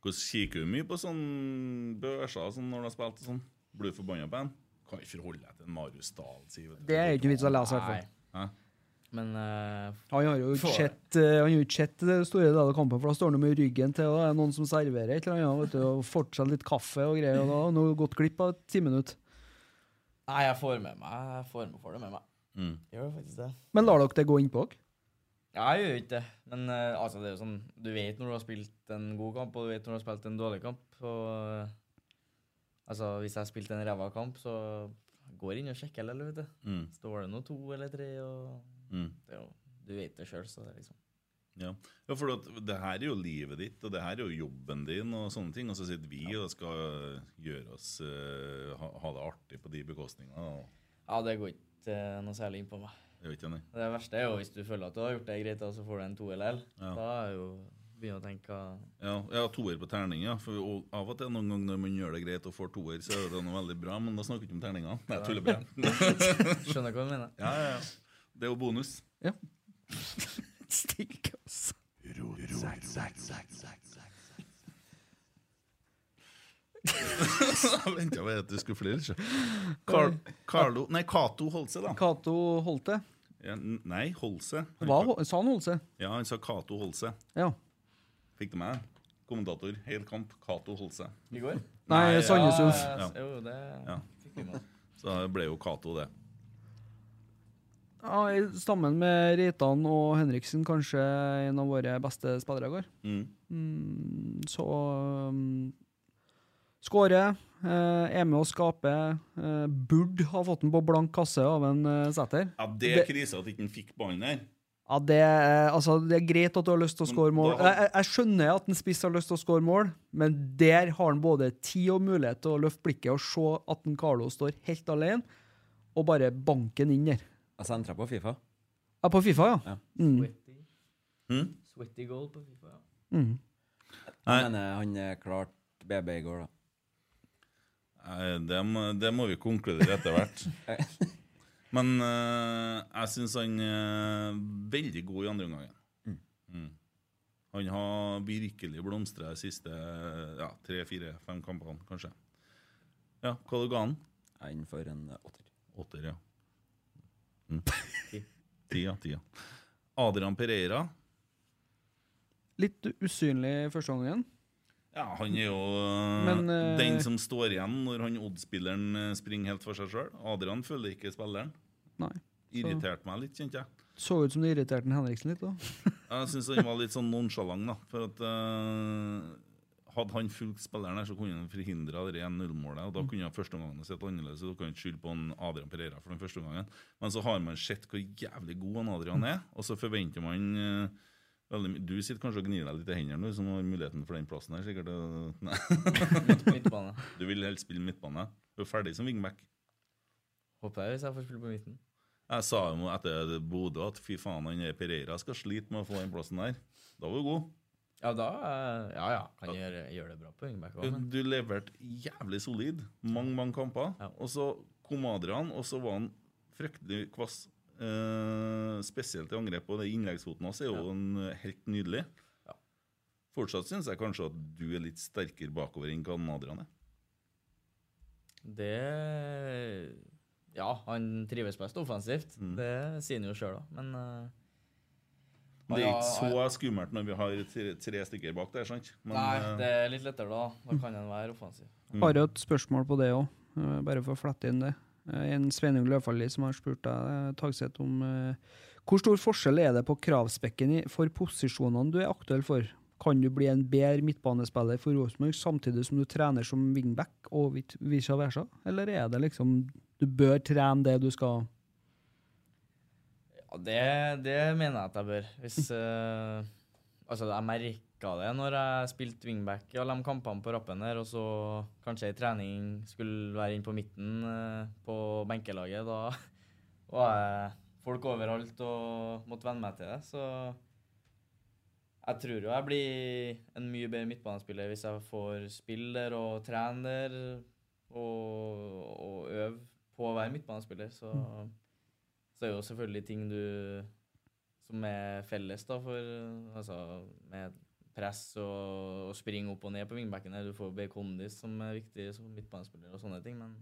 B: Hvordan kikker du mye på sånne børser og sånn, når du har spilt og sånn? Blir du forbanna på en? Kan ikke forholde deg til en Marius Dahl, sier vet du.
D: Det er jo ikke vits å lese, i hvert fall.
A: Nei. Men eh,
D: Han har jo ikke
A: Får-
D: sett, eh, han har jo ikke sett det store deler av kampen, for da står han jo med ryggen til, og det er noen som serverer et eller annet, vet du, og fortsatt litt kaffe og greier, og da har han jo gått glipp av ti minutter.
A: nei, jeg får med meg Jeg får med, får det med meg.
G: Mm.
A: Gjør faktisk det.
D: Men lar dere det gå innpå dere?
A: Ja, jeg gjør ikke det. Men eh, altså, det er jo sånn, du vet når du har spilt en god kamp, og du vet når du har spilt en dårlig kamp. Og, eh, altså, hvis jeg har spilt en ræva kamp, så går jeg inn og sjekker, eller, vet du.
B: Mm.
A: Står det nå to eller tre, og
B: Mm.
A: det er jo, du vet det sjøl, så det er liksom
B: Ja. ja, for at det her er jo livet ditt, og det her er jo jobben din, og sånne ting. Og så sitter vi og skal gjøre oss eh, ha, ha det artig på de bekostningene. og-
A: Ja, det går ikke eh, noe særlig inn på meg.
B: Jeg vet ikke, nei.
A: Det verste er jo hvis du føler at du har gjort det greit, og så får du en to eller L. Da er jo begynner å tenke hva-
B: Ja, ja toer på terning, ja. For og av og til noen ganger når man gjør det greit og får toer, så er det noe veldig bra, men da snakker vi ikke om terninger. Nei, jeg tuller bare.
A: Skjønner hva du mener?
B: Ja, ja, ja. Det er jo bonus.
D: Ja. Stikk, altså.
B: Jeg ventet bare at du skulle flire. ikke? Carl, Carlo Nei, Cato Holse, da.
D: Kato Holte.
B: Ja, n- nei, Holse.
D: Hva, sa han Holse?
B: Ja, han sa Cato Holse.
D: Ja.
B: Fikk du med det? Kommentator, hel kamp, Cato Holse.
A: I går?
D: Nei, eh, Sandnesund.
A: Ja,
B: Ja.
A: Jo, det
B: Ja.
A: fikk vi med oss.
B: Så det ble jo Cato, det.
D: Ja, i- Sammen med Reitan og Henriksen, kanskje en av våre beste spillere i går.
B: Mm.
D: Mm, så um, Skårer. Eh, er med å skape. Eh, burde ha fått den på blank kasse av en eh, setter.
B: Ja, Det er
D: Det-
B: krise at ikke han fikk ballen der.
D: Ja, det, er- altså, det er greit at du har lyst til å score mål.
B: da har-
D: Jeg, jeg- jeg skjønner at en spiss har lyst til å score mål, men der har han både tid og mulighet til å løfte blikket og se at en Carlo står helt alene, og bare banke den inn der.
G: Jeg sentra på Fifa.
D: Ja, på Fifa, ja. Mm.
A: Sweaty. Sweaty goal på FIFA, ja.
B: Mm. Nei.
G: Men eh, han er klart BB i går, da.
B: Nei, Det må, det må vi konkludere etter hvert. Men eh, jeg syns han er veldig god i andre omgang. Mm. Han har virkelig blomstra de siste ja, tre-fire-fem kampene, kanskje. Ja, hva du ga han?
G: Han får en eh, åtter.
B: Åtter, ja. Mm. Ti, ja. Ti, ja. Adrian Pereira.
D: Litt usynlig i første gangen.
B: Ja, han er jo eh,
D: Men, eh,
B: den som står igjen når han Odd-spilleren eh, springer helt for seg sjøl. Adrian følger ikke spilleren.
D: Nei.
B: Irriterte meg litt, kjente jeg.
D: Så ut som det irriterte den Henriksen litt. da.
B: Jeg syns han var litt sånn nonchalant, da. For at eh, hadde han fulgt spilleren her, så kunne han forhindra det 1-0-målet. Og da kunne han første omgangen ha sett annerledes ut. Du kan ikke skylde på en Adrian Pereira for den første omgangen. Men så har man sett hvor jævlig god han Adrian er, og så forventer man eh, veldig mye Du sitter kanskje og gnir deg litt i hendene, du som har muligheten for den plassen her, sikkert. eh, Nei.
A: Midtbane.
B: Du vil helst spille midtbane. Du er ferdig som wingback.
A: Håper jeg hvis jeg får spille på midten.
B: Jeg sa jo etter Bodø at fy faen, han der Pereira skal slite med å få den plassen der. Da var du god.
A: Ja, da eh, Ja ja, kan jeg gjøre, gjøre det bra på Ingeberg òg, men
B: Du leverte jævlig solid mange, mange kamper.
A: Ja.
B: Og så kom Adrian, og så var han fryktelig kvass. Eh, spesielt i angrep, og det innleggsfoten hans er jo en, eh, helt nydelig. Fortsatt syns jeg kanskje at du er litt sterkere bakover enn canadierne.
A: Det Ja, han trives best offensivt.
B: Mm.
A: Det sier han jo sjøl òg, men eh,
B: Men det er
A: Ja,
B: ikke så
A: ja.
B: skummelt når vi har tre, tre stykker bak der, sant? Men,
A: Nei,
B: eh,
A: det er litt lettere da. Da kan han være offensiv.
D: Har jo et spørsmål på det òg, bare for å flette inn det. Eh, En Sveinung Løfaldli som har spurt deg, eh, Tagseth, om eh, hvor stor forskjell er det på kravspekken i- for posisjonene du er aktuell for? Kan du bli en bedre midtbanespiller for Rosenborg samtidig som du trener som wingback og vit- vice versa, eller er det liksom du bør trene det du skal?
A: Ja, det, det mener jeg at jeg bør. Hvis, eh, altså, jeg merka det når jeg spilte wingback i alle de kampene på rappen her, og så kanskje ei trening skulle være inn på midten eh, på benkelaget. Da var jeg folk overalt og måtte venne meg til det. Så jeg tror jo jeg blir en mye bedre midtbanespiller hvis jeg får spille der og trene der og, og øve på å være midtbanespiller. Så så er det jo selvfølgelig ting du som er felles da for eh, altså med press og, og springe opp og ned på vingbekkene. Du får bedre kondis, som er viktig som midtbanespiller og sånne ting, men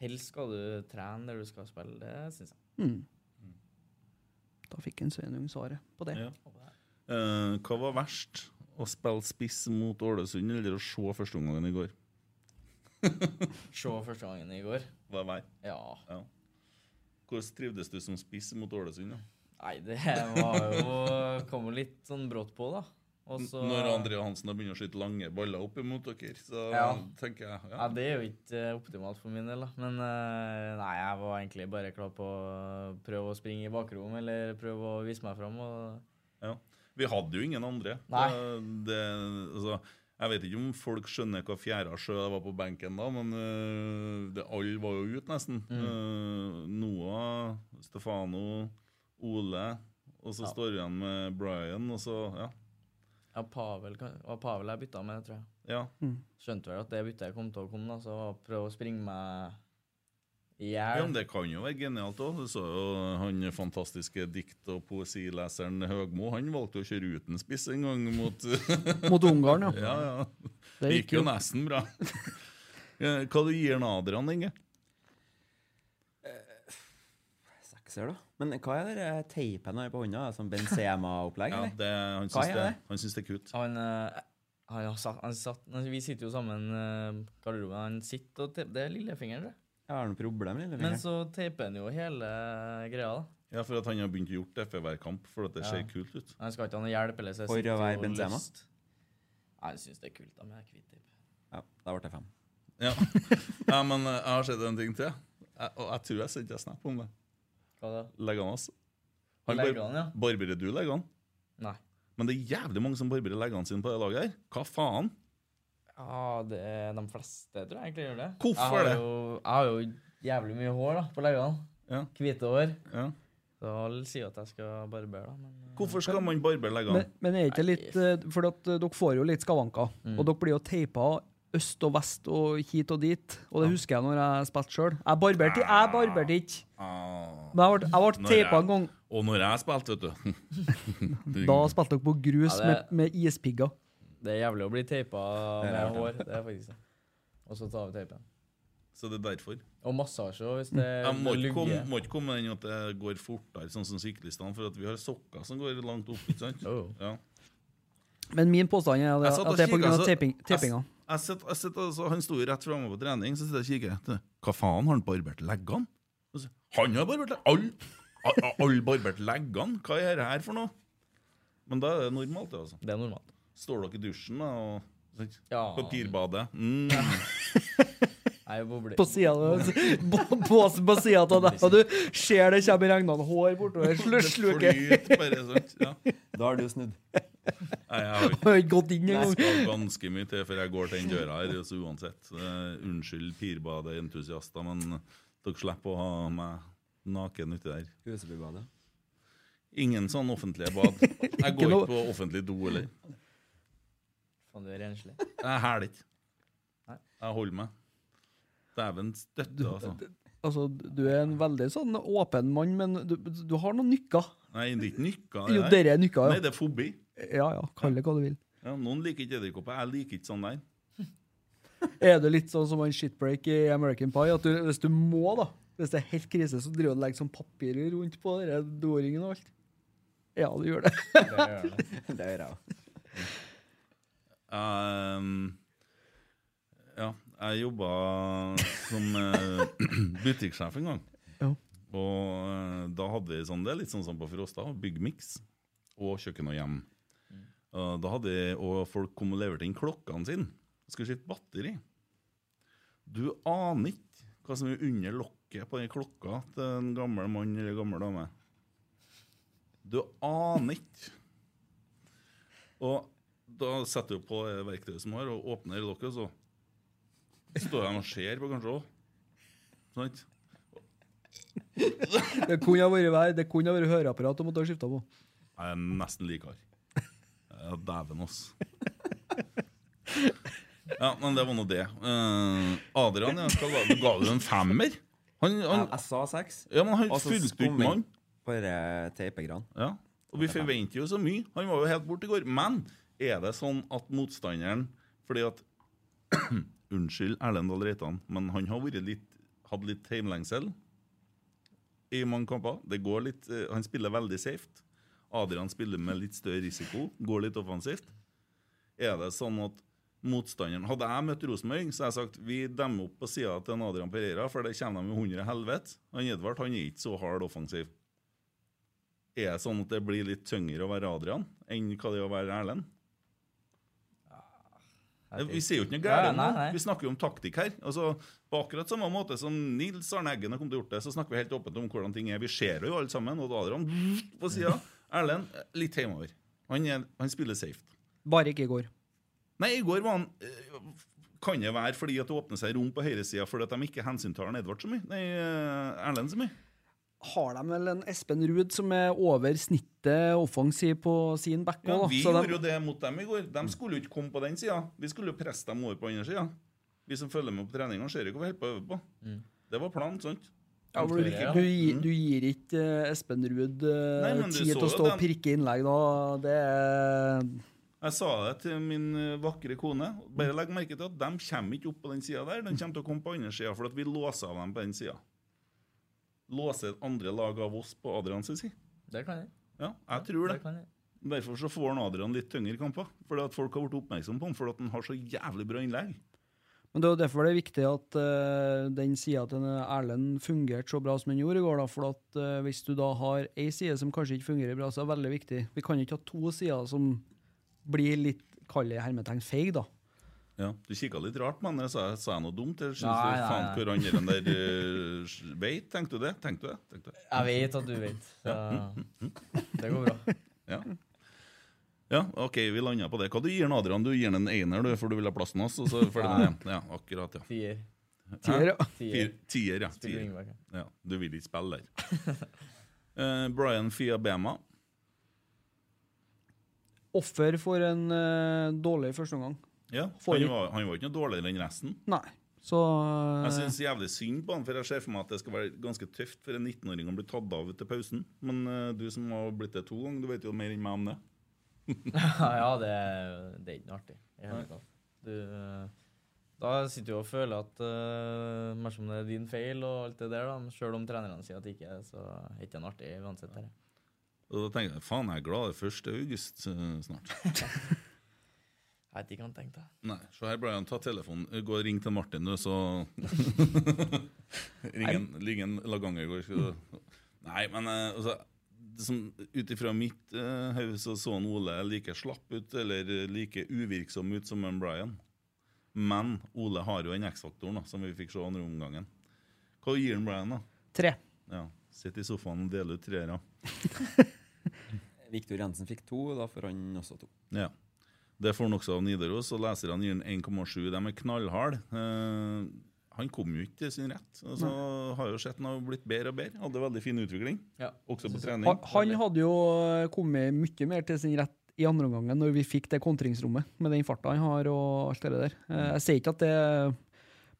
A: helst skal du trene der du skal spille, det syns jeg.
D: Hmm. Da fikk en Sveinung svaret på det.
B: Ja. Eh, hva var verst? Å spille spiss mot Ålesund eller å se førsteomgangen i går?
A: Se første gangen i går.
B: Hva er vei?
A: Ja.
B: Ja. Hvordan trivdes du som spiss mot Ålesund? da?
A: Nei, det var jo Kom jo litt sånn brått på, da. Og så-
B: Når André Hansen har begynt å skyte lange baller opp imot dere, så
A: Ja.
B: tenker jeg
A: Ja,
B: ja.
A: det er jo ikke eh, optimalt for min del, da. Men eh, nei, jeg var egentlig bare klar på å prøve å springe i bakrom eller prøve å vise meg fram. Og
B: Ja. Vi hadde jo ingen andre.
A: Nei.
B: Det- Det, altså, jeg vet ikke om folk skjønner hva fjæra sjø jeg var på benken da, men øh, det, alle var jo ute, nesten.
A: Mm.
B: Øh, Noah, Stefano, Ole, og så står vi igjen med Brian, og så Ja.
A: ja, Pavel, kan- det var Pavel jeg bytta med, tror jeg.
B: ja.
A: Skjønte vel at det byttet kom til å komme, da, så var å prøve å springe meg i
B: Ja, men
A: hjel.
B: Det kan jo være genialt òg. Du så jo han fantastiske dikt- og poesileseren Høgmo. Han valgte jo å kjøre uten spiss en gang mot
D: Mot Ungarn, ja.
B: Ja, ja. Det
D: Det
B: gikk jo nesten bra. Eh, Hva du gir du Adrian, Inge?
G: Sekser, da. Men hva er det der teipen han har på hånda? Sånn Benzema-opplegg,
B: Ja,
G: eller?
B: det, han
G: Hva
B: syns
G: er
B: det,
G: det?
B: han syns det er kutt.
A: Han, eh, han, har satt, han satt altså, Vi sitter jo sammen i garderoben. Han sitter og teiper Det er lillefingeren, det.
G: Jeg har noen problemer med
A: Men
G: lillefingeren.
A: så teiper han jo hele eh, greia, da.
B: Ja, for at han har begynt å gjort det for hver kamp, for at det ser kult ut.
A: Han skal ikke ha noe hjelp eller så
G: For å
A: sitter
G: være
A: jo
G: Benzema?
A: løst. Nei, jeg syns det er kult da med hvit teip.
G: Ja, da ble det fem.
B: Ja. ja, men eh, jeg har sett en ting til, jeg, og jeg tror jeg sendte deg snap om det.
A: Hva da?
B: Legg han, altså.
A: Legger han, ja.
B: Barberer du leggene?
A: Nei.
B: Men det er jævlig mange som barberer leggene sine på det laget her. Hva faen?
A: Ja, det er de fleste tror jeg egentlig gjør det.
B: Hvorfor
A: jeg har
B: det?
A: Jo, jeg har jo jævlig mye hår da, på leggene.
B: Ja.
A: Hvite hår.
B: Ja.
A: Så alle sier at jeg skal barbere, da. Men
B: Hvorfor skal man barbere leggene?
D: Men, men er ikke litt eh, For at eh, dere får jo litt skavanker,
A: Mm.
D: og dere blir jo teipa øst og vest og hit og dit. Og det husker jeg når jeg spilte sjøl. Jeg barberte jeg barberte ikke. Men jeg ble, jeg ble
B: Når jeg-
D: teipa en gang.
B: Ah. Og når jeg spilte, vet du
D: Da spilte dere på grus
A: Ja, det-
D: med, med ispigger.
A: det er jævlig å bli teipa med hår. Det er faktisk det. Og så tar vi teipen.
B: Så det er derfor.
A: Og massasje også,
G: Mm.
A: hvis det
B: Jeg må ikke
A: lugger.
B: komme, må ikke komme med den at det går fortere, sånn som syklistene, for at vi har sokker som går langt opp. ikke sant?
A: Jo.
B: Ja.
D: Men min påstand er
B: Jeg
D: at
B: satt
D: Oh. at
B: og
D: det er
B: kikket,
D: pga.
B: så-
D: teipinga.
B: Jeg, jeg, satt- jeg satt og så- han sto jo rett framme på trening, så sitter jeg og kikker. etter. Hva faen, har han barbert leggene? Og så, Han har barbert leggene! Alle all, all barbert leggene? Hva er det her for noe? Men da er det normalt, det, altså.
A: Det er normalt.
B: Står dere i dusjen da, og sant?
A: Ja.
B: Papirbadet. Mm.
A: Jeg er jo boble.
D: På sida Båsen på sida av deg, og du ser det kommer regnende hår bortover.
B: Det
D: Slussluket.
B: flyter bare, sant? Ja.
G: Da har du snudd.
B: Nei, jeg har ikke
D: Har ikke gått inn
B: Det
D: engang.
B: skal ganske mye til før jeg går til den døra her. Så uansett, eh, unnskyld pirbadeentusiaster, men eh, dere slipper å ha meg naken uti der.
G: Husebybade.
B: Ingen sånn offentlige bad. Jeg går
D: noe-
B: ikke på offentlig do eller
A: Faen, du er renslig.
B: Jeg hæler ikke. Jeg holder meg. Dæven støtte, altså.
D: Altså, du er en veldig sånn åpen mann, men du, du har noen nykker.
B: Nei, det er ikke nykka.
D: Jo,
B: her.
D: dere er nykka,
B: Nei,
D: ja.
B: det er fobi.
D: Ja ja, kall det hva du vil.
B: Ja, noen liker ikke edderkopper. Jeg liker ikke sånn der.
D: Er det litt sånn som en shitbreak i American Pie? At du, hvis du må, da, hvis det er helt krise, så driver du og legger sånn papir rundt på dere doringen og alt? Ja, du gjør det.
G: Det gjør jeg òg.
B: Ehm, ja, jeg jobba som eh, butikksjef en gang.
D: Ja.
B: Og eh, da hadde vi sånn, det er litt sånn som på Frosta, byggmiks og kjøkken og hjem. Eh, da hadde vi, og folk kom og leverte inn klokkene sine. Skulle skifte batteri. Du aner ikke hva som er under lokket på den klokka til en gammel mann eller en gammel dame. Du aner ikke. Og da setter du på det verktøyet som har, og åpner lokket, så står de og ser på, kanskje òg. Sant?
D: Det kunne ha vært vær, det kunne ha vært høreapparat du måtte ha skifta på.
B: Jeg er nesten likere. Ja, dæven, ass. Ja, men det var nå det. Eh, Adrian, ja, hva ga, du ga du en femmer? Han, han,
G: Jeg, jeg sa seks.
B: ja, men han
G: og så
B: fulgte
G: skum
B: ut mann.
G: Bare teipegran.
B: Ja. Og vi forventer jo så mye. Han var jo helt borte i går. Men er det sånn at motstanderen Fordi at Unnskyld Erlend Dahl Reitan, men han har vært litt, hatt litt heimlengsel i mange kamper. Det går litt, eh, han spiller veldig safe. Adrian spiller med litt større risiko, går litt offensivt. Er det sånn at motstanderen Hadde jeg møtt Rosenborg, så hadde jeg sagt vi demmer opp på sida til en Adrian Pereira, for det kommer de i hundre helvete. Han Edvard han er ikke så hard offensiv. Er det sånn at det blir litt tyngre å være Adrian enn hva det er å være Erlend? Vi sier jo ikke noe
A: Ah, Ja,
B: gærent.
A: nei,
B: nå.
A: nei.
B: vi snakker jo om taktikk her. Altså, på akkurat samme måte som Nils Arne Eggen har kommet til å gjort det, så snakker vi helt åpent om hvordan ting er. Vi ser jo alle sammen, og Adrian på sida. Erlend litt hjemover. Han, er, han spiller safe.
D: Bare ikke i går.
B: Nei, i går var han eh, Kan det være fordi at det åpner seg rom på høyresida fordi at de ikke hensyntar han Edvard så mye? Nei, eh, Erlend så mye?
D: Har de vel en Espen Ruud som er over snittet offensiv på sin back
B: Ja,
D: òg,
B: vi
D: da? Så
B: gjorde
D: de,
B: jo det mot dem i går. De skulle jo ikke komme på den sida. Vi skulle jo presse dem over på andre sida. Vi som følger med på treningene, ser jo hva vi holder på å øve på. Det var planen, sant?
D: ja, du, du, gir, du gir ikke eh, Espen Ruud eh,
B: Nei, men du så
D: tid til å
B: jo
D: stå og
B: den-
D: pirke innlegg, da. Det er
B: Jeg sa det til min eh, vakre kone. Bare legg merke til at de kommer ikke opp på den sida der. De kommer til å komme på andre sida, for at vi låser av dem på den sida. Låser andre lag av oss på Adrians side.
A: Det kan jeg.
B: Ja, jeg tror
A: Det
B: det.
A: kan jeg.
B: Derfor så får han Adrian litt tyngre kamper. Fordi at folk har blitt oppmerksomme på ham fordi at han har så jævlig bra innlegg.
D: Men det er jo derfor det er viktig at eh, den sida til denne Erlend fungerte så bra som den gjorde i går. da, For at eh, hvis du da har ei side som kanskje ikke fungerer bra, så er det veldig viktig. Vi kan ikke ha to sider som blir litt, kall det i hermetegn, feig, da.
B: Ja, Du kikka litt rart, men jeg sa, sa jeg noe dumt? Eller syns
A: Nei,
B: du
A: nei,
B: faen
A: nei.
B: hvor andre enn der eh, veit? Tenkte du det? Tenkte du det? Tenkte du det?
A: Jeg vet at du vet. Så det går bra.
B: Ja. ja, OK, vi landa på det. Hva du gir han Adrian? Du gir han en ener, du, for du vil ha plassen hans? Og så er vi ferdig med det. Ja, akkurat, ja.
A: Tier.
D: Tider, ja.
A: Tier.
B: Fir- Tier, ja.
A: Spiller
B: Tier.
A: ingen verken.
B: ja. Du vil ikke spille der. Eh, Brian Fiabema.
D: Offer for en eh, dårlig førsteomgang.
B: Ja,
D: Får
B: han
D: ikke-
B: var, han var ikke noe dårligere enn resten.
D: Nei. Så Eh.
B: Jeg syns jævlig synd på han, for jeg ser for meg at det skal være ganske tøft for en 19-åring å bli tatt av til pausen. Men eh, du som har blitt det to ganger, du vet jo mer enn meg om det.
A: Ja, det, det er ikke noe artig. i hele tatt. Du, eh, da sitter du og føler at uh, mer som det er din feil og alt det der, da. men Selv om trenerne sier at det ikke er, så er det ikke noe artig uansett. Her.
B: Og da tenker jeg faen, jeg er glad det er 1. august eh, snart.
A: Jeg vet ikke hva han tenkte.
B: Nei, så her Brian, ta telefonen. Gå og ring til Martin, du, så Ring en- Ring en Laganger i går. skal du- Nei, men eh, altså det som- Ut ifra mitt eh, hode så så han Ole like slapp ut, eller eh, like uvirksom ut som en Brian. Men Ole har jo den X-faktoren da, som vi fikk se andre omgangen. Hva gir han Brian, da?
D: tre.
B: Ja, Sitt i sofaen og dele ut treere.
G: Viktor Jensen fikk to, og da får han også to.
B: Ja. Det får han også av Nidaros, og leserne gir han 1,7. De er knallharde. Eh, han kom jo ikke til sin rett. Og så har jo sett han har blitt bedre og bedre. Hadde veldig fin utvikling,
A: Ja.
B: også på
A: Synes jeg.
B: trening.
D: Han, han hadde jo eh, kommet mye mer til sin rett i andre omgang når vi fikk det kontringsrommet, med den farta han har og alt det der. Eh, Jeg sier ikke at det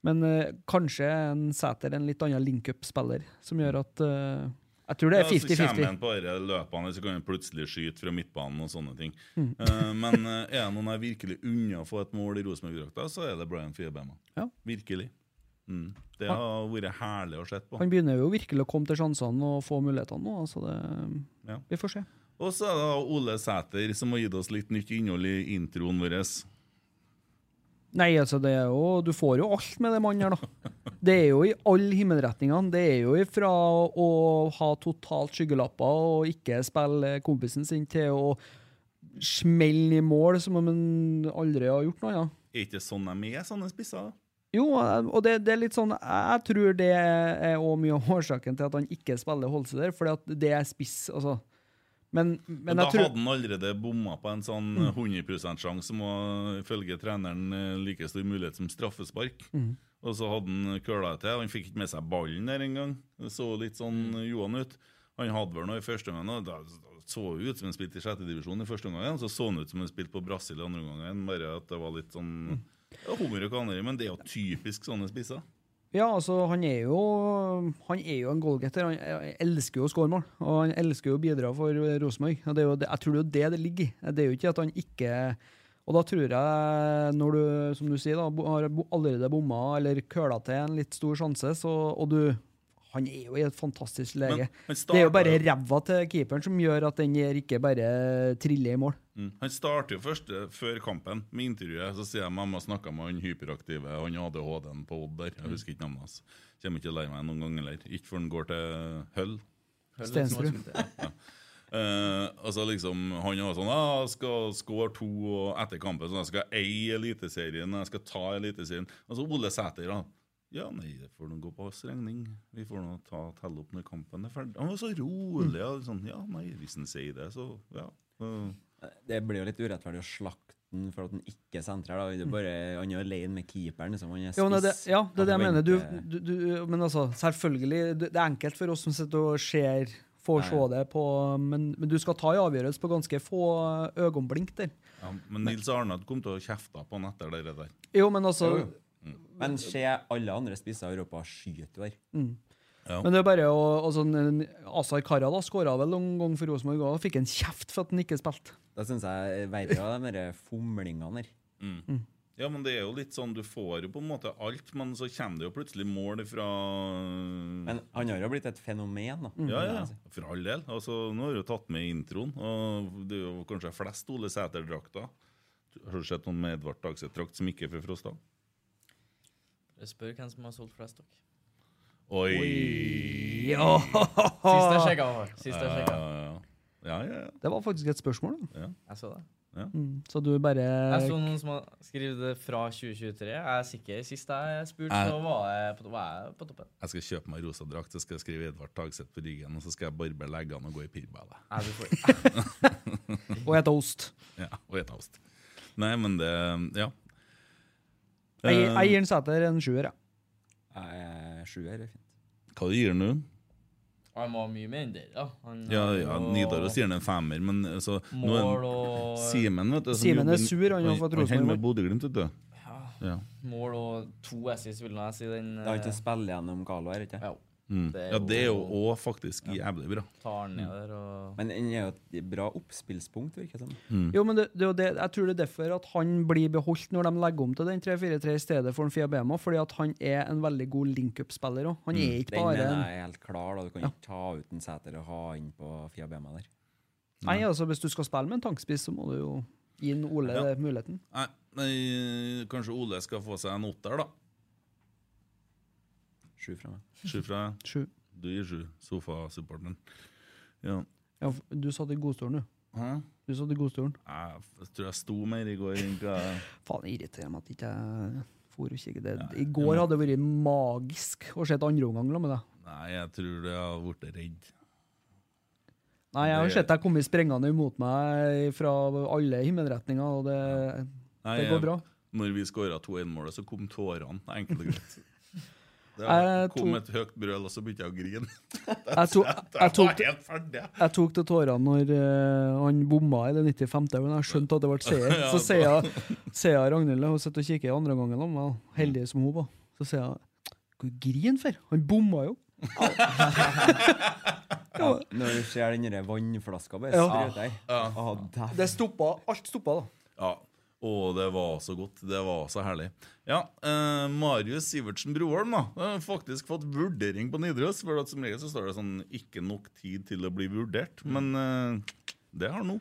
D: Men eh, kanskje en Sæter en litt annen link-up-spiller, som gjør at eh, Jeg tror det
B: Ja,
D: er
B: så kommer
D: 50-50.
B: han på disse løpene, så kan han plutselig skyte fra midtbanen og sånne ting.
D: Mm.
B: Eh, men eh, er det noen jeg virkelig unna å få et mål i Rosenborg-drakta, så er det Brian Fiebema.
D: Ja.
B: Virkelig. Mm. Det har vært herlig å se på.
D: Han begynner jo virkelig å komme til sjansene og få mulighetene nå, så det
B: Ja.
D: Vi får se.
B: Og så er det da Ole Sæter som har gitt oss litt nytt innhold i introen vår.
D: Nei, altså, det er jo Du får jo alt med det mannen her, da. Det er jo i alle himmelretningene. Det er jo ifra å ha totalt skyggelapper og ikke spille kompisen sin, til å smelle i mål som om han aldri har gjort noe annet.
B: Er ikke sånn de er, sånne spisser? da?
D: Jo, og det, det er litt sånn Jeg tror det er også mye av årsaken til at han ikke spiller Holse der, fordi at det er spiss, altså. Men, men
B: da
D: jeg tror Mm.
B: hadde han allerede bomma på en sånn 100 %-sjanse, som var ifølge treneren eh, like stor mulighet som straffespark.
D: Mm.
B: Og så hadde han køla til. og Han fikk ikke med seg ballen der engang. Det så litt
D: Mm.
B: sånn eh, Johan ut. Han hadde vel noe i første omgang. og Da da så det ut som han spilte i sjette divisjon i første omgang, så så han ut som han spilte på Brasil i andre omgang, bare at det var litt sånn
D: Mm.
B: ja, Hummer og kanari, men det er jo typisk sånne spisser.
D: Ja, altså, han er jo Han er jo en goalgetter. Han eh, elsker jo å skåre mål, og han elsker jo å bidra for eh, Rosenborg. Og det er jo det- Jeg tror det er jo det det ligger i. Det er jo ikke at han ikke Og da tror jeg, når du, som du sier, da, bo- har bo- allerede bomma eller køla til en litt stor sjanse, så, og du Han er jo i et fantastisk lege.
B: han
D: Det er jo bare
B: starter
D: ræva til keeperen som gjør at den her ikke bare triller i mål.
B: Mm. Han starter jo først eh, før kampen med intervjuet. Så sier jeg mamma snakka med han hyperaktive, han ADHD-en på Odd der. Jeg husker ikke navnet hans. Kommer ikke til å leie meg noen gang heller. Ikke før han går til Høll.
D: Stensrud.
B: Eh, altså liksom, Han var sånn ah, jeg 'Skal score to og etter kampen sånn, jeg skal eie Eliteserien.' jeg skal ta Eliteserien Altså Ole Sæter, da. Ja, nei, det får nå gå på oss regning. Vi får nå ta telle opp når kampen er ferdig. Han var så rolig. og sånn, Ja, nei, hvis han sier det, så ja. Eh,
G: Det blir jo litt urettferdig å slakte den for at den ikke sentrer. da. Det er bare, han er alene med keeperen. Liksom. Han er spiss.
D: Jo, men det, ja, det er det jeg
G: Han
D: mener. Du,
G: forventer-
D: du, du, men altså, selvfølgelig, det det er enkelt for oss som sitter og ser, får se det på men, men du skal ta en avgjørelse på ganske få øyeblink der.
B: Ja, men Nils Arnad kom til å kjefte på han etter det der.
D: Jo, men
G: Jo,
D: altså
G: jo. Men se alle andre spisser i Europa skyter jo der.
D: Men det er bare å altså, en- en- Azar Kara da skåra vel noen gang for Rosenborg og fikk en kjeft for at han ikke spilte.
G: Da syns jeg verre av de der fomlingene der.
B: Ja, men det er jo litt sånn, du får jo på en måte alt, men så kommer det jo plutselig mål fra
G: Men han har jo blitt et fenomen, da.
B: Ja, ja, for all del. Altså, nå har du tatt med introen, og det er jo kanskje flest Ole Sæter-drakter. Har du sett noen med Edvard Dagseth-drakt som ikke er fra Frosta?
A: Jeg spør hvem som har solgt flest dere.
B: Oi!
D: Ja.
A: Sist jeg sjekka, var Sist jeg
B: Ja,
A: sjekket.
B: ja, ja. ja, ja.
D: Det var faktisk et spørsmål, da.
A: Jeg så det.
D: Mm, så du bare
A: Jeg så noen som har skrevet det fra 2023. Jeg er sikker. Sist jeg spurte,
B: Jeg-
A: så var jeg på, var jeg på toppen.
B: Jeg skal kjøpe meg rosa drakt, så skal jeg skrive Edvard Dagseth på ryggen, og så skal jeg barbere leggene og gå i pirballet.
A: Nei, du får
D: Og et ost.
B: Ja, og et avst. Nei, men det Ja. Eh,
D: Jeg, gir- jeg gir en Sæter en sjuer, jeg.
G: Eh, Sjuer er fint.
B: Hva du gir du nå?
A: Han var mye mer enn det, da. Han,
B: Ja, ja,
A: og-
B: Nidaros gir den en femmer, men altså nå er-
A: Mål og
B: Simen, vet du. som
D: Simen er
B: jobber-
D: sur, han har fått
B: altså, Han holder med
D: Rosenborg.
B: Bodø-Glimt, vet du. Ja.
A: Mål og to assists, vil jeg si. Den
G: Det har ikke
A: eh,
G: spille gjennom Carlo her, ikke
A: ja,
B: Mm.
A: Det er
B: ja, det er jo
A: jo-
B: òg faktisk jævlig bra.
A: tar den ned der
G: Mm.
A: og
G: Men han er jo et bra oppspillspunkt, virker det som.
D: Jo, men det, det, er jo det, jeg tror det er derfor at han blir beholdt når de legger om til den 3-4-3 i stedet for en Fiabema, fordi at han er en veldig god link-up-spiller òg. Han er ikke
G: Den
D: bare
G: mener
D: en
G: jeg er helt klar. da Du kan ikke ta ut en Sæter og ha inn på Fia Bema der.
D: Nei, altså, hvis du skal spille med en tankspiss, så må du jo gi en Ole
B: Ja.
D: det muligheten.
B: Nei, nei, kanskje Ole skal få seg en åtter, da.
G: Sju fra meg.
B: Sju fra
D: Sju.
B: Du gir sju. Sofasupporteren. Ja.
D: Ja, f- du satt i godstolen, du.
B: Hæ?
D: Du satt i godstolen.
B: Jeg f- tror jeg sto mer i går enn hva jeg
D: Faen, det irriterer meg at ikke jeg for og kikket. Det- I går hadde det vært magisk å se et andre omgang med deg.
B: Nei, jeg tror jeg har blitt redd.
D: Nei, jeg har
B: Det-
D: sett deg komme sprengende imot meg fra alle himmelretninger, og det,
B: Nei,
D: det går bra.
B: Når vi skåra 2-1-målet, så kom tårene. Enkelt og greit. Det
D: Jeg
B: kom
D: tok-
B: et høyt brøl, og så begynte jeg å grine.
D: Jeg, to, jeg
B: Jeg
D: tok
B: var helt ferdig.
D: Jeg tok til tårene når eh, han bomma i det 95. Men jeg skjønte at det ble seier. Så sier jeg- sier jeg Ragnhild Hun sitter og kikker i andre gangen, om meg, heldig som hun var. Så sier jeg Hva griner for? Han bomma jo.
G: Ja, når du ser den der vannflaska bare
D: Ja.
G: sprøyter jeg. Ah, dæven.
D: Det stoppa, alt stoppa, da.
B: Ja. Å, det var så godt. Det var så herlig. Ja, eh, Marius Sivertsen Broholm da, har faktisk fått vurdering på Nidaros. For at som regel så står det sånn 'ikke nok tid til å bli
D: Mm.
B: vurdert', men eh, det har han nå.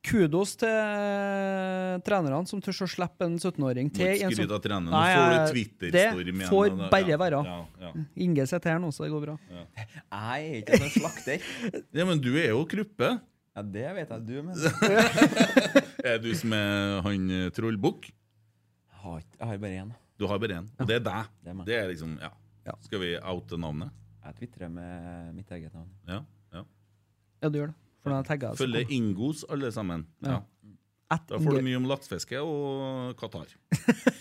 D: Kudos til trenerne som tør å slippe en 17-åring
B: Må
D: til. i
B: ikke
D: en
B: skryte
D: sånn-
B: av treneren. Nå
D: Nei,
B: får du
D: jeg-
B: Twitter-storm igjen.
D: Det får
B: og det-
D: bare
B: ja,
D: være.
B: Ja, ja.
D: Inge sitter her nå, så det går bra.
G: Jeg er ikke en sånn slakter.
B: ja, men du er jo Kruppe.
G: Ja, det vet jeg du mener.
B: Er du som er han eh, Trollbukk?
G: Jeg har ikke- jeg har bare én.
B: Du har bare én, og det er deg.
G: Det er meg.
B: Det er liksom, ja.
D: Ja.
B: Skal vi oute navnet?
G: Jeg tvitrer med mitt eget navn.
B: Ja. ja.
D: Ja, du gjør det. For den tagga
B: Følge Ingos, alle sammen. Ja. Da får du mye om laksefiske og Qatar.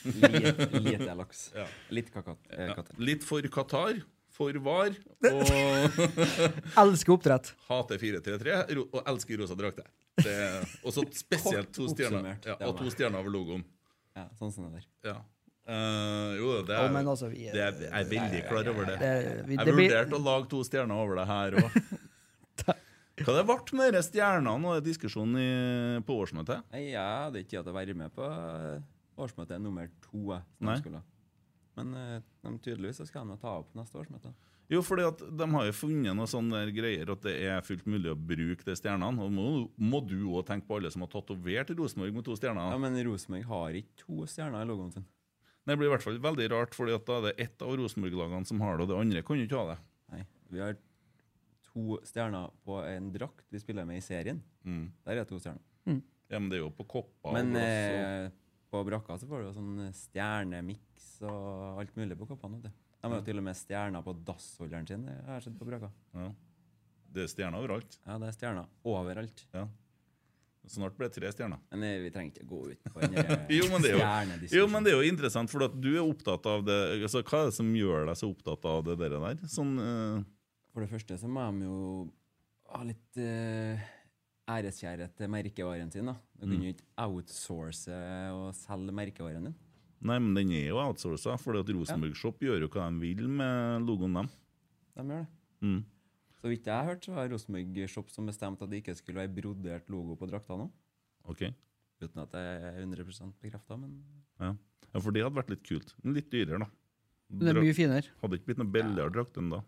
G: Lite, lite laks.
B: Ja.
G: Litt kakat, eh, katter.
B: Litt for Qatar, for VAR, og
D: Elsker oppdrett.
B: hater 433 ro- og elsker rosa drakter. Det- Og så spesielt to
G: Kort
B: stjerner,
G: oppsummert,
B: ja,
G: det
B: og
G: var-
B: to stjerner over logoen.
G: Ja, sånn som det der.
B: Ja. Eh, jo, det er,
D: Ja, men altså, vi-
B: det er, jeg er veldig klar over det.
D: Det- vi-
B: Jeg
D: det blir-
B: vurderte å lage to stjerner over det her òg. Hva det ble med de stjernene og diskusjonen i, på årsmøtet?
G: Nei, jeg hadde ikke tid til å være med på eh, årsmøtet nummer to. jeg, som
B: Nei.
G: jeg skulle. Men eh, de, tydeligvis så skal de nå ta opp neste årsmøte.
B: Jo, fordi at de har jo funnet noen sånne der greier at det er fullt mulig å bruke de stjernene. Og må, må du òg tenke på alle som har tatovert Rosenborg med to stjerner.
G: Ja, Men Rosenborg har ikke to stjerner i logoen sin.
B: Det blir i hvert fall veldig rart, fordi at da er det ett av Rosenborg-lagene som har det, og det andre kan jo ikke ha det.
G: Nei, Vi har to stjerner på en drakt vi spiller med i serien. Der er det to stjerner.
B: Mm. Ja, men det er jo på kopper.
G: Men
B: og glass og-
G: eh, på brakka så får du jo sånn stjernemiks og alt mulig på koppene. vet du. De har jo til og med stjerner på dassholderen sin. det har jeg sett på brakka.
B: ja. Det er stjerner overalt.
G: Ja, det er stjerner overalt.
B: Ja. Snart blir det tre stjerner.
G: Men eh, vi trenger ikke gå ut på den der
B: Jo, men det er jo,
G: stjernediskusjonen.
B: jo, men det er jo interessant, for at du er opptatt av det altså, Hva er det som gjør deg så opptatt av det der? der? Sånn, eh,
G: For det første så må de jo ha litt uh, æreskjærhet til merkevaren sin. da. Du kan jo ikke outsource eh, og selge merkevaren din.
B: nei, men den er jo outsourca, for Rosenborg Shop gjør jo hva de vil med logoen dem.
G: De
B: Mm.
G: gjør det. Så vidt jeg har hørt, så har Rosenborg Shop som bestemte at det ikke skulle være brodert logo på drakta nå.
B: Ok.
G: Uten at jeg er 100 bekrefta, men
B: Ja. ja, for det hadde vært litt kult. Men litt dyrere, da.
D: Det er
B: Dra-
D: mye finere.
B: Hadde ikke blitt noe billigere drakt enn da.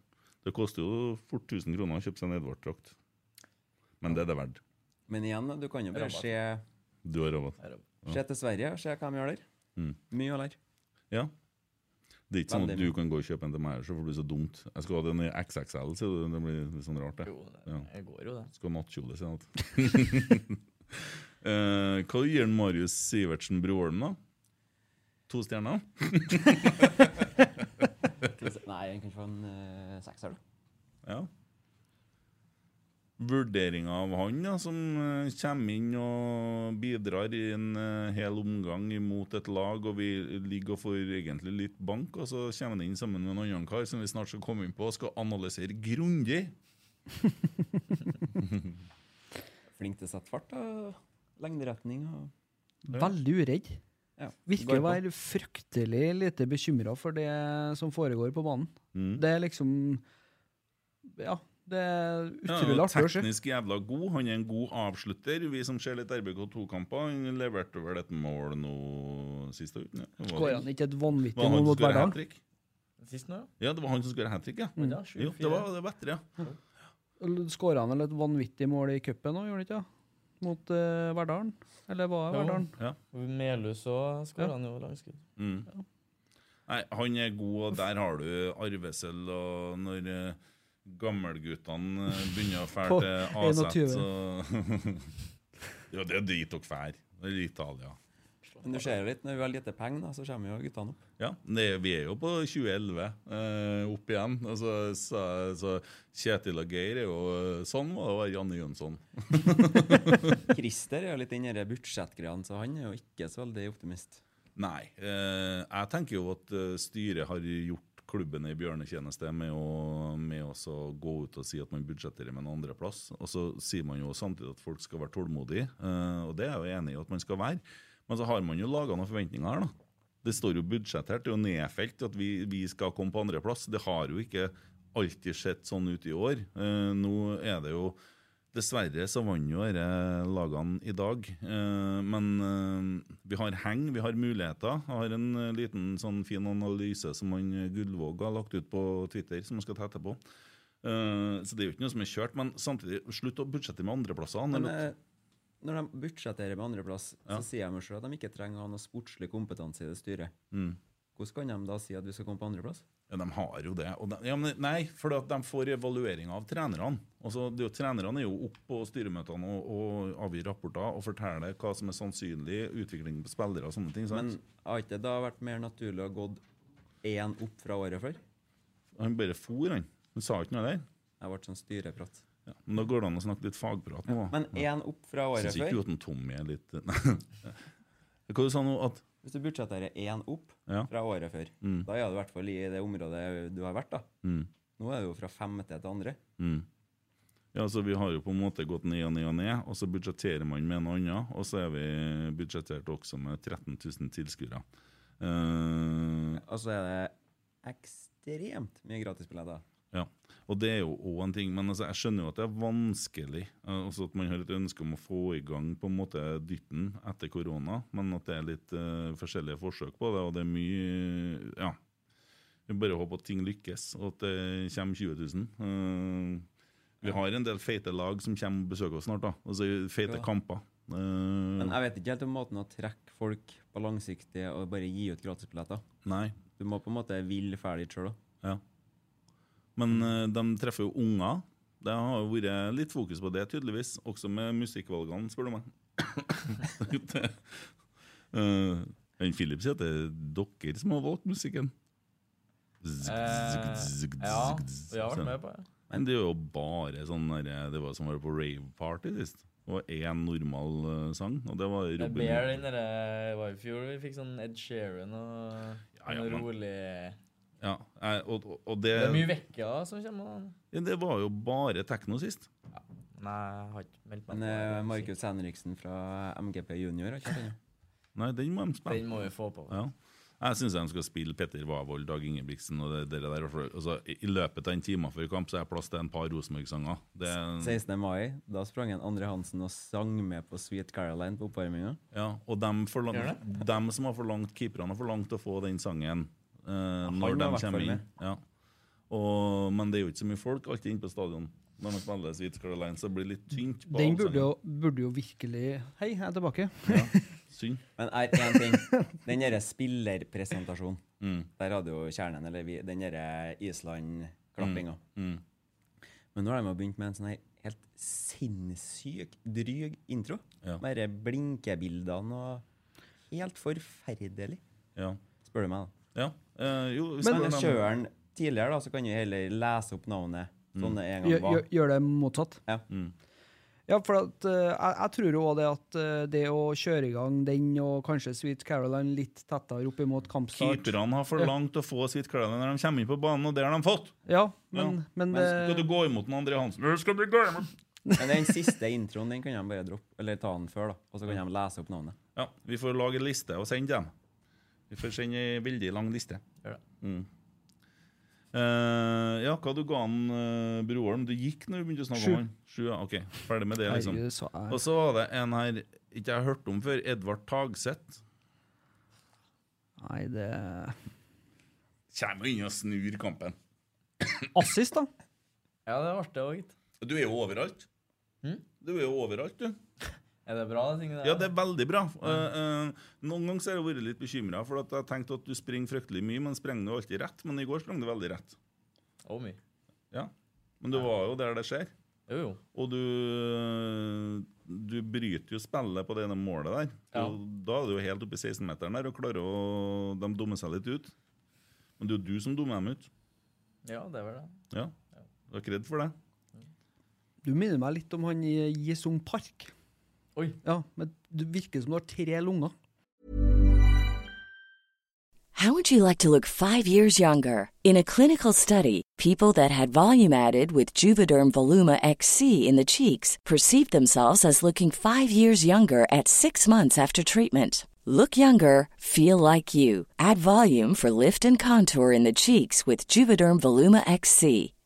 B: Det koster jo fort 1000 kroner å kjøpe seg en Edvard-drakt. Men det er det verdt.
G: Men igjen, da, du kan jo bare se,
B: Du har råd.
G: se til Sverige og se hva de gjør der.
B: Mm.
G: Mye å lære.
B: Ja. Det er ikke sånn at
G: Veldig
B: du
G: mye.
B: kan gå og kjøpe en til meg, så får du så dumt. Jeg skal ha den i XXL, så det det blir litt sånn rart, det.
A: Jo, det
B: Ja.
A: det går jo, det.
B: Skal ha nattkjole, sier han. Eh, Hva gir den Marius Sivertsen Broholm, da? To stjerner?
G: Nei, en kan få en uh, sekser, da.
B: Ja. Vurderinga av han ja, som eh, kommer inn og bidrar i en eh, hel omgang imot et lag, og vi ligger og får egentlig litt bank, og så kommer han inn sammen med en annen kar som vi snart skal komme inn på, og skal analysere grundig.
G: Flink til å sette fart og lengderetning. og...
D: Veldig uredd.
G: Ja,
D: Virker å være fryktelig lite bekymra for det som foregår på banen.
B: Mm.
D: Det er liksom Ja, det er utrolig
B: Ja,
D: artig å se.
B: teknisk jævla god. Han er en god avslutter. Vi som ser litt RBK2-kamper, han leverte vel et mål nå siste uken? Ja. Det var-
D: Går han ikke et vanvittig
B: var han
D: mål
B: som
D: mot
B: skåret hat
D: Verdal? Mm.
B: trick?
A: Sist nå,
B: Ja, det var han som skåra hat trick, ja.
A: ja. ja
B: Jo, det var det var etter, ja.
D: Skåra han vel et vanvittig mål i cupen òg, gjorde han ikke? det? Mot eh, Verdalen? Eller var det
A: Jo.
D: Verdalen?
B: ja.
A: Melhus òg skåra han jo langskudd.
B: Nei, han er god, og der har du arvesølv. Og når eh, gammelguttene eh, begynner å fære
D: På
B: til AZ,
D: 21.
B: så Ja, det er dit dere fær. Det er Italia.
G: Men du ser jo litt, når vi har lite penger, da, så kommer jo guttene opp.
B: Ja, det, vi er jo på 2011 eh, opp igjen. Altså, så, så Kjetil og Geir er jo eh, Sånn var det å være Janne Jønsson.
G: Christer er jo litt inni de budsjettgreiene, så han er jo ikke så veldig optimist.
B: Nei. Eh, jeg tenker jo at eh, styret har gjort klubben en bjørnetjeneste med å, med å så gå ut og si at man budsjetterer med en andreplass. Og så sier man jo samtidig at folk skal være tålmodige, eh, og det er jeg jo enig i at man skal være. Men så har man jo laga noen forventninger her, da. Det står jo budsjettert, det er jo nedfelt at vi, vi skal komme på andreplass. Det har jo ikke alltid sett sånn ut i år. Eh, nå er det jo Dessverre så vant jo disse lagene i dag. Eh, men eh, vi har heng, vi har muligheter. Jeg har en eh, liten sånn fin analyse som han eh, Gullvåg har lagt ut på Twitter, som jeg skal ta etterpå. Eh, så det er jo ikke noe som er kjørt. Men samtidig, slutt å budsjettere med andreplassene.
G: Men,
B: eller-
G: eh, når de budsjetterer med andreplass, så sier jeg meg selv at de ikke trenger å ha noe sportslig kompetanse i det styret.
B: Mm.
G: Hvordan kan de da si at vi skal komme på andreplass?
B: Ja, de har jo det. Og de, ja, men nei, for at de får evaluering av trenerne. Altså, det er jo, trenerne er jo opp på styremøtene og, og avgir rapporter og forteller hva som er sannsynlig utvikling på spillere og sånne ting.
G: Men
B: Sant?
G: har ikke det da vært mer naturlig å ha gått én opp fra året før?
B: han bare for, han. Han sa ikke noe der.
G: Jeg ble sånn styreprat.
B: Ja, men da går det an å snakke litt fagprat nå. da.
G: Men én opp fra
B: Ja.
G: året
B: Syns ikke
G: før
B: du at en Tommy er litt Hva du sa nå? At
G: Hvis du budsjetterer én opp
B: Ja.
G: fra året før,
B: Mm.
G: da er du i hvert fall i det området du har vært. da.
B: mm,
G: Nå er det jo fra femte til andre.
B: mm. Ja, så Vi har jo på en måte gått ned og ned og ned, og så budsjetterer man med noe annet. Og så er vi budsjettert også med 13 000 tilskuere. Eh,
G: Altså er det ekstremt mye gratisbilletter.
B: Ja, og det er jo òg en ting. Men altså, jeg skjønner jo at det er vanskelig. eh, Altså At man har et ønske om å få i gang på en måte dytten etter korona, men at det er litt eh, forskjellige forsøk på det, og det er mye Ja. Vi bare håper at ting lykkes, og at det kommer 20 000. Eh, vi har en del feite lag som kommer og besøker oss snart, da. Altså feite
G: Ja.
B: kamper. Eh,
G: Men jeg vet ikke helt om måten å trekke folk på langsiktig og bare gi ut gratisbilletter.
B: nei.
G: Du må på en måte ville ferdig sjøl òg.
B: Ja. Men eh, de treffer jo unger. Det har jo vært litt fokus på det, tydeligvis. Også med musikkvalgene, spør du meg. uh, en Philip sier at det er dere som har valgt musikken. Zg, zg, zg,
A: Eh, ja,
B: zg, zg,
A: vi har
B: sånn.
A: vært med på det.
B: Men det er jo bare sånn der, Det var som å være på rave-party sist. Det var én normal eh, sang, og det var
A: Det er
B: Robin
A: bedre enn det der- var i fjor. Vi fikk sånn Ed Sheeran og
B: Ja, ja,
A: noe
B: men-
A: rolig
B: Ja, eh, og, og, og det,
A: Det er mye vekka som kommer. da.
B: det var jo bare tekno sist.
A: Nei, jeg har ikke meldt meg
G: Men
A: på.
G: eh,
A: jeg må si.
G: Markus Henriksen fra MGP junior har ikke vært ennå.
B: Nei, den må de spille.
A: Den må vi få på.
B: Ja. Jeg syns de skal spille Petter Wavold, Dag Ingebrigtsen og det, det der. for- Altså, i, I løpet av en time før kamp så er det plass til en par Rosenborg-sanger. Det er-
G: 16. mai, da sprang en Andre Hansen og sang med på Sweet Caroline på oppvarminga.
B: Ja, og dem, forlang,
A: Gjør
B: dem som har forlangt keeperne, har forlangt å få den sangen eh,
G: var i
B: når de
G: hvert fall
B: kommer inn.
G: med.
B: Ja. Og, men det er jo ikke så mye folk alltid inne på stadion. Når man spiller Sweet Caroline, så blir det litt tynt. på
D: Den burde
B: avsendingen.
D: jo, burde jo virkelig Hei, jeg er tilbake.
B: Synd.
G: Men er én ting. Den derre spillerpresentasjonen.
B: Mm.
G: Der hadde jo kjernen, eller vi, den derre Island-klappinga.
B: Mm.
G: Men nå har de jo begynt med en sånn her helt sinnssyk, dryg intro.
B: Ja.
G: Med de blinkebildene og Helt forferdelig,
B: Ja.
G: spør du meg. da.
B: ja. Eh, jo,
G: Hvis
B: spør
G: Men
B: dem-
G: kjører den tidligere, da, så kan du heller lese opp navnet
A: Mm.
G: sånn det en
D: Gjør,
G: gang var.
D: gjør- gjør det motsatt.
G: Ja.
B: Mm.
D: Ja, for at, eh, jeg, jeg tror jo også det at eh, det å kjøre i gang den og kanskje Sweet Caroline litt tettere opp imot kampstart
B: Keeperne har forlangt å få Sweet Caroline når de kommer inn på banen, og det har de fått!
D: Ja, men,
B: Ja.
D: men,
B: Men
D: eh,
B: skal du
D: det,
B: gå imot den André Hansen? Du skal bli gå imot
G: Men den siste introen den kan de bare droppe, eller ta den før, da. Og så kan de lese opp navnet.
B: Ja, vi får lage en liste og sende dem. Vi får sende en veldig lang liste.
A: Gjør det.
B: Mm. Eh, ja, hva du ga han eh, Broholm? Du gikk når vi begynte å snakke
D: Sju.
B: om han? Sju, ja, ok. Ferdig med det, liksom.
D: herregud, så
B: Og
D: jeg,
B: så var det en her ikke jeg har hørt om før. Edvard Tagseth.
D: Nei, det
B: Kommer inn og snur kampen.
D: Assist, da.
A: Ja, det ble det òg, gitt.
B: Du er jo overalt.
D: Hm?
A: Mm.
B: Du er jo overalt, du.
A: Er det bra, de tingene der?
B: Ja, det er veldig bra. Eh, eh, noen ganger så har jeg vært litt bekymra, for at jeg tenkte at du springer fryktelig mye, men sprenger du alltid rett? Men i går sprang du veldig rett.
A: Å, mye.
B: Ja. Men du var jo der det skjer.
A: Jo, jo.
B: Og du, du bryter jo spillet på det ene målet der.
A: Ja.
B: Og Da er du jo helt oppe i 16-meteren der og klarer å De dummer seg litt ut. Men det er jo du som dummer dem ut.
A: Ja, det er vel det.
B: Ja. Du er ikke redd for det?
D: Du minner meg litt om han i Jisung Park.
A: Oi.
D: Ja, men Du virker som du har tre lunger.
H: How would you like to look five years younger? In a clinical study, people that had volume added with Juvederm Voluma XC in the cheeks perceived themselves as looking five years younger at six months after treatment. Look younger, feel like you. Add volume for lift and contour in the cheeks with Juvederm Voluma XC.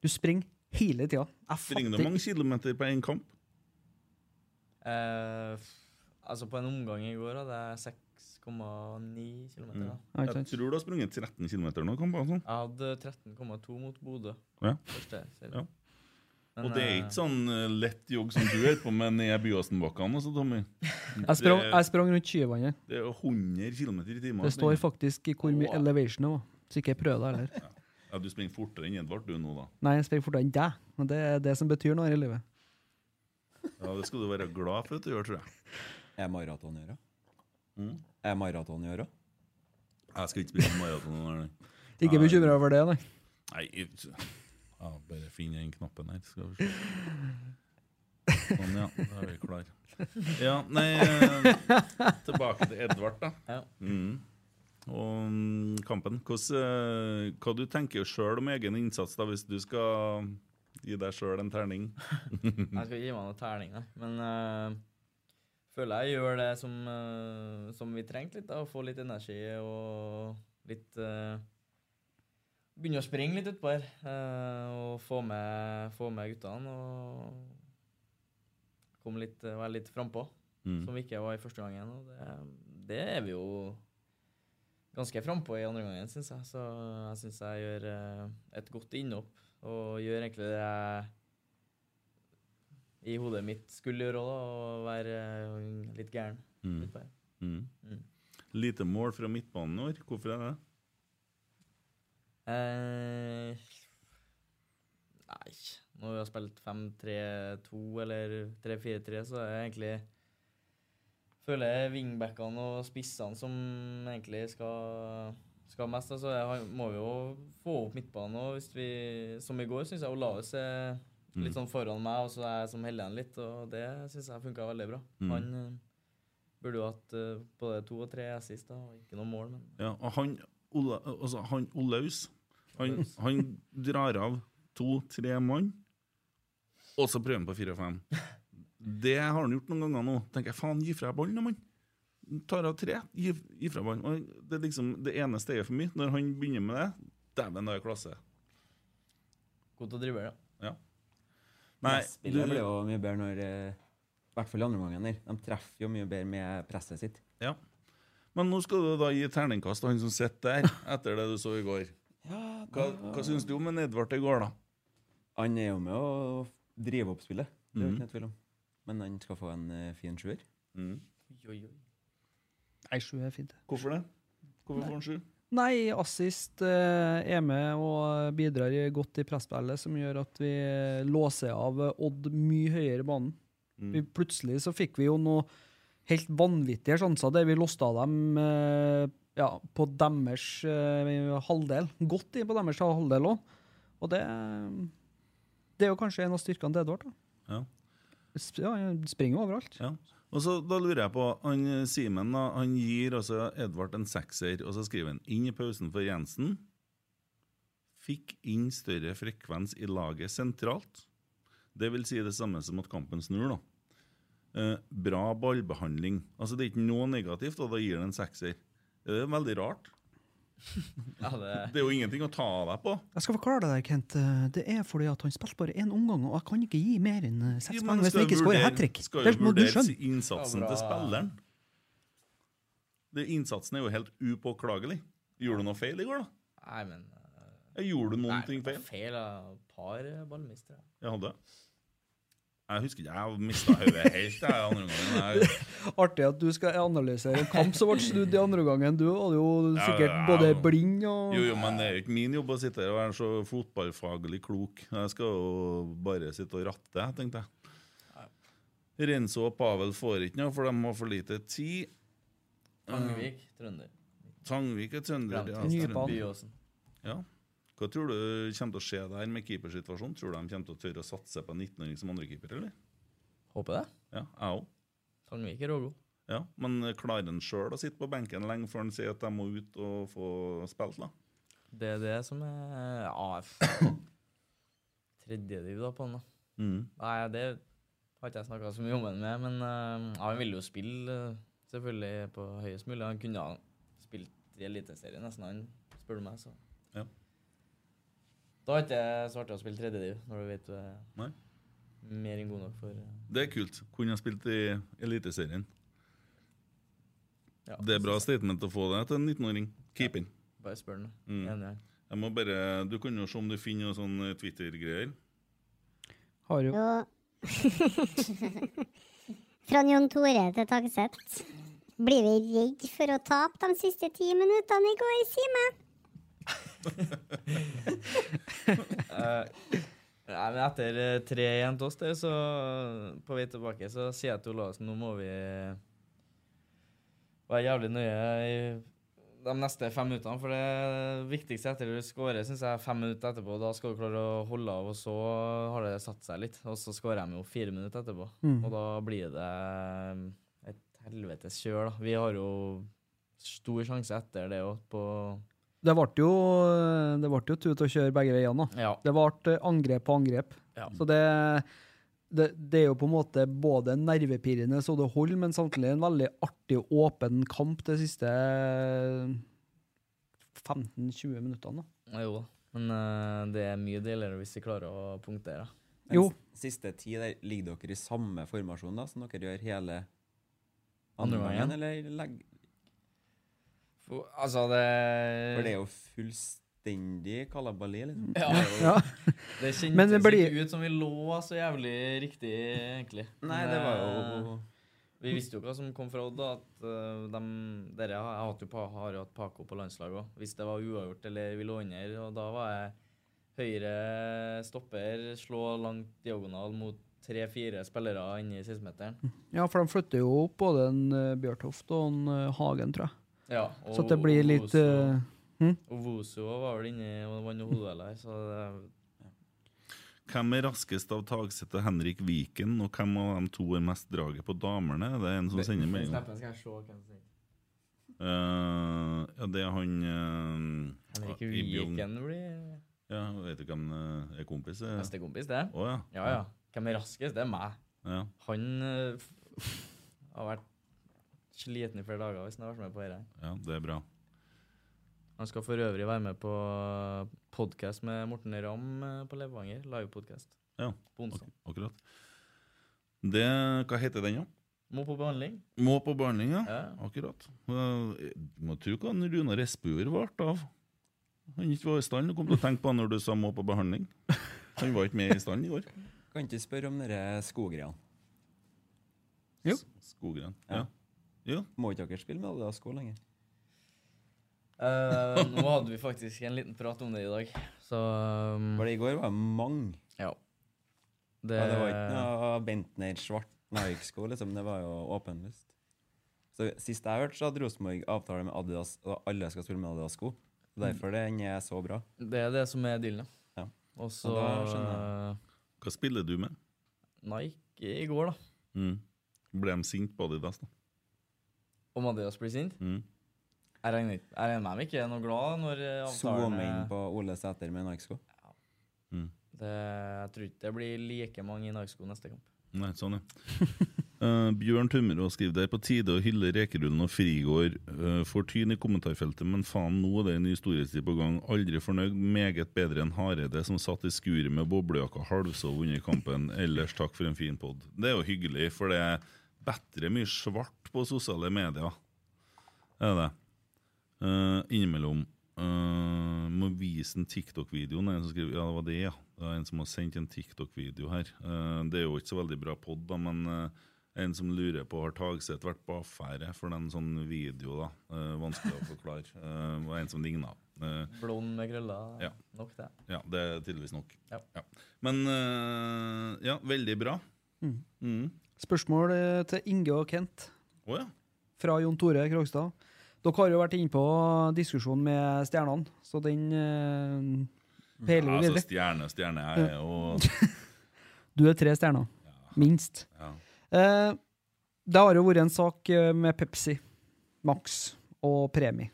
D: Du springer hele tida. Jeg
B: Springer du
D: fatter
B: mange kilometer på én kamp?
A: Eh, altså, på en omgang i går hadde jeg 6,9 km.
B: Mm.
A: da.
D: Ja, ikke
B: Jeg
D: sant.
B: tror du har sprunget 13 km nå, kamp, altså.
A: Jeg hadde 13,2 mot Bodø.
B: Ja.
A: Første serien.
B: Ja.
A: Men,
B: Og det er
A: eh,
B: ikke sånn eh, lett jogg som du er på med ned Byåsenbakkene, altså, Tommy.
D: Jeg sprang,
B: Det-
D: jeg sprang rundt Skyvannet.
B: Det er 100 km i timen.
D: Det står faktisk i hvor mye
B: Wow.
D: elevation det var. Så ikke jeg prøver det heller.
B: Ja, Du springer fortere enn Edvard, du nå, da.
D: Nei, jeg springer fortere enn deg. Og det er det som betyr noe her i livet.
B: Ja, Det skal du være glad for at du gjør, tror jeg.
G: Er
B: Mm.
G: jeg maratongjører? Er jeg maratongjører?
B: Jeg skal ikke springe maraton. eller noe.
D: Ikke bekymra over det, nei.
B: Nei, jeg- ja, bare finn den knappen her, skal vi se. Sånn, ja. Da er vi klar. Ja, nei eh, Tilbake til Edvard, da.
A: Ja.
B: Mm. Og mm, kampen. Hvordan, eh, hva du tenker sjøl om egen innsats, da, hvis du skal gi deg sjøl en terning?
A: Jeg skal ikke gi meg noen terning, nei. Men eh, føler jeg gjør det som, eh, som vi trengte litt, da. Få litt energi og litt eh, Begynne å springe litt utpå her. eh, og få med, få med guttene og komme litt, eh, være litt frampå.
B: Mm.
A: Som vi ikke var i første gangen. Og det, det er vi jo ganske frampå i andre gangen, syns jeg. Så jeg syns jeg gjør eh, et godt innhopp. Og gjør egentlig det jeg i hodet mitt skulle gjøre òg, og være eh, litt gæren.
B: Mm.
A: utpå her.
B: Mm.
A: Mm.
B: Lite mål fra midtbanen i år. Hvorfor er det?
A: Eh, nei Når vi har spilt 5-3-2 eller 3-4-3, så er det egentlig Føler jeg wingbackene og spissene som egentlig skal, skal mest. Altså, jeg har- må vi jo få opp midtbanen òg, hvis vi Som i går, syns jeg Olaus er litt sånn foran meg, og så er jeg som holder han litt, og det syns jeg funka veldig bra.
B: Mm.
A: Han eh, burde jo hatt eh, både to og tre assist, da, og ikke noe mål, men
B: Ja, og han, Ola, altså, han Olaus han, han drar av to-tre mann, og så prøver han på fire-fem. Det har han gjort noen ganger nå. tenker jeg, Faen, gi fra ballen, da, mann! Tar av tre, gi, gi fra ballen. Og det er liksom det ene steget for mye. Når han begynner med det, dæven, da er jeg klasse.
A: god til å drive, ja.
B: Ja. Nei,
G: Nei,
B: du,
G: spillet blir jo mye bedre når eh, I hvert fall i andre gangen. der. De treffer jo mye bedre med presset sitt.
B: ja. Men nå skal du da gi terningkast til han som sitter der, etter det du så i går. Hva, hva syns du om en Edvard i går, da?
G: Han er jo med å drive opp spillet, det
B: Mm.
G: er det ikke noe tvil om. Men han skal få en eh, fin sjuer.
B: Mm.
A: Oi, oi, oi.
D: Nei, sju er fint.
B: Hvorfor det? Hvorfor får han sju?
D: Nei, assist eh, er med og bidrar i- godt i presspillet, som gjør at vi låser av Odd mye høyere i banen. Vi, plutselig så fikk vi jo noe helt vanvittige sjanser der vi låste av dem eh, ja, på deres eh, halvdel. Godt inn på deres halvdel òg. Og det Det er jo kanskje en av styrkene til Edvard. da.
B: Ja.
D: Sp- Ja, han springer jo overalt.
B: Ja. Og så Da lurer jeg på han eh, Simen da, han gir altså Edvard en sekser, og så skriver han inn i pausen for Jensen. Fikk inn større frekvens i laget sentralt. Det vil si det samme som at kampen snur. da. Eh, bra ballbehandling. Altså Det er ikke noe negativt, og da gir han en sekser. Det er veldig rart.
A: det-
B: det er jo ingenting å ta av deg på.
D: Jeg skal forklare deg, Kent. Eh, Det er fordi at han spilte bare én omgang, og jeg kan ikke gi mer enn eh, seks
B: Jo,
D: poeng
B: men
D: hvis
B: skal
D: han ikke
B: jo
D: skårer
B: vurdere-
D: hat trick.
B: Skal
D: Det
B: jo
D: må du
B: vurdere
D: skjønne.
B: innsatsen til spilleren. Det, innsatsen er jo helt upåklagelig. Gjorde du noe feil i går, da?
A: Nei, men
B: Jeg gjorde noen
A: nei,
B: ting
A: det var
B: feil.
A: feil av et par eh, ballmistere.
B: Jeg hadde. Jeg husker ikke, jeg mista hodet helt jeg, andre gangen. Jeg,
D: Artig at du skal analysere en kamp som ble snudd i andre gangen. Du var jo sikkert
B: Ja, ja,
D: både
B: ja.
D: blind og
B: Jo, jo, men det er jo ikke min jobb å sitte her og være så fotballfaglig klok. Jeg skal jo bare sitte og ratte, tenkte jeg. Renzo og Pavel får ikke noe, for de har for lite tid. Mm.
A: Tangvik, trønder.
B: Tangvik er trønder. ja,
A: Brandtvedt,
B: trønder.
A: Byåsen.
B: Ja. Hva tror du kommer til å skje der med keepersituasjonen? Tror du de kommer til å tørre å satse på en 19-åring som andrekeeper, eller?
A: Håper det.
B: Ja, jeg òg.
A: Tangvik er rågod.
B: Ja, men klarer han sjøl å sitte på benken lenge før han sier at de må ut og få spilt, da?
A: Det er det som er AF. Tredjediv da på han, da.
B: Mhm.
A: Nei, det har ikke jeg snakka så mye om han med, men eh, ja, han ville jo spille eh, selvfølgelig på høyest mulig. Han kunne ha spilt i Eliteserien nesten, han spør du meg, så
B: Ja.
A: Da er det ikke så artig å spille tredjediv, når du vet du er
B: Nei.
A: mer enn god nok for eh,
B: Det er kult. Kunne ha spilt i Eliteserien. det er bra statement å få det til en 19-åring. Keeping.
A: Bare spør han. da.
B: Mm.
A: Enig, jeg.
B: Jeg må bare, Du kan jo se om du finner noen sånne Twitter-greier.
D: Har jo
I: Fra Jon Tore til Tagseth. Blir vi redd for å tape de siste ti minuttene i går, Simen?
A: Eh, Nei, men etter eh, 3-1 til oss der, så eh, på vei tilbake, så sier jeg til Olav nå må vi eh, være jævlig nøye i de neste fem minuttene. For det viktigste etter du skårer, syns jeg, er fem minutter etterpå. Da skal du klare å holde av, og så har det satt seg litt. Og så skårer de jo fire minutter etterpå.
D: Mm.
A: Og da blir det eh, et helvetes kjør, da. Vi har jo stor sjanse etter det òg, på
D: Det ble jo, eh, det ble jo tut og kjør begge veiene. da.
A: Ja.
D: Det ble eh, angrep på angrep.
A: Ja.
D: Så det, det, det er jo på en måte både nervepirrende så det holder, men samtidig en veldig artig og åpen kamp de siste 15-20 minuttene. da.
A: Ja, Jo da, men eh, det er mye deiligere hvis vi klarer å punktere.
G: Men s- Siste ti der ligger dere i samme formasjon da, som dere gjør hele
A: Andre
G: andre
A: gangen.
G: gangen? Eller legg...
A: For, altså, det Mm.
G: For det er jo fullstendig kalabali, liksom.
A: Ja.
G: Det er jo-
A: Det kjentes
D: Men det blir-
A: ikke ut som vi lå så jævlig riktig, egentlig.
G: Nei,
A: Men,
G: det var
A: eh,
G: jo-
A: Vi visste jo hva som kom fra Odd, da. At eh, dem- dere har, jeg hatt jo, pa- har jo hatt Paco på landslaget òg. Hvis det var uavgjort eller vi lå under, og da var jeg høyre stopper, slå langt diagonal mot tre-fire spillere inne i sistemeteren.
D: Ja, for de flytter jo opp både en eh, Bjørtoft og en eh, Hagen, tror jeg.
A: Ja,
D: så at det blir litt
A: Ovoso-
D: eh, hm?
A: Ovoso var vel inni og vant noe hodedueller, så det
B: Hvem er raskest av Tagseth og Henrik Viken, og hvem av dem to er mest draget på damene? Det er en som sender melding.
A: jeg se hvem som
B: Eh, ja, det er han eh,
A: Henrik
B: i Bjugn.
A: Viken blir
B: Ja, vet du hvem eh, er kompis? eh?
A: bestekompis, det.
B: Å ja.
A: ja, ja. Hvem er raskest? Det er meg.
B: Ja.
A: Han eh, f- har vært sliten i flere dager hvis han har vært med på dette.
B: Ja, det er bra.
A: Han skal for øvrig være med på podkast med Morten Ramm eh, på Levanger. Livepodkast.
B: Ja,
A: På onsdag.
B: akkurat. Det, hva heter den, da?
A: Må på behandling.
B: Må på behandling, ja. Akkurat. Eh, Må tro hva han Runar Espejord ble av. Han ikke var i stand. Du kom til å tenke på han når du sa 'må på behandling'. Han var ikke med i stand i går.
G: Kan ikke spørre om dere skogreiene?
D: Jo.
B: Skogren. Ja.
G: Må ikke dere spille med alle sko lenger?
A: Eh, nå hadde vi faktisk en liten prat om det i dag. Så um,
G: For i går var det mange.
A: Ja.
G: Det, ja, det var ikke noe Bentner svart Nike-sko, liksom. Det var jo åpenlyst. Så Sist jeg hørte, så hadde Rosenborg avtale med Adidas, og alle skal spille med Adidas-sko. Så Derfor den er så bra.
A: Det er det som er dealen, ja.
G: Ja.
A: Og så
G: da skjønner
B: Hva spiller du med?
A: eh, Nike i går, da.
B: Mm. Ble de sinte på Adidas, da?
A: Om Adidas blir sint?
B: Mm.
A: Jeg regner, ikke- jeg regner med de ikke er noe glad når eh, avtalen
G: Zoome inn
A: er-
G: på Ole Sæter med Nike-sko.
A: det, Jeg tror ikke det blir like mange i Nike-sko neste kamp.
B: Nei, sånn, ja. Eh, Bjørn Tømmerå skriver det er på tide å hylle Rekerullen og Frigård. Uh, får tyn i kommentarfeltet, men faen, nå er det en ny storhetstid på gang. Aldri fornøyd, meget bedre enn Hareide, som satt i skuret med boblejakka halvsov under kampen. Ellers takk for en fin pod. Det er jo hyggelig, for det er bedre mye svart på sosiale medier. Er det. Eh, innimellom eh, må vise en TikTok-video. Det er en som skriver, ja, det var det, ja. Det er en som har sendt en TikTok-video her. Eh, det er jo ikke så veldig bra pod, da, men eh, en som lurer på har Tagseth vært på affære for den sånn video. da. Eh, vanskelig å forklare. Eh, det var en som ligna.
A: Blond med krøller.
B: Ja.
A: Nok det.
B: Ja, det er tydeligvis nok.
A: Ja.
B: Men eh, ja, veldig bra.
D: Mm.
B: Mm.
D: Spørsmål eh, til Inge og Kent.
B: Å ja.
D: Fra Jon Tore Krogstad. Dere har jo vært inne på diskusjonen med stjernene, så den eh, peiler vi
B: altså,
D: videre.
B: stjerne, stjerne er jo
D: Du er tre stjerner. Minst.
B: Ja.
D: Eh, det har jo vært en sak eh, med Pepsi, Max og premie.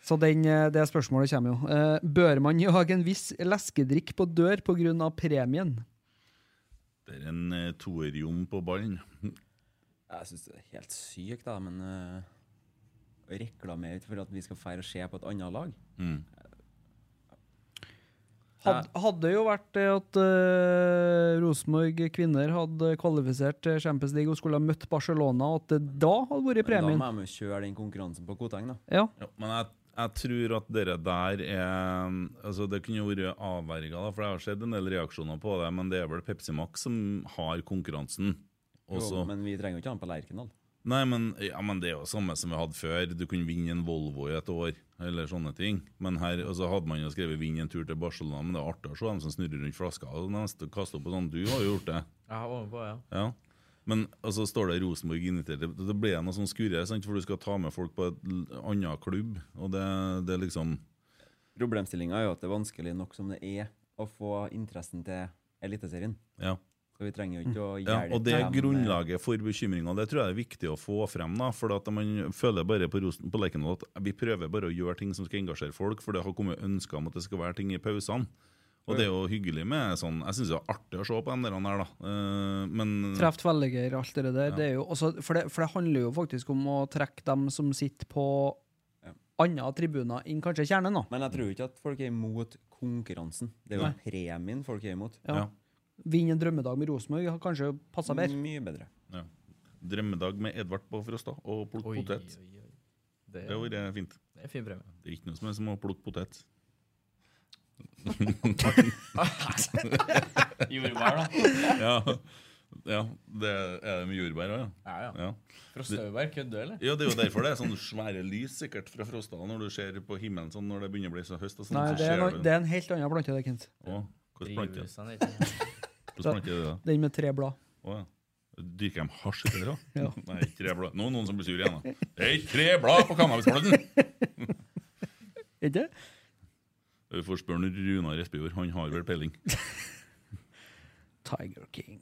D: Så den, eh, det spørsmålet kommer jo. Eh, bør man jage en viss leskedrikk på dør pga. premien?
B: Det er en eh, toerjom på ballen.
G: Jeg syns det er helt sykt, da, men eh, å reklamere for at vi skal feire og se på et annet lag
B: Mm.
D: Had, hadde jo vært det at eh, Rosenborg kvinner hadde kvalifisert til Champions League og skulle ha møtt Barcelona, og at det da hadde vært
G: Men
D: premien.
G: Da må de jo kjøre den konkurransen på Koteng, da.
D: Ja.
B: Ja, men jeg, jeg tror at dere der er Altså Det kunne jo vært avverga, da, for jeg har sett en del reaksjoner på det. Men det er vel Pepsi Max som har konkurransen.
G: Jo,
B: Også.
G: men vi trenger jo ikke ha den på Lerkendal.
B: Nei, men, ja, men det er jo samme som vi hadde før. Du kunne vinne en Volvo i et år, eller sånne ting. Men her altså, hadde man jo skrevet 'vinn en tur til Barcelona', men det er artig å se dem som snurrer rundt flaska. Og neste kaster opp og sånn. Du har jo gjort det.
A: Jeg har vært med på, ja.
B: Ja. Men altså, står det Rosenborg invitert til- Da blir det noe sånn skurre, sant? for du skal ta med folk på et l- annet klubb, og det, det er liksom
G: Problemstillinga er jo at det er vanskelig nok som det er å få interessen til Eliteserien.
B: Ja.
G: Så vi trenger jo ikke å
B: Mm. Ja,
G: hjelpe
B: og det er eh,
G: dem med-
B: grunnlaget for bekymringa. Det tror jeg er viktig å få frem. da, For at man føler bare på, Rosen- på Lerkendal at vi prøver bare å gjøre ting som skal engasjere folk, for det har kommet ønsker om at det skal være ting i pausene. Og det er jo hyggelig med sånn Jeg syns det er artig å se på de der der, da. Eh, men
D: Treft velger, alt det der.
B: Ja.
D: Det er jo også, for, det, for det handler jo faktisk om å trekke dem som sitter på andre tribuner, inn kanskje kjernen. da.
G: Men jeg tror ikke at folk er imot konkurransen. Det er jo
D: Nei.
G: premien folk er imot.
D: Ja. Vinne en drømmedag med Rosenborg har kanskje passa bedre.
G: Mye bedre.
B: ja. Drømmedag med Edvard på Frosta og plukke
A: Oi,
B: potet.
A: oi, oi.
B: Det har vært fint.
A: Det er en fin premie.
B: Det er ikke noe som er som å plukke potet.
A: Jordbær, da.
B: ja. ja. Det er det med jordbær òg, ja.
A: Ja, ja. Frostjordbær, kødder du, eller?
B: Ja, det er jo derfor det er sånne svære lys sikkert fra Frosta når du ser på himmelen sånn når det begynner å bli så høst. og sånn.
D: Nei,
B: så
D: det er,
B: ser
D: no-
B: du-
D: det er en helt annen plante, det, Kent.
B: Å, hvordan plante?
A: Drivhusene,
B: Hvordan plante er det da?
D: Den med tre blad.
B: Å, ja. Dyrker de hasj etter det? da?
D: Ja.
B: Nei, ikke tre blad. Nå er det noen som blir sur igjen. da. Det er ikke tre blad på cannabisplanten!
D: Ikke?
B: Vi får spørre Runar Espejord. Han har vel peiling.
D: Tiger King.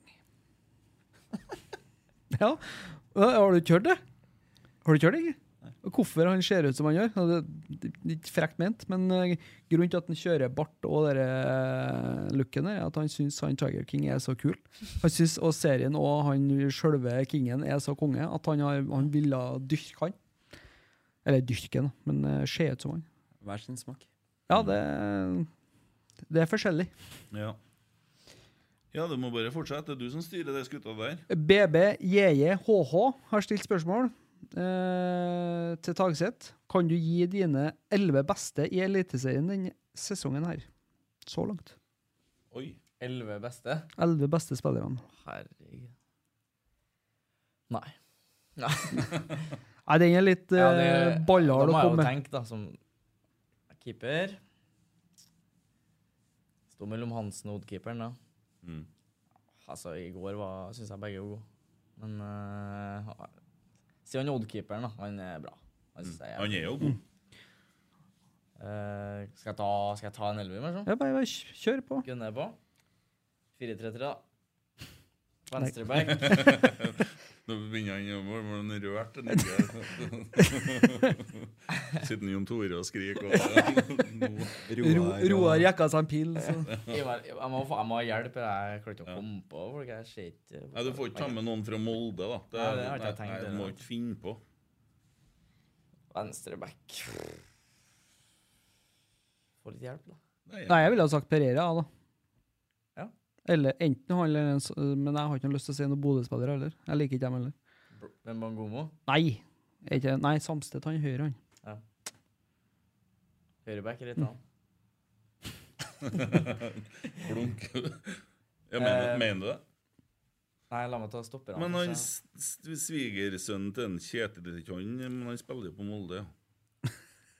D: Ja, Ja, har du ikke hørt det? Har du ikke hørt det, ikke? Hvorfor han ser ut som han gjør? Ja, Det er litt frekt ment, men eh, grunnen til at han kjører bart og den eh, looken der, er at han syns han Tiger King er så kul. Han syns og serien og han sjølve kingen er så konge at han, har, han ville dyrke han. Eller dyrke han, da, men eh, se ut som han.
G: Hver sin smak.
D: Ja, det, det er forskjellig.
B: Ja. ja, du må bare fortsette. Det er du som styrer de skuta der.
D: BBJJHH har stilt spørsmål eh, til Tagseth. Kan du gi dine elleve beste i Eliteserien denne sesongen her? Så langt.
B: Oi.
A: Elleve beste.
D: Elleve beste spillerne.
A: Herregud. Nei. Nei.
D: Nei, den er litt
A: Ja, det-
D: eh, ballhard
A: da må jeg
D: å
A: jo
D: komme med.
A: tenke, da, som keeper. Sto mellom Hansen og Odd-keeperen, da.
B: Mm.
A: Altså, i går var, synes jeg begge var gode. Men uh, siden han Odd-keeperen, da, han er bra. Han, synes jeg
B: Mm, Han er jo god.
A: Eh, skal, jeg ta, skal jeg ta en elver, eller sånn?
D: Ja, bare, bare kjør på.
A: Gunner på. 4-3-3, da.
B: Nei.
A: Venstreback.
B: Nå begynner han å Var det noe rørt? eller ikke? Sitter Jon Tore og skriker og
D: Ro- Roar jekka seg en pil.
A: jeg,
D: Så.
A: var, jeg, må, få- jeg må ha hjelp. Jeg klarer ikke å komme på folk. Jeg ser ikke
B: Nei, Du får ikke ta med noen fra Molde, da.
A: Nei, det har ikke jeg
B: nei,
A: tenkt,
B: nei,
A: det
B: Du må
A: der.
B: ikke finne på.
A: Venstreback. Få litt hjelp, da.
D: Nei, jeg ville ha sagt Pereira, da.
A: Ja.
D: Eller enten han eller en s- Men jeg har ikke noe lyst til å si noen Bodø-spillere heller. Jeg liker ikke dem heller.
A: Men Bangomo?
D: Nei! Er Ikke, nei, Samstedt, han høyre, han.
A: Ja. Høyreback eller tann?
B: Blunk. Ja, mener,
A: Eh,
B: mener du det?
A: Nei, la meg ta stopperne.
B: Men
A: først,
B: han
A: da.
B: s- s- svigersønnen til en Kjetil er ikke han, men han spiller jo på Molde, ja.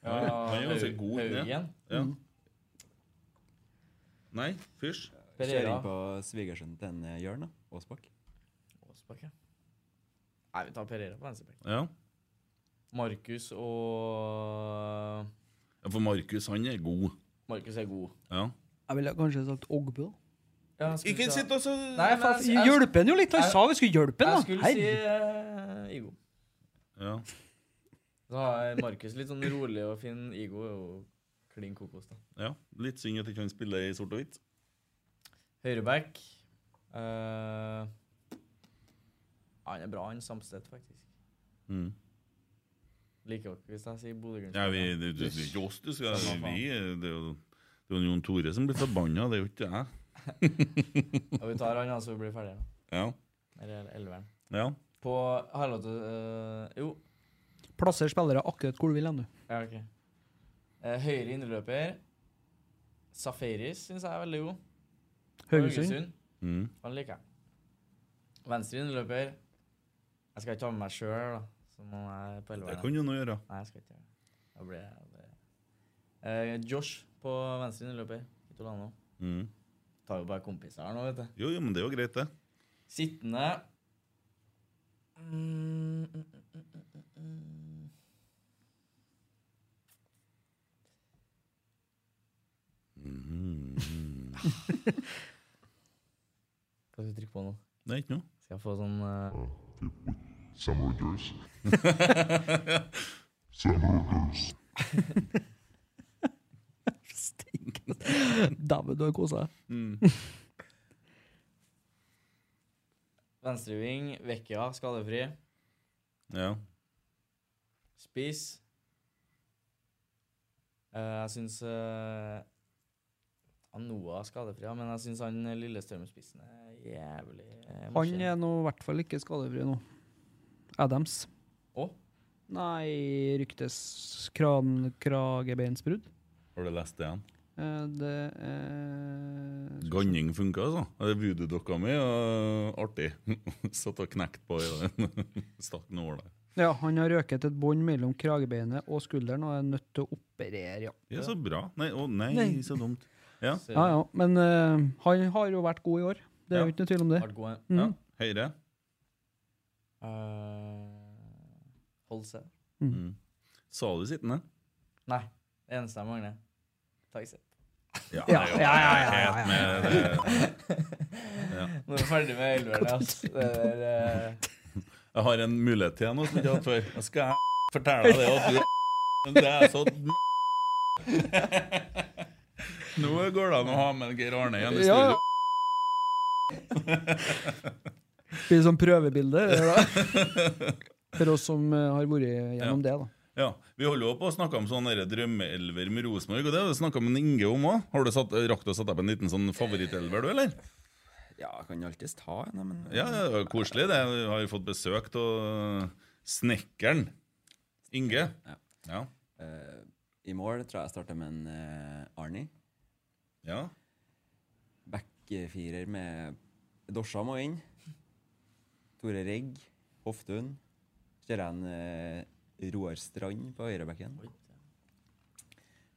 B: Han er- han er ganske
A: Haug-
B: god. han, ja.
A: Haugen.
B: Ja.
A: Mm.
B: Nei, fysj.
G: Ser inn på svigersønnen til en eh, Jørn, da. Aasbakk.
A: Åsbakke. Nei, vi tar Pereira på venstreback.
B: Ja.
A: Markus og
B: Ja, For Markus, han er god.
A: Markus er god.
B: Ja.
D: Jeg ville kanskje sagt Ogbu. da.
A: Ja, skal vi
B: Ikke
A: ta-
B: sitt og så
A: Nei, men
D: faen,
A: jeg- jeg-
D: hjelper han jo litt, han
A: jeg-
D: sa vi skulle hjelpe han, da.
A: Jeg skulle si eh, Igo.
B: Ja.
A: Da har Markus litt sånn rolig og fin. Igo er jo klin kokos, da.
B: ja. Litt synd at ikke han spiller i sort og hvitt.
A: Høyreback. Eh, han er bra, han Samstedt, faktisk.
B: Mm.
A: Liker dere hvis jeg sier Bodø-Glimt?
B: Ja, vi, det, det, det er ikke oss du skal
A: Samme faen.
B: vi, er- Det er jo det er jo Jon Tore som blir forbanna, det er jo ikke jeg.
A: Ja, vi tar han, da, så vi blir ferdige.
B: Ja.
A: da. Eller elveren.
B: ja.
A: På Har jeg lov til øh, Jo.
D: Plasser spillere akkurat hvor du vil hen, du.
A: Ja, ok. Eh, høyre indreløper. Safaris syns jeg er veldig god.
D: Haugesund.
B: Mm.
A: Han liker jeg. Venstre innløper. Jeg skal ikke ha med meg sjøl, da. Så må jeg på elveren.
B: Det kan du nå gjøre.
A: Nei, jeg skal ikke gjøre det. Da blir jeg det. Eh, Josh på venstre innløper. Kitolano.
B: Mm.
A: Tar jo bare kompiser her nå, vet du.
B: Jo, jo, men det er jo greit, det.
A: Sittende Mm, mm, mm, mm, mm, mm. Hva skal du trykke på nå?
B: Nei, ikke noe.
A: Skal jeg få sånn eh,
J: Some orders. Some orders.
D: Dæven, du har kosa deg.
A: Venstreving, Vekkia, skadefri.
B: Ja.
A: Spiss. Eh, jeg syns eh, Noah er skadefri, ja, men jeg syns han eh, Lillestrøm-spissen er jævlig eh,
D: Han
A: morsom.
D: er nå i hvert fall ikke skadefri nå. Adams.
A: Å?
D: Nei, ryktes kran, kragebeinsbrudd.
B: Har du lest det igjen?
D: Eh, Det eh, er
B: Ganning funka, altså. Det er Voodoo-dokka mi og artig. Satt og knekte på i den. Stakk nåla.
D: Ja, han har røket et bånd mellom kragebeinet og skulderen og er nødt til å operere, ja.
B: Ja, så bra. Nei, å nei,
D: Nei.
B: så dumt. Ja.
D: Ja, ja. Men eh, han har jo vært god i år. Det er jo
B: Ja.
D: ikke noe tvil om det.
A: Vært god, ja.
D: Mm.
B: Ja. Høyre.
A: Eh, Holse.
B: Mm. Sa du sittende?
A: Nei. Det eneste jeg mangler. Taxi.
B: Ja,
D: Ja, ja, ja, ja, ja, ja.
B: Helt med det. Ja.
A: Nå er vi ferdig med elverne, ass. Det der eh,
B: Jeg har en mulighet til nå som jeg ikke har hatt før. Jeg skal jeg fortelle deg det at du Det er så Nå går det an å ha med Geir Arne igjen i
D: Ja, ja.
B: studio.
D: Blir det sånn prøvebilde? eller da? For oss som eh, har vært gjennom det, da.
B: Ja, Vi holder jo på å snakke om sånne der drømmeelver med Rosenborg. og Det har vi snakka med Inge om òg. Har du satt, rakk du å sette opp en liten sånn favorittelver, du, eller?
G: Ja, jeg kan jo alltids ta en, da, men
B: Ja, det var koselig. det. Vi har jo fått besøk av snekkeren Inge. Ja.
G: Eh, I mål tror jeg jeg starter med en eh, Arnie.
B: Ja.
G: Backfirer med Dorsa må inn. Tore Rigg, Hoftun. Kjører jeg en eh, Roar Strand på høyrebekken.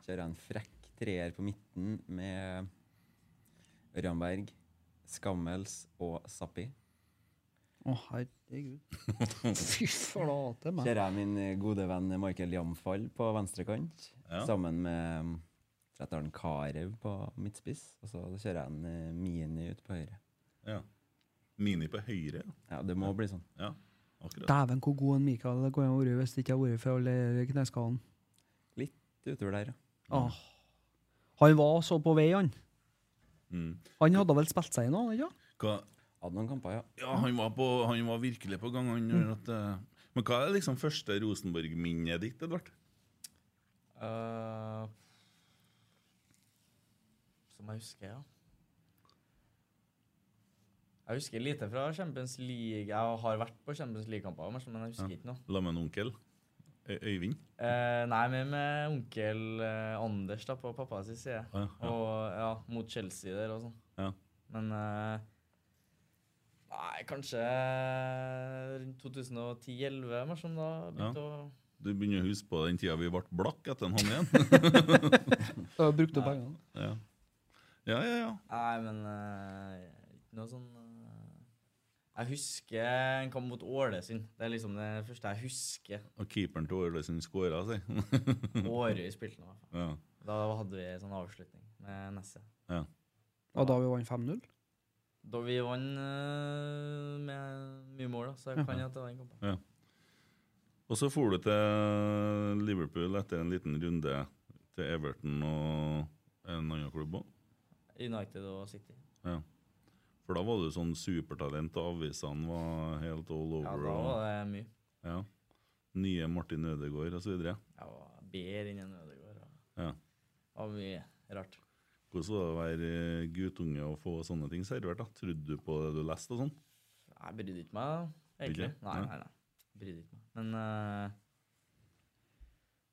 G: Kjører jeg en frekk treer på midten med Ørjan Berg, Skammels og Sappi.
D: Å, herregud. Fy flate meg.
G: eh, Kjører jeg min gode venn Michael Jamfall på venstre kant,
D: Ja.
G: sammen med Så jeg tar en Karev på midtspiss, og så kjører jeg en eh, Mini ut på høyre.
B: Ja. Mini på høyre?
G: Ja, det må bli sånn.
B: Ja, akkurat.
D: Dæven, hvor god en Mikael det kunne ha vært hvis det ikke hadde vært for alle kneskallene.
G: Litt utover der, ja.
D: Ah. Han var så på vei, han.
B: Mm.
D: Han hadde vel spilt seg inn òg, ikke sant?
B: Hva?
G: Hadde noen kamper, ja.
B: Ja, han var, på, han var virkelig på gang. Han, gjorde at, eh, men hva er liksom første Rosenborg-minnet ditt, Edvard?
A: Eh, som jeg husker, ja. Jeg husker lite fra Champions League. Jeg har vært på Champions League-kamper, men jeg husker ikke noe.
B: La meg en onkel. Øy- Øyvind?
A: Eh, nei, men med onkel eh, Anders da, på pappas side.
B: Ja, ja.
A: Og ja, mot Chelsea der og sånn.
B: Ja.
A: Men eh, Nei, kanskje eh, rundt 2010-2011, eller sånn da.
B: Ja.
A: Begynte å
B: Du begynner å huske på den tida vi ble blakk etter han igjen?
D: Da brukte du pengene.
B: Ja. ja, ja, ja.
A: Nei, men eh, ikke noe sånn eh, Jeg husker en kamp mot Ålesund. Det er liksom det første jeg husker.
B: Og keeperen til Ålesund skåra, si.
A: Årøy spilte nå. i hvert fall.
B: Ja.
A: Da hadde vi en sånn avslutning med Nesse.
D: Og da vi vant 5-0?
A: Da vi vant eh, med mye mål, da, så jeg kan jo at det var en kamp.
B: Ja. Og så for du til Liverpool etter en liten runde til Everton og en annen klubb òg.
A: United og City.
B: Ja. For da var du sånn supertalent, og avisene var helt all
A: Ja,
B: over.
A: da
B: og-
A: var det mye.
B: Ja. Nye Martin Ødegaard osv.
A: Jeg var bedre enn en Ødegaard. og
B: Ja.
A: Det var mye rart.
B: Hvordan var det å være guttunge og få sånne ting servert? da? Trodde du på det du leste og sånn?
A: Jeg brydde ikke meg, egentlig.
B: Ikke?
A: Nei,
B: Nei.
A: nei, nei. Brydde ikke meg. Men eh,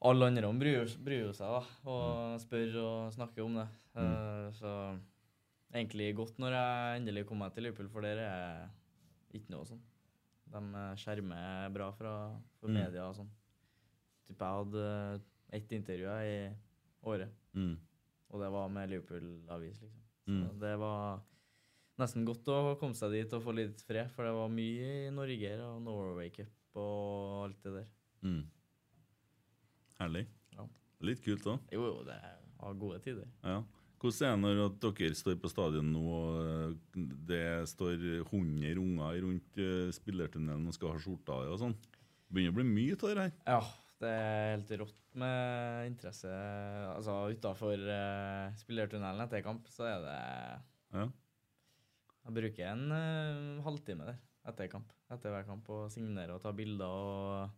A: alle andre om bryr, bryr jo seg, da. Og spør og snakker om det. Eh, så egentlig godt når jeg endelig kom meg til Liverpool, for der er ikke noe sånn. De eh, skjermer bra fra for
B: Mm.
A: media og sånn. Typ jeg hadde eh, ett intervju jeg i året,
B: Mm.
A: og det var med Liverpool-avis, liksom. Så
B: Mm.
A: det var nesten godt å komme seg dit og få litt fred, for det var mye i Norge her, og Norway Cup og alt det der.
B: Mm. Herlig.
A: Ja.
B: Litt kult òg.
A: Jo, jo, det var gode tider.
B: Ja. Hvordan er det når at dere står på stadion nå, og eh, det står 100 unger rundt eh, spillertunnelen og skal ha skjorta og sånn? Det begynner å bli mye av det her.
A: Ja, det er helt rått med interesse. Altså utafor uh, spillertunnelen etter kamp, så er det
B: Ja.
A: Jeg bruker en eh, halvtime der etter kamp. Etter hver kamp og signere og ta bilder og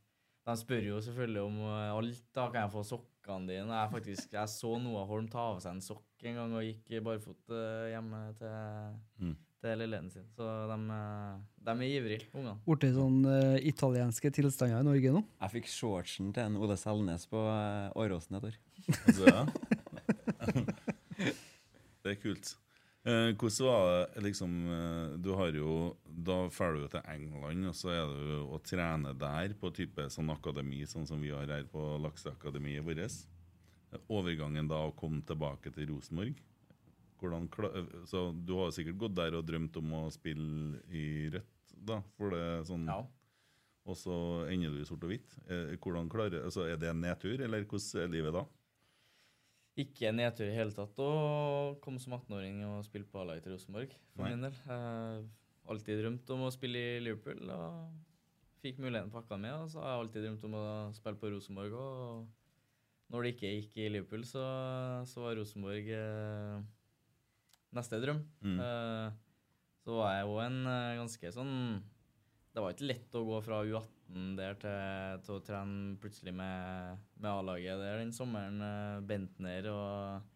A: de spør jo selvfølgelig om eh, alt. da Kan jeg få sokkene dine? Jeg, faktisk, jeg så Noah Holm ta av seg en sokk en gang og gikk barfot eh, hjemme til,
B: Mm.
A: til lilleheten sin. Så de, eh, de er ivrige, ungene.
D: Blitt sånn eh, italienske tilstander i Norge nå?
G: Jeg fikk shortsen til en Ole Selnes på eh, Åråsen et år.
B: Altså, ja. Det er kult. Eh, hvordan var det liksom eh, Du har jo Da drar du jo til England, og så er du jo og trener der på type sånn akademi, sånn som vi har her på Lakseakademiet vårt. Eh, Overgangen da å komme tilbake til Rosenborg hvordan, kla- eh, Så du har sikkert gått der og drømt om å spille i rødt, da? For det er sånn Og så ender du i sort og hvitt. Eh, Hvordan klarer, altså, er det en nedtur, eller hvordan er livet da?
A: ikke en nedtur i det hele tatt å komme som 18-åring og spille på A-laget til Rosenborg, for
B: Nei.
A: min del. Uh, alltid drømt om å spille i Liverpool, og fikk muligheten pakka med. Og så har jeg alltid drømt om å spille på Rosenborg òg. Når det ikke gikk i Liverpool, så, så var Rosenborg eh, neste drøm.
B: Mm.
A: Eh, så var jeg òg en eh, ganske sånn Det var ikke lett å gå fra U18 der til, til å trene plutselig med, med A-laget der den sommeren. eh, Bentner og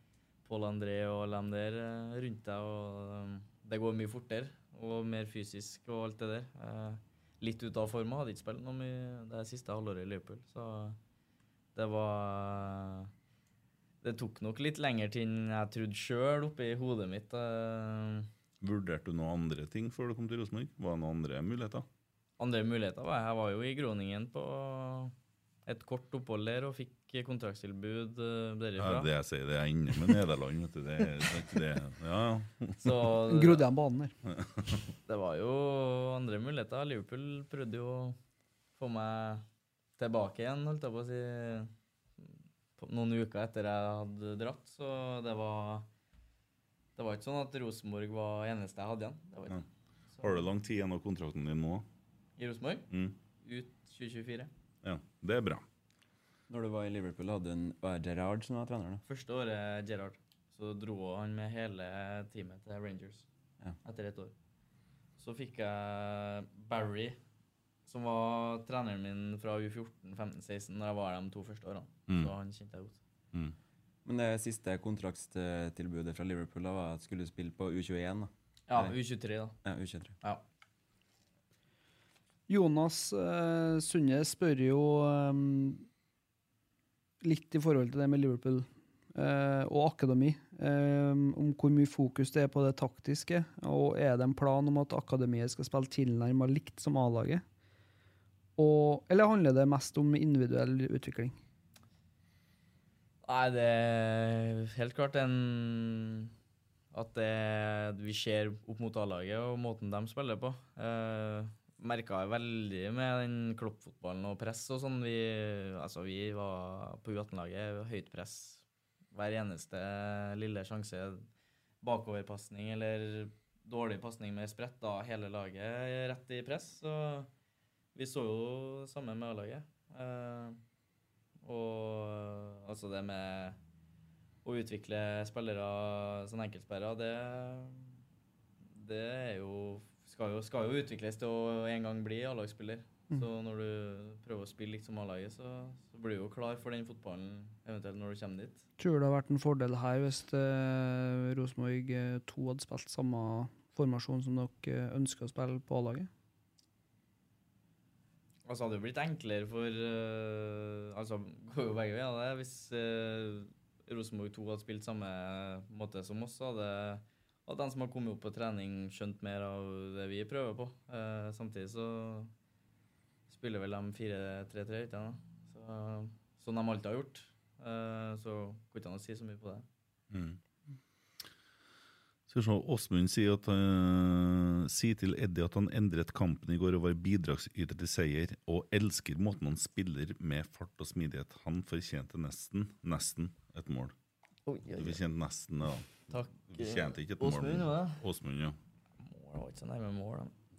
A: Pål André og alle dem der eh, rundt deg. Og eh, det går mye fortere og mer fysisk og alt det der. Eh, litt ut av forma, hadde ikke spilt noe mye det siste halvåret i Liverpool. så... Det var eh, Det tok nok litt lengre tid enn jeg trodde sjøl oppi hodet mitt. eh.
B: Vurderte du noen andre ting før du kom til Rosenborg? Var det noen andre muligheter?
A: Andre muligheter var Jeg var jo i Groningen på et kort opphold der og fikk kontraktstilbud eh, derifra.
B: Ja, det jeg sier, det er inne med Nederland, vet du. Det, er- det, er ikke det, ja. ja.
A: Så-
D: Grodde igjen banen der.
A: Det var jo andre muligheter. Liverpool prøvde jo å få meg tilbake igjen, holdt jeg på å si. på noen uker etter jeg hadde dratt, så det var Det var ikke sånn at Rosenborg var eneste jeg hadde igjen. Det var
B: Nei.
A: ikke.
B: Har du lang tid igjen av kontrakten din nå?
A: I Rosenborg?
B: Mm.
A: Ut 2024.
B: Ja, det er bra.
G: Når du var i Liverpool, hadde en, var det Gerrard som var trener? da?
A: Første året Gerrard, så dro han med hele teamet til Rangers
G: Ja.
A: etter et år. Så fikk jeg Barry, som var treneren min fra U14, 15, 16, da jeg var der de to første årene.
G: Mm.
A: Så han kjente jeg godt.
G: Men det siste kontraktstilbudet fra Liverpool da var at skulle du spille på U21. da.
A: Ja,
G: Eller-
A: U23 da.
G: Ja, U23.
D: Jonas eh, Sunde spør jo eh, litt i forhold til det med Liverpool eh, og akademi. eh, om hvor mye fokus det er på det taktiske, og er det en plan om at akademiet skal spille tilnærma likt som A-laget? Og, eller handler det mest om individuell utvikling?
A: Nei, det er helt klart en At det, vi ser opp mot A-laget og måten de spiller på. Eh, Merka jeg veldig med den kloppfotballen og press og sånn. Vi, altså, vi var på U18-laget, høyt press. Hver eneste lille sjanse, bakoverpasning eller dårlig pasning med sprett, da hele laget rett i press. Så vi så jo det samme med A-laget. Eh, og altså det med å utvikle spillere som enkeltspillere, det, det er jo skal, jo skal jo utvikles til å en gang bli A-lagsspiller.
D: Mm.
A: Så når du prøver å spille litt som A-laget, så, så blir du jo klar for den fotballen eventuelt når du kommer dit.
D: Tror du det har vært en fordel her hvis eh, Rosenborg 2 hadde spilt samme formasjon som dere eh, ønsker å spille på A-laget?
A: Altså, det hadde jo blitt enklere for eh, Altså, går jo begge veier, det. Hvis eh, Rosenborg 2 hadde spilt samme måte som oss, så hadde, hadde de som har kommet opp på trening, skjønt mer av det vi prøver på. Eh, samtidig så spiller vel de 4-3-3, ikke sant? Så, som de alltid har gjort. Eh, så går ikke an å si så mye på det.
B: Skal vi se, Åsmund sier at eh, sier til Eddie at han endret kampen i går og var bidragsyter til seier, og elsker måten han spiller med fart og smidighet. Han fortjente nesten, nesten et mål.
A: Oi, oi, oi.
B: Du fortjente nesten, ja.
A: Takk,
B: Du fortjente ikke et mål.
A: Åsmund,
B: men-
A: var det?
B: Åsmund, ja.
A: Mål var ikke så nærme mål, da.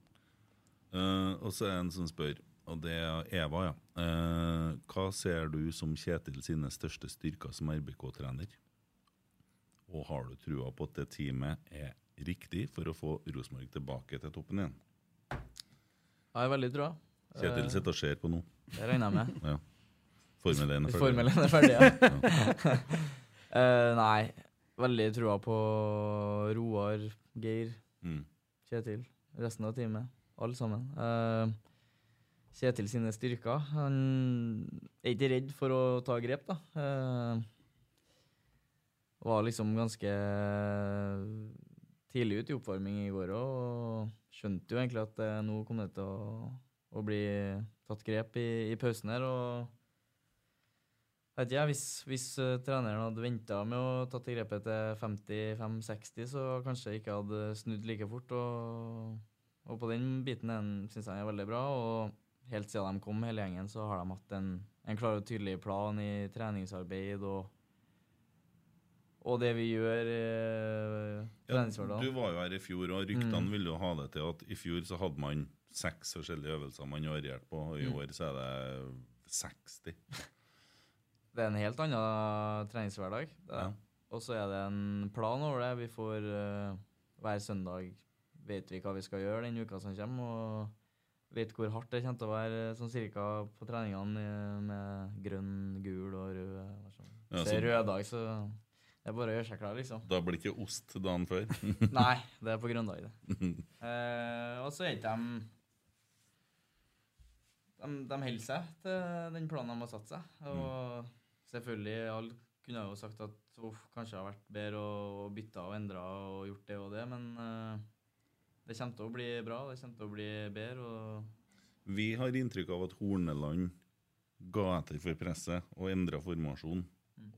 B: Eh, og så er det en som spør, og det er Eva, ja. Eh, hva ser du som Kjetil sine største styrker som RBK-trener? Og har du trua på at det teamet er riktig for å få Rosenborg tilbake til toppen igjen?
A: Jeg har veldig trua. Eh,
B: Kjetil sitter og ser på nå.
A: Det regner jeg med.
B: ja. Formel 1 er ferdig.
A: Formel 1 er ferdig, ja.
B: Ja.
A: Eh, nei, veldig trua på Roar, Geir,
B: Mm.
A: Kjetil, resten av teamet. Alle sammen. Eh, Kjetil sine styrker. Han er ikke redd for å ta grep, da. Eh, var liksom ganske tidlig ute i oppvarming i går òg, og skjønte jo egentlig at eh, nå kom det til å, å bli tatt grep i, i pausen her. og Vet ikke jeg, hvis, hvis eh, treneren hadde venta med å ta til grepet til 55-60, så kanskje jeg ikke hadde snudd like fort. Og, og på den biten syns jeg han er veldig bra. Og helt siden de kom, hele gjengen, så har de hatt en, en klar og tydelig plan i treningsarbeid og, og det vi gjør eh,
B: Ja,
A: treningshverdagen.
B: du var jo her i fjor, og ryktene
A: Mm.
B: ville jo ha det til at i fjor så hadde man seks forskjellige øvelser man varierte på, og i
A: Mm.
B: år så er det 60.
A: Det er en helt annen treningshverdag. det er.
B: Ja.
A: Og så er det en plan over det. Vi får eh, hver søndag vet vi hva vi skal gjøre den uka som kommer, og vet hvor hardt det kommer til å være eh, sånn cirka på treningene eh, med grønn, gul og rød. eller sånn.
B: Ja,
A: så det
B: så-
A: er rød dag, så det er bare å gjøre seg klar, liksom.
B: Da blir det ikke ost dagen før.
A: Nei, det er på grønndag, det. Eh, og så er ikke de de, de holder seg til den planen de har satt seg. Og selvfølgelig, alle kunne jo sagt at uff, kanskje det har vært bedre å bytte og endre og gjort det og det, men eh, det kommer til å bli bra, det kommer til å bli bedre. og
B: Vi har inntrykk av at Horneland ga etter for presset og endra formasjon.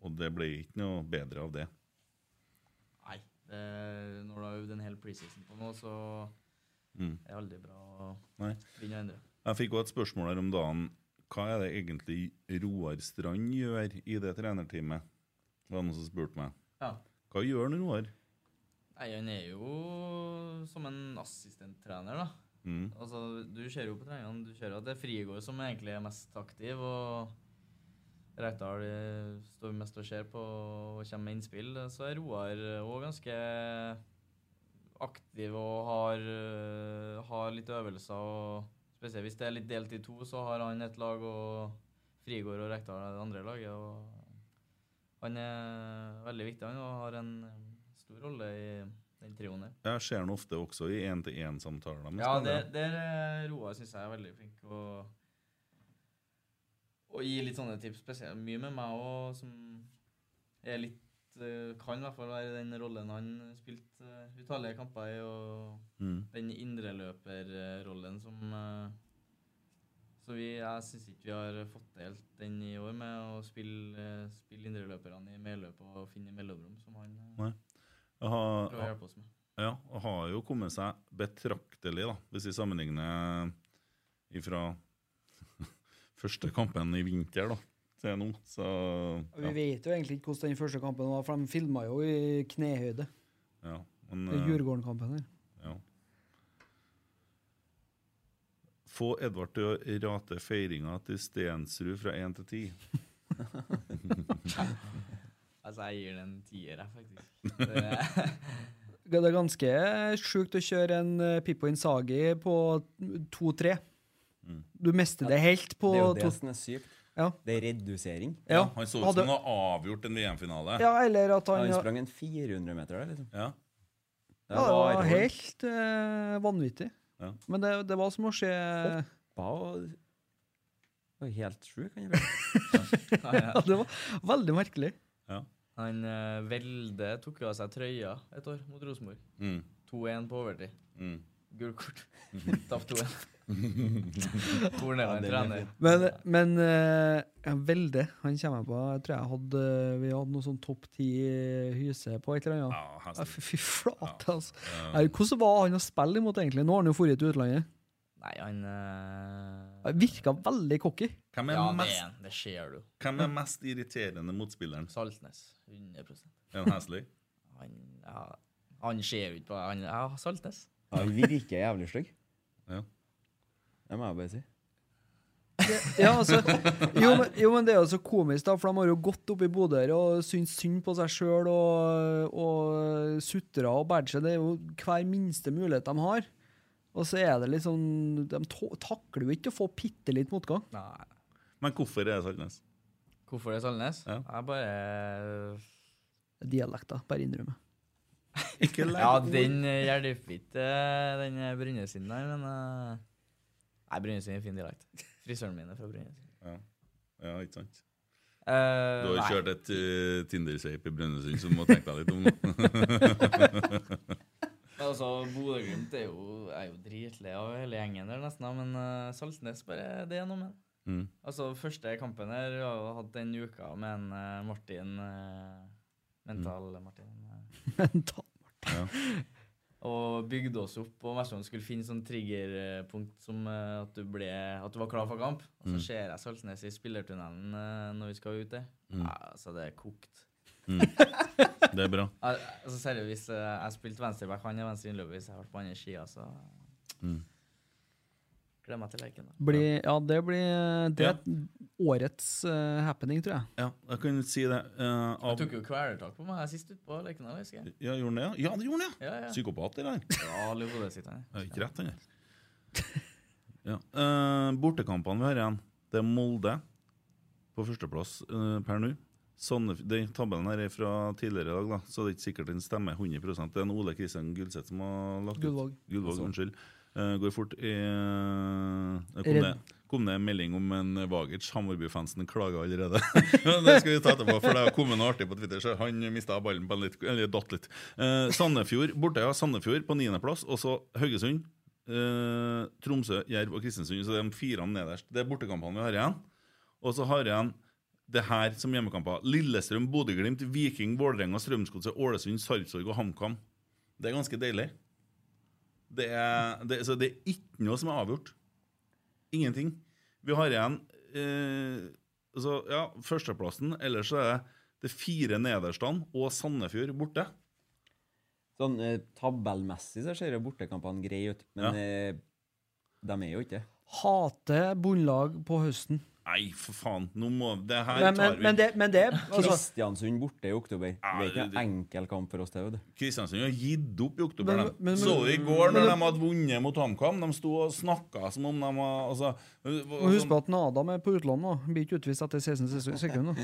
B: Og det ble ikke noe bedre av det.
A: Nei, det, når du har øvd en hel preseason på noe, så
B: Mm.
A: er det aldri bra å
B: Nei.
A: begynne å endre.
B: Jeg fikk også et spørsmål her om dagen. hva er det egentlig Roar Strand gjør i det trenerteamet? Det var noen som spurte meg.
A: Ja.
B: Hva gjør han, Roar?
A: Nei, han er jo som en assistenttrener, da.
B: Mm.
A: Altså, du ser jo på treningene du ser jo at det er Frigård som egentlig er mest aktiv. og Reitar eh, står mest og ser på og kommer med innspill. Så er Roar òg ganske aktiv og har, eh, har litt øvelser. og spesielt Hvis det er litt delt i to, så har han et lag, og Frigård og Rekdal er det andre laget. og Han er veldig viktig han, og har en stor rolle i den trioen der.
B: Jeg ser han ofte også i én-til-én-samtaler. med
A: Ja,
B: spillere.
A: der, der eh, Roar syns jeg er veldig flink å, å gi litt sånne tips. Spesielt mye med meg òg, som er litt eh, Kan i hvert fall være den rollen han spilte eh, utallige kamper i, og
B: Mm.
A: den indreløperrollen som eh, Så vi, jeg syns ikke vi har fått til helt den i år, med å spille, eh, spille indreløperne i medløp og finne mellomrom, som han eh,
B: Nei. Jeg har,
A: prøver å hjelpe oss med.
B: Ja, og har jo kommet seg betraktelig, da, hvis vi sammenligner eh, ifra første kampen i vinter da, til nå. Så
D: Vi
B: ja.
D: vet jo egentlig ikke hvordan den første kampen var, for de filma jo i knehøyde.
B: ja men,
D: Det er
B: eh,
D: Djurgården-kampen her.
B: Ja. Få Edvard til å rate feiringa til Stensrud fra 1 til 10.
A: Altså, jeg gir den en tier, jeg, faktisk. Det,
D: Det er ganske sjukt å kjøre en eh, Pippo Insagi på 2-3. Du mister det helt på
G: Mm. Det er jo det
D: to-
G: som er sykt.
D: Ja.
G: Det er redusering.
D: Ja.
B: Han så ut
D: Hadde-
B: som han har avgjort en VM-finale.
D: Ja, eller at han-
G: sprang en 400 meter der, liksom.
B: Ja.
D: Ja, det var helt eh, vanvittig.
B: Ja.
D: Men det, det var som å se
G: Det var helt sjuk, han ble.
A: Ja, ja.
D: Ja, det var veldig merkelig.
A: Han eh, Velde tok jo av seg trøya et år mot Rosenborg.
B: Mm.
A: 2-1 på overtid.
B: Mm.
A: Gult kort. Tapt 2-1. Torne var en trener.
D: Men, men eh, ja, Velde, han kommer jeg på Jeg tror jeg hadde vi hadde noe sånn topp ti hyse på et eller
B: annet.
D: Ja, fy fy flate, altså. Nei, Hvordan var han å spille imot, egentlig? Nå har han jo dratt til utlandet.
A: Nei, han eh,
D: Han Virka veldig cocky.
B: Hvem er
A: Ja, det
B: mest-
A: er han. Det ser du.
B: Hvem er mest irriterende motspilleren?
A: Saltnes. 100
B: Er han Hesseløy?
A: Han, ja, han ser jo ikke på han, Ja, Saltnes.
G: Han virker jævlig stygg.
B: Ja.
G: Det må jeg bare si.
D: Ja, altså, jo, men, jo, men det er jo så komisk, da, for de har jo gått opp i Bodø her og syntes synd på seg sjøl og, og sutra og bært seg. Det er jo hver minste mulighet de har. Og så er det litt sånn De ta- takler jo ikke å få bitte litt motgang.
A: Nei.
B: Men hvorfor er det Saltnes?
A: Hvorfor det er Saltnes? Jeg bare
D: Dialekta, bare innrømme.
A: Ja, den eh, hjelper ikke, eh, den eh, Brynesen der, men eh, Nei, Brynesen er en fin dialekt. Frisøren min er fra Brynesen.
B: Ja. ja, ikke sant? Du
A: Eh,
B: har jo
A: nei.
B: kjørt et uh, Tinder-shape i Brønnøysund, så du må tenke deg litt om. nå.
A: Altså, Bodø-Glimt er jo, er jo dritlei av hele gjengen der, nesten, da, men eh, Saltnes bare det er noe med det.
B: Mm.
A: Altså, første kampen her vi har jo hatt den uka med en eh, Martin eh, Mental
B: Mm.
A: Martin. eh. Og bygde oss opp, og Messon skulle finne sånn triggerpunkt som eh, at, du ble, at du var klar for kamp. Og så
B: Mm.
A: ser jeg Saltnes i spillertunnelen eh, når vi skal ut der.
B: Mm.
A: Ja, altså, det er kokt.
B: Mm. Det er bra.
A: Al- Altså seriøst, hvis eh, jeg spilte venstreback, han er venstre innløper, hvis jeg har vært på andre skia, så
B: Mm.
A: gleder meg til leken. da.
D: Blir- ja, det blir Det er årets eh, happening, tror jeg.
B: Ja, jeg kan jo si det. eh, av...
A: Han tok jo kvelertak på meg sist ute på leken. da, husker jeg.
B: Ja, gjorde han det? Ja, Ja, det gjorde han,
A: Ja, ja.
B: Psykopat, det der.
A: Ja, alle i hodet sitt, han.
B: Ja, ikke rett, han der. Ja. eh, bortekampene vi har igjen, det er Molde på førsteplass eh, per nå. Sandef- Den tabellen her er fra tidligere i dag, da, så det er ikke sikkert den stemmer 100 Det er en Ole Kristian Gulseth som har lagt
D: Gullvåg.
B: ut. Gullvåg.
D: Altså.
B: Unnskyld. Eh, går fort i Det kom,
D: Redd.
B: det, kom det en melding om en Vagic. Hammarby-fansen klager allerede. det skal vi ta etterpå, for det har kommet noe artig på Twitter. Så han mista ballen på en litt, eller datt litt. Eh, Sandefjord borte, ja. Sandefjord på niendeplass. Og så Haugesund, eh, Tromsø, Jerv og Kristiansund. Så det er de fire nederst. Det er bortekampene vi har igjen. Og så har jeg igjen det her som hjemmekamper. Lillestrøm, Bodø-Glimt, Viking, Vålerenga, Strømsgodset, Ålesund, Sarpsborg og HamKam. Det er ganske deilig. Det er, det, så det er ikke noe som er avgjort. Ingenting. Vi har igjen eh, altså, ja, Førsteplassen, ellers så er det de fire nederstene og Sandefjord borte.
G: Sånn eh, tabellmessig så ser jo bortekampene greie ut, men
B: Ja.
G: eh, de er jo ikke det.
D: Hater bondelag på høsten.
B: Nei, for faen! Nå må, det her
D: Men,
B: tar
D: men,
B: vi
D: men, det, men det altså,
G: Kristiansund borte i oktober. det er ikke
B: det-
G: en enkel kamp for oss, det. vet du.
B: Kristiansund har gitt opp i oktober.
G: Men-
B: dem.
G: men- men-
B: så du i går
G: men-
B: når de hadde vunnet mot HamKam? De sto og snakka som om de var altså,
D: må huske på at en Adam er på utlandet nå. Han Blir ikke utvist etter 16 ses- sekunder.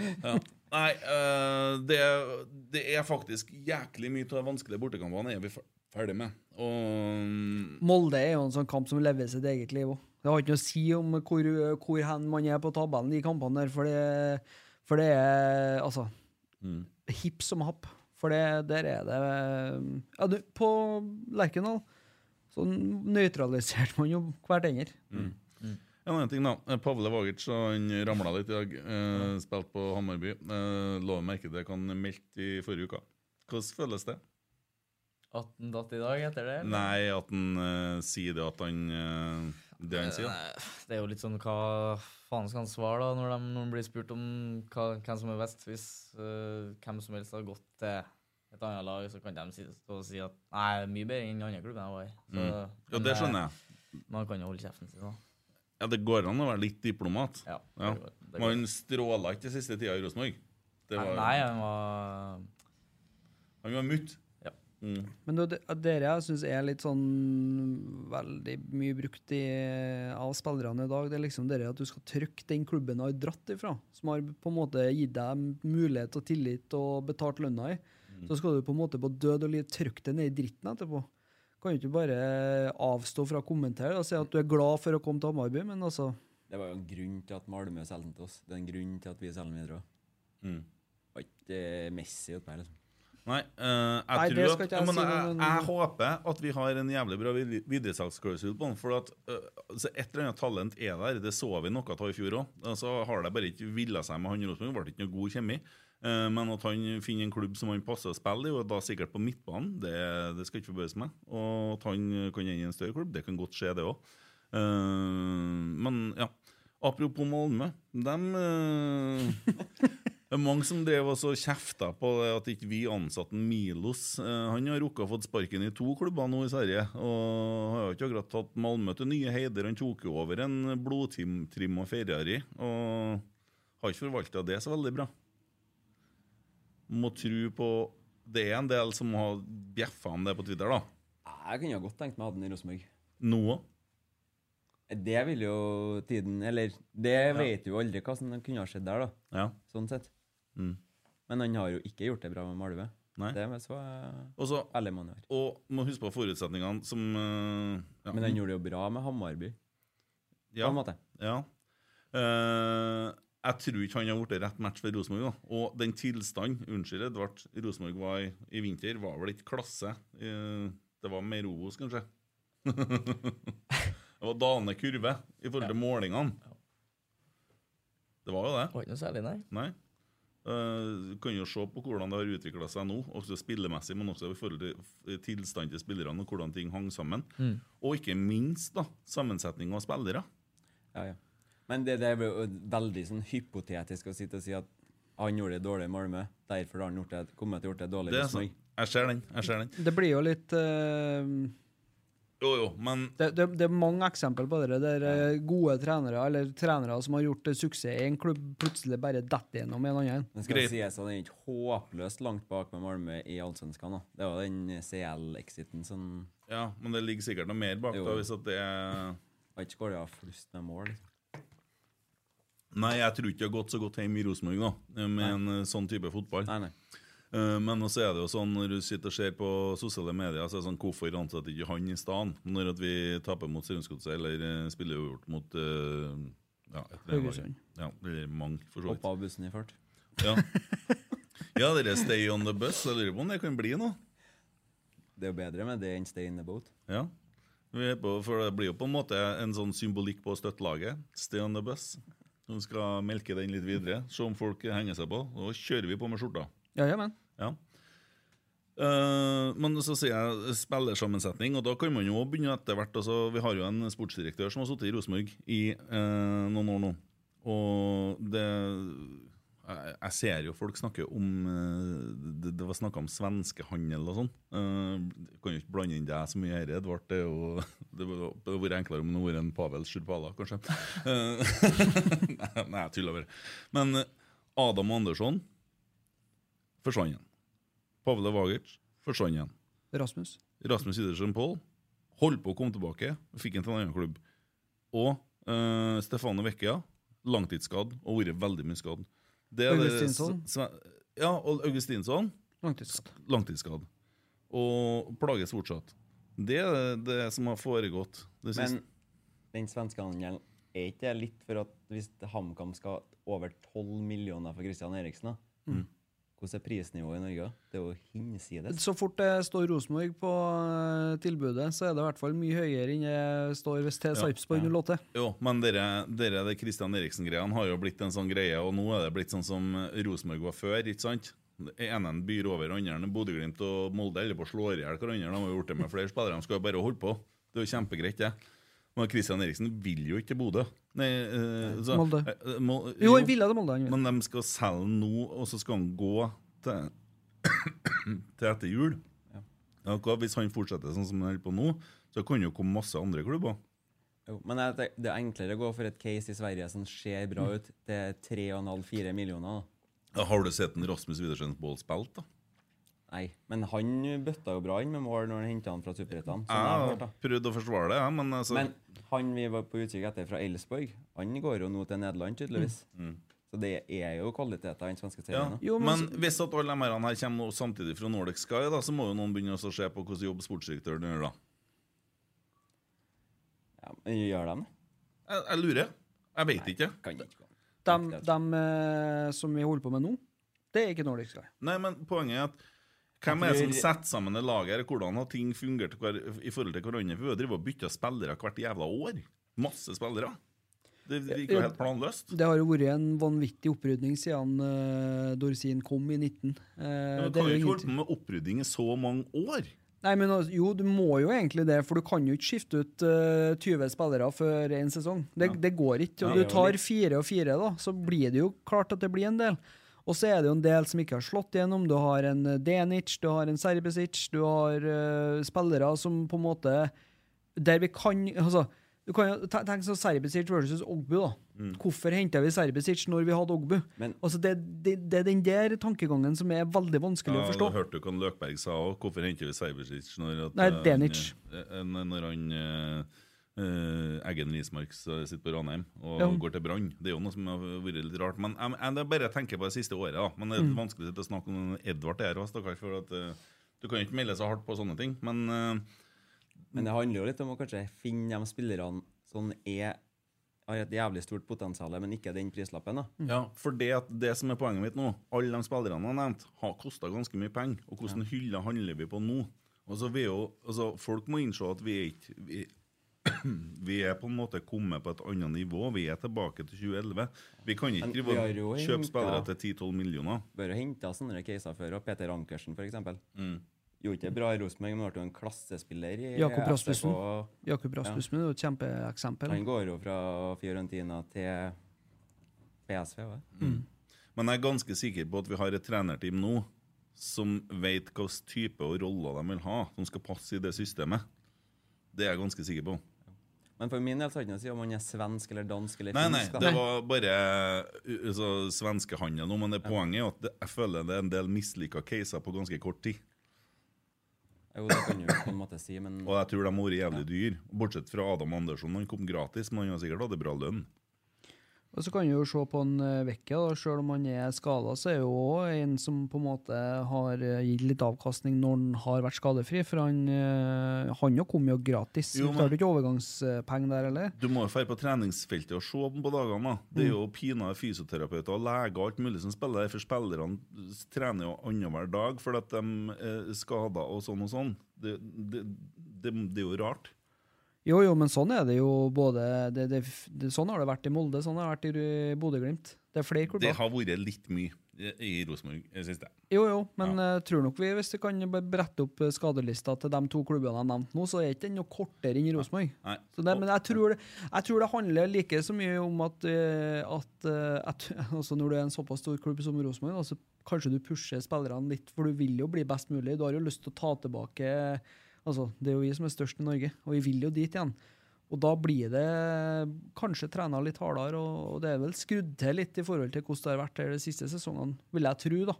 B: ja. Nei, eh, det, det er faktisk jæklig mye av de vanskelige bortekampene er vi fer- ferdig med. mm, Og
D: Molde er jo en sånn kamp som lever sitt eget liv òg. Det har ikke noe å si om hvor, hvor hen man er på tabellen i de kampene der, for det, for det er altså
B: Mm.
D: hipp som happ. For det, der er det ja, du, På Lerkendal så nøytraliserte man jo hverandre.
B: Mm. En annen ting, da. Eh, Pavle Vagic han ramla litt i dag. Eh, spilte på Hammarby. Eh, la meg merke til det han meldte i forrige uke. Hvordan føles det?
A: At den datt i dag, heter det? eller?
B: Nei, at han eh, sier det at han eh, Det han sier.
A: Eh, Det er jo litt sånn hva faen skal han svare da når de når de blir spurt om hva, hvem som er best. Hvis eh, hvem som helst har gått til et annet lag, så kan de si, stå og si at nei, jeg er mye bedre enn den andre klubben jeg var i. Så,
B: Mm. Ja,
A: men,
B: det
A: eh,
B: skjønner
A: Man kan jo holde kjeften sin, da.
B: Ja, Det går an å være litt diplomat.
A: Ja,
B: Ja.
A: det går- det går.
B: Man stråla ikke den siste tida i Rosenborg. Det
A: Nei,
B: var-
A: nei, han var
B: Han var mutt.
A: Ja.
B: Mm.
D: Men du, det- dere jeg synes er litt sånn veldig mye brukt i, av spillerne i dag. Det er liksom dere at du skal trykke den klubben du har dratt ifra, som har på en måte gitt deg mulighet og tillit og betalt lønna i. Så skal du på en måte på død og liv trykke det ned i dritten etterpå. Kan jo ikke bare avstå fra å kommentere og si at du er glad for å komme til Hammarby, men altså
G: Det var jo en grunn til at Malmö selger den til oss. Det er en grunn til at vi selger den videre òg.
B: Mm.
G: Var ikke eh, Messi utpå her, liksom.
B: Nei, eh,
G: Nei,
B: jeg
G: det
B: tror
G: skal
B: at
G: ikke jeg
B: men
G: si,
B: jeg,
G: men-
B: jeg håper at vi har en jævlig bra vid- videresalgsklausul på den. For at eh, altså et eller annet talent er der. Det så vi noe av i fjor òg. Så har det bare ikke villa seg med han Rosenborg. Ble ikke noe god kjemi. Eh, Men at han finner en klubb som han passer å spille i, og da sikkert på midtbanen, det, det skal ikke forbause meg. Og at han kan ende i en større klubb, det kan godt skje, det òg. Men ja. Apropos Malmö. Dem eh, Det er mange som drev også kjefta på det at ikke vi ansatte en Milos. Eh, han har rukka å fått sparken i to klubber nå i Sverige. Og har jo ikke akkurat tatt Malmö til nye heider. Han tok jo over en blodtrim og Ferrari. Og har ikke forvalta det så veldig bra. Må tro på Det er en del som har bjeffa om det på Twitter, da.
G: Jeg kunne jo godt tenkt meg å ha den i Rosenborg.
B: Noe.
G: Det vil jo tiden Eller det vet du jo aldri hva som kunne ha skjedd der, da.
B: Ja.
G: Sånn sett.
B: Mm.
G: Men han har jo ikke gjort det bra med Malmö.
B: Nei.
G: Det er så eh,
B: Og så-
G: ærlig man er.
B: Og må huske på forutsetningene som eh, ja.
G: Men han gjorde det jo bra med Hammarby.
B: ja.
G: på en måte.
B: Ja. Eh, jeg tror ikke han har blitt rett match for Rosenborg. da. Og den tilstanden unnskyld, Edvard, Rosenborg var i, i vinter, var vel ikke klasse. Eh, det var mer Obos, kanskje. det var dalende kurve i forhold til målingene. Det var jo det.
A: Var ikke noe særlig, nei.
B: Nei. Eh, Du kan jo se på hvordan det har utvikla seg nå, også spillemessig, men også i forhold til f- tilstand til spillerne og hvordan ting hang sammen.
G: Mm.
B: Og ikke minst da, sammensetning av spillere.
G: Ja, ja. Men det, det er jo veldig sånn hypotetisk å sitte og si at han gjorde det dårlig i Malmö, derfor har han gjort det, kommet til å gjort det dårlig i
B: Det er
G: Rosenborg.
B: sant. Jeg ser den. jeg ser den.
D: Det blir jo litt eh,
B: Jo, jo, men
D: det, det, det er mange eksempler på det der eh, gode trenere eller trenere som har gjort eh, suksess i en klubb, plutselig bare detter gjennom i en annen.
G: Men skal det sies at han er ikke håpløst langt bak med Malmö i Allsvenskan. da. Det var den CL-exiten som
B: Ja, men det ligger sikkert noe mer bak
G: Jo.
B: da, hvis at det er
G: Har ikke skåra flust med mål. liksom.
B: Nei, jeg tror ikke det har gått så godt hjemme i Rosenborg nå, med en eh, sånn type fotball. Eh, Men også er det jo sånn når du sitter og ser på sosiale medier, så er det sånn hvorfor ansetter ikke han i stedet når at vi taper mot Strømsgodset eller eh, spiller uavgjort mot eh, ja, et eller annet lag.
G: Haugesund.
B: Ja, eller mange, for så vidt.
G: Hoppa av bussen i fart.
B: Ja. ja, det er Stay on the bus. Jeg lurer på om det kan bli noe.
G: Det er jo bedre med det enn stay in the boat.
B: Ja. Vi er på, for det blir jo på en måte en sånn symbolikk på å støtte laget. Stay on the bus. Nå skal melke den litt videre, se om folk henger seg på. Og kjører vi på med skjorta.
D: Ja, ja, men.
B: Ja. Eh, men så sier jeg spillersammensetning, og da kan man jo begynne etter hvert. Altså, vi har jo en sportsdirektør som har sittet i Rosenborg i eh, noen år nå. Og det jeg, jeg ser jo folk snakker om eh, Det, det var snakka om svenskehandel og sånn. Eh, kan jo ikke blande inn deg så mye her, Edvard. Det er jo- det hadde vært enklere om det hadde vært en Pavel Sjurpala, kanskje. Eh, nei, nei, jeg tuller bare. Men eh, Adam Andersson forsvant igjen. Pavle Vagic forsvant igjen.
D: Rasmus.
B: Rasmus Idersen Pål holdt på å komme tilbake, fikk en til en annen klubb. Og uh, Stefano Vecchia, langtidsskadd og vært veldig mye skadd. Det er det-
D: Augustinsson.
B: s- sve- Ja, og Augustinsson.
D: Langtidsskadd.
B: sk- langtidsskadd. Og plages fortsatt. Det er det det som har foregått. Det siste.
G: Men den svenske handelen er ikke det litt for at hvis HamKam skal over 12 millioner for Christian Eriksen, da,
D: Mm.
G: hvordan er prisnivået i Norge? da? Det er jo hinsides.
D: Så fort det står Rosenborg på eh, tilbudet, så er det i hvert fall mye høyere enn det står hvis det er
B: Ja.
D: Sarpsborg 08.
B: Jo, men dere, dere det Christian Eriksen-greien har jo blitt en sånn greie, og nå er det blitt sånn som Rosenborg var før, ikke sant? Det ene byr over andre, Bodø-Glimt og Molde holder på å slå i hjel hverandre. De har jo gjort det med flere spillere, de skal jo bare holde på. Det er jo kjempegreit, det. Men Christian Eriksen vil jo ikke til Bodø. Nei, eh, så-
D: Molde.
B: eh, eh, Mol-
D: Jo, han ville til Molde, han vil.
B: Men de skal selge nå, og så skal han gå til, til etter jul. Ja, hva hvis han fortsetter sånn som han holder på nå, så kan det jo komme masse andre klubber.
G: Jo, men jeg, tenker- det er enklere å gå for et case i Sverige som ser bra
B: Mm.
G: ut, til 3,5-4 millioner. da.
B: Ja, Har du sett en Rasmus Widersen Bål spilt, da?
G: Nei, men han bøtta jo bra inn med mål når han henta han fra Superettan. som jeg har hørt,
B: Jeg
G: da.
B: har prøvd å forsvare det, jeg, men altså
G: Men han vi var på utkikk etter fra Elsborg, han går jo nå til Nederland, tydeligvis.
B: Mm.
G: Så det er jo kvaliteter i den svenske
B: ja.
G: serien. da.
B: men hvis at alle de her her kommer nå samtidig fra Nordic Sky, da, så må jo noen begynne å se på hvordan jobb sportsdirektøren gjør, da.
G: Gjør de det?
B: Jeg, jeg lurer. Jeg veit ikke.
D: De, eh, som vi holder på med nå, det er ikke Nordic Sky.
B: Nei, men poenget er at hvem er det som
D: Jeg tror-
B: setter sammen det laget her? Hvordan har ting fungert hver, i forhold til hverandre? For vi har drevet og bytta spillere hvert jævla år. Masse spillere. Det virker jo helt planløst.
D: Det har jo vært en vanvittig opprydning siden eh, Dorsin kom i 19. Eh,
B: Ja, men
D: det
B: kan
D: er jo
B: jo ikke
D: ingen-
B: holde på med opprydding i så mange år.
D: Nei, men altså, Jo, du må jo egentlig det, for du kan jo ikke skifte ut eh, 20 spillere før én sesong. Det, det går ikke.
G: Nei,
D: Og du
G: det er jo
D: tar
G: litt-
D: fire og fire, da, så blir det jo klart at det blir en del. Og så er det jo en del som ikke har slått gjennom. Du har en eh, Denic, du har en Serbesic, du har eh, spillere som på en måte Der vi kan Altså, du kan jo te- tenk sånn Serbesic versus Ogbu, da. Hvorfor henta vi Serbesic når vi hadde Ogbu? altså, det, det, det er den der tankegangen som er veldig vanskelig
B: Ja,
D: å
B: Da
D: forstå.
B: hørte du hva Løkberg sa òg. Hvorfor henter vi Cybersic når at,
D: Nei,
B: eh,
D: Denic.
B: eh, nei, Når han eh, eh, Eggen Rismark s- sitter på Ranheim og
D: Ja.
B: går til Brann. Det er jo noe som har vært litt rart. Men jeg, jeg, det er bare jeg tenker på det siste året. Da. Men det er
D: Mm.
B: vanskelig å sitte og snakke om Edvard her også, stakkars. For at, eh, du kan jo ikke melde så hardt på sånne ting. Men eh,
G: Men det handler jo litt om å kanskje finne de spillerne som er, har et jævlig stort potensial, men ikke den prislappen. da.
B: Ja, for det, at det som er poenget mitt nå, alle de spillerne jeg har nevnt, har kosta ganske mye penger. Og hvordan hylle handler vi på nå? Altså, vi er jo, altså, folk må innse at vi er ikke vi, vi er på en måte kommet på et annet nivå. Vi er tilbake til 2011. Vi kan ikke
G: Men
B: drive
G: vi har jo
B: og
G: hentet-
B: kjøpe spillere til 10-12 millioner.
G: Vi har jo henta sånne caser før, og Peter Ankersen f.eks. Mm. Gjorde ikke det bra i Rosenborg, men ble jo en klassespiller i
D: Jakob
G: SFK.
D: Rasmussen. Jakob
G: Ja.
D: Rasmussen er jo et kjempeeksempel.
G: Han går jo fra Fiorentina til PSV. Hva?
B: Men jeg er ganske sikker på at vi har et trenerteam nå som vet hva slags type og roller de vil ha, som skal passe i det systemet. Det er jeg ganske sikker på.
G: Men for min del så har det ikke noe å si om han er svensk eller dansk eller
B: Nei, nei,
G: finsk. da.
B: det var bare uh, altså, svenskehandel nå, men det poenget er at det, jeg føler det er en del mislykka caser på ganske kort tid.
G: Jo, det kan du jo på en måte si, men
B: Og jeg tror de har vært jævlig dyr. Bortsett fra Adam Andersson, han kom gratis, men han har sikkert hatt en bra lønn.
D: Og så kan du jo se på en eh, Vecchia, da, selv om han er skada, så er jo også en som på en måte har eh, gitt litt avkastning når han har vært skadefri, for han, eh, han jo kom jo gratis.
B: Jo,
D: Jo,
B: men-
D: Betalte jo ikke overgangspenger der heller.
B: Du må jo dra på treningsfeltet og se på dagene. da. Det er jo pinadø fysioterapeuter og leger og alt mulig som spiller der, for spillerne trener jo annenhver dag fordi at de er skada og sånn og sånn. Det, det, det, det er jo rart.
D: Jo, jo, men sånn er det jo både det, det, det, Sånn har det vært i Molde, sånn har det vært i Bodø-Glimt. Det er flere klubber.
B: Det har vært litt mye. i i Rosenborg i det siste.
D: Jo, jo, men eh, tror nok vi, hvis vi kan bare brette opp eh, skadelista til de to klubbene jeg nevnte nå, så er ikke den noe kortere enn Rosenborg.
B: Nei.
D: Så det- Men jeg tror, det, jeg tror det handler like så mye om at, eh, at, eh, at altså når du er en såpass stor klubb som Rosenborg, da, så kanskje du pusher spillerne litt, for du vil jo bli best mulig. Du har jo lyst til å ta tilbake altså Det er jo vi som er størst i Norge, og vi vil jo dit igjen. Og da blir det kanskje trener litt hardere, og og det er vel skrudd til litt i forhold til hvordan det har vært her de siste sesongene, vil jeg tro, da.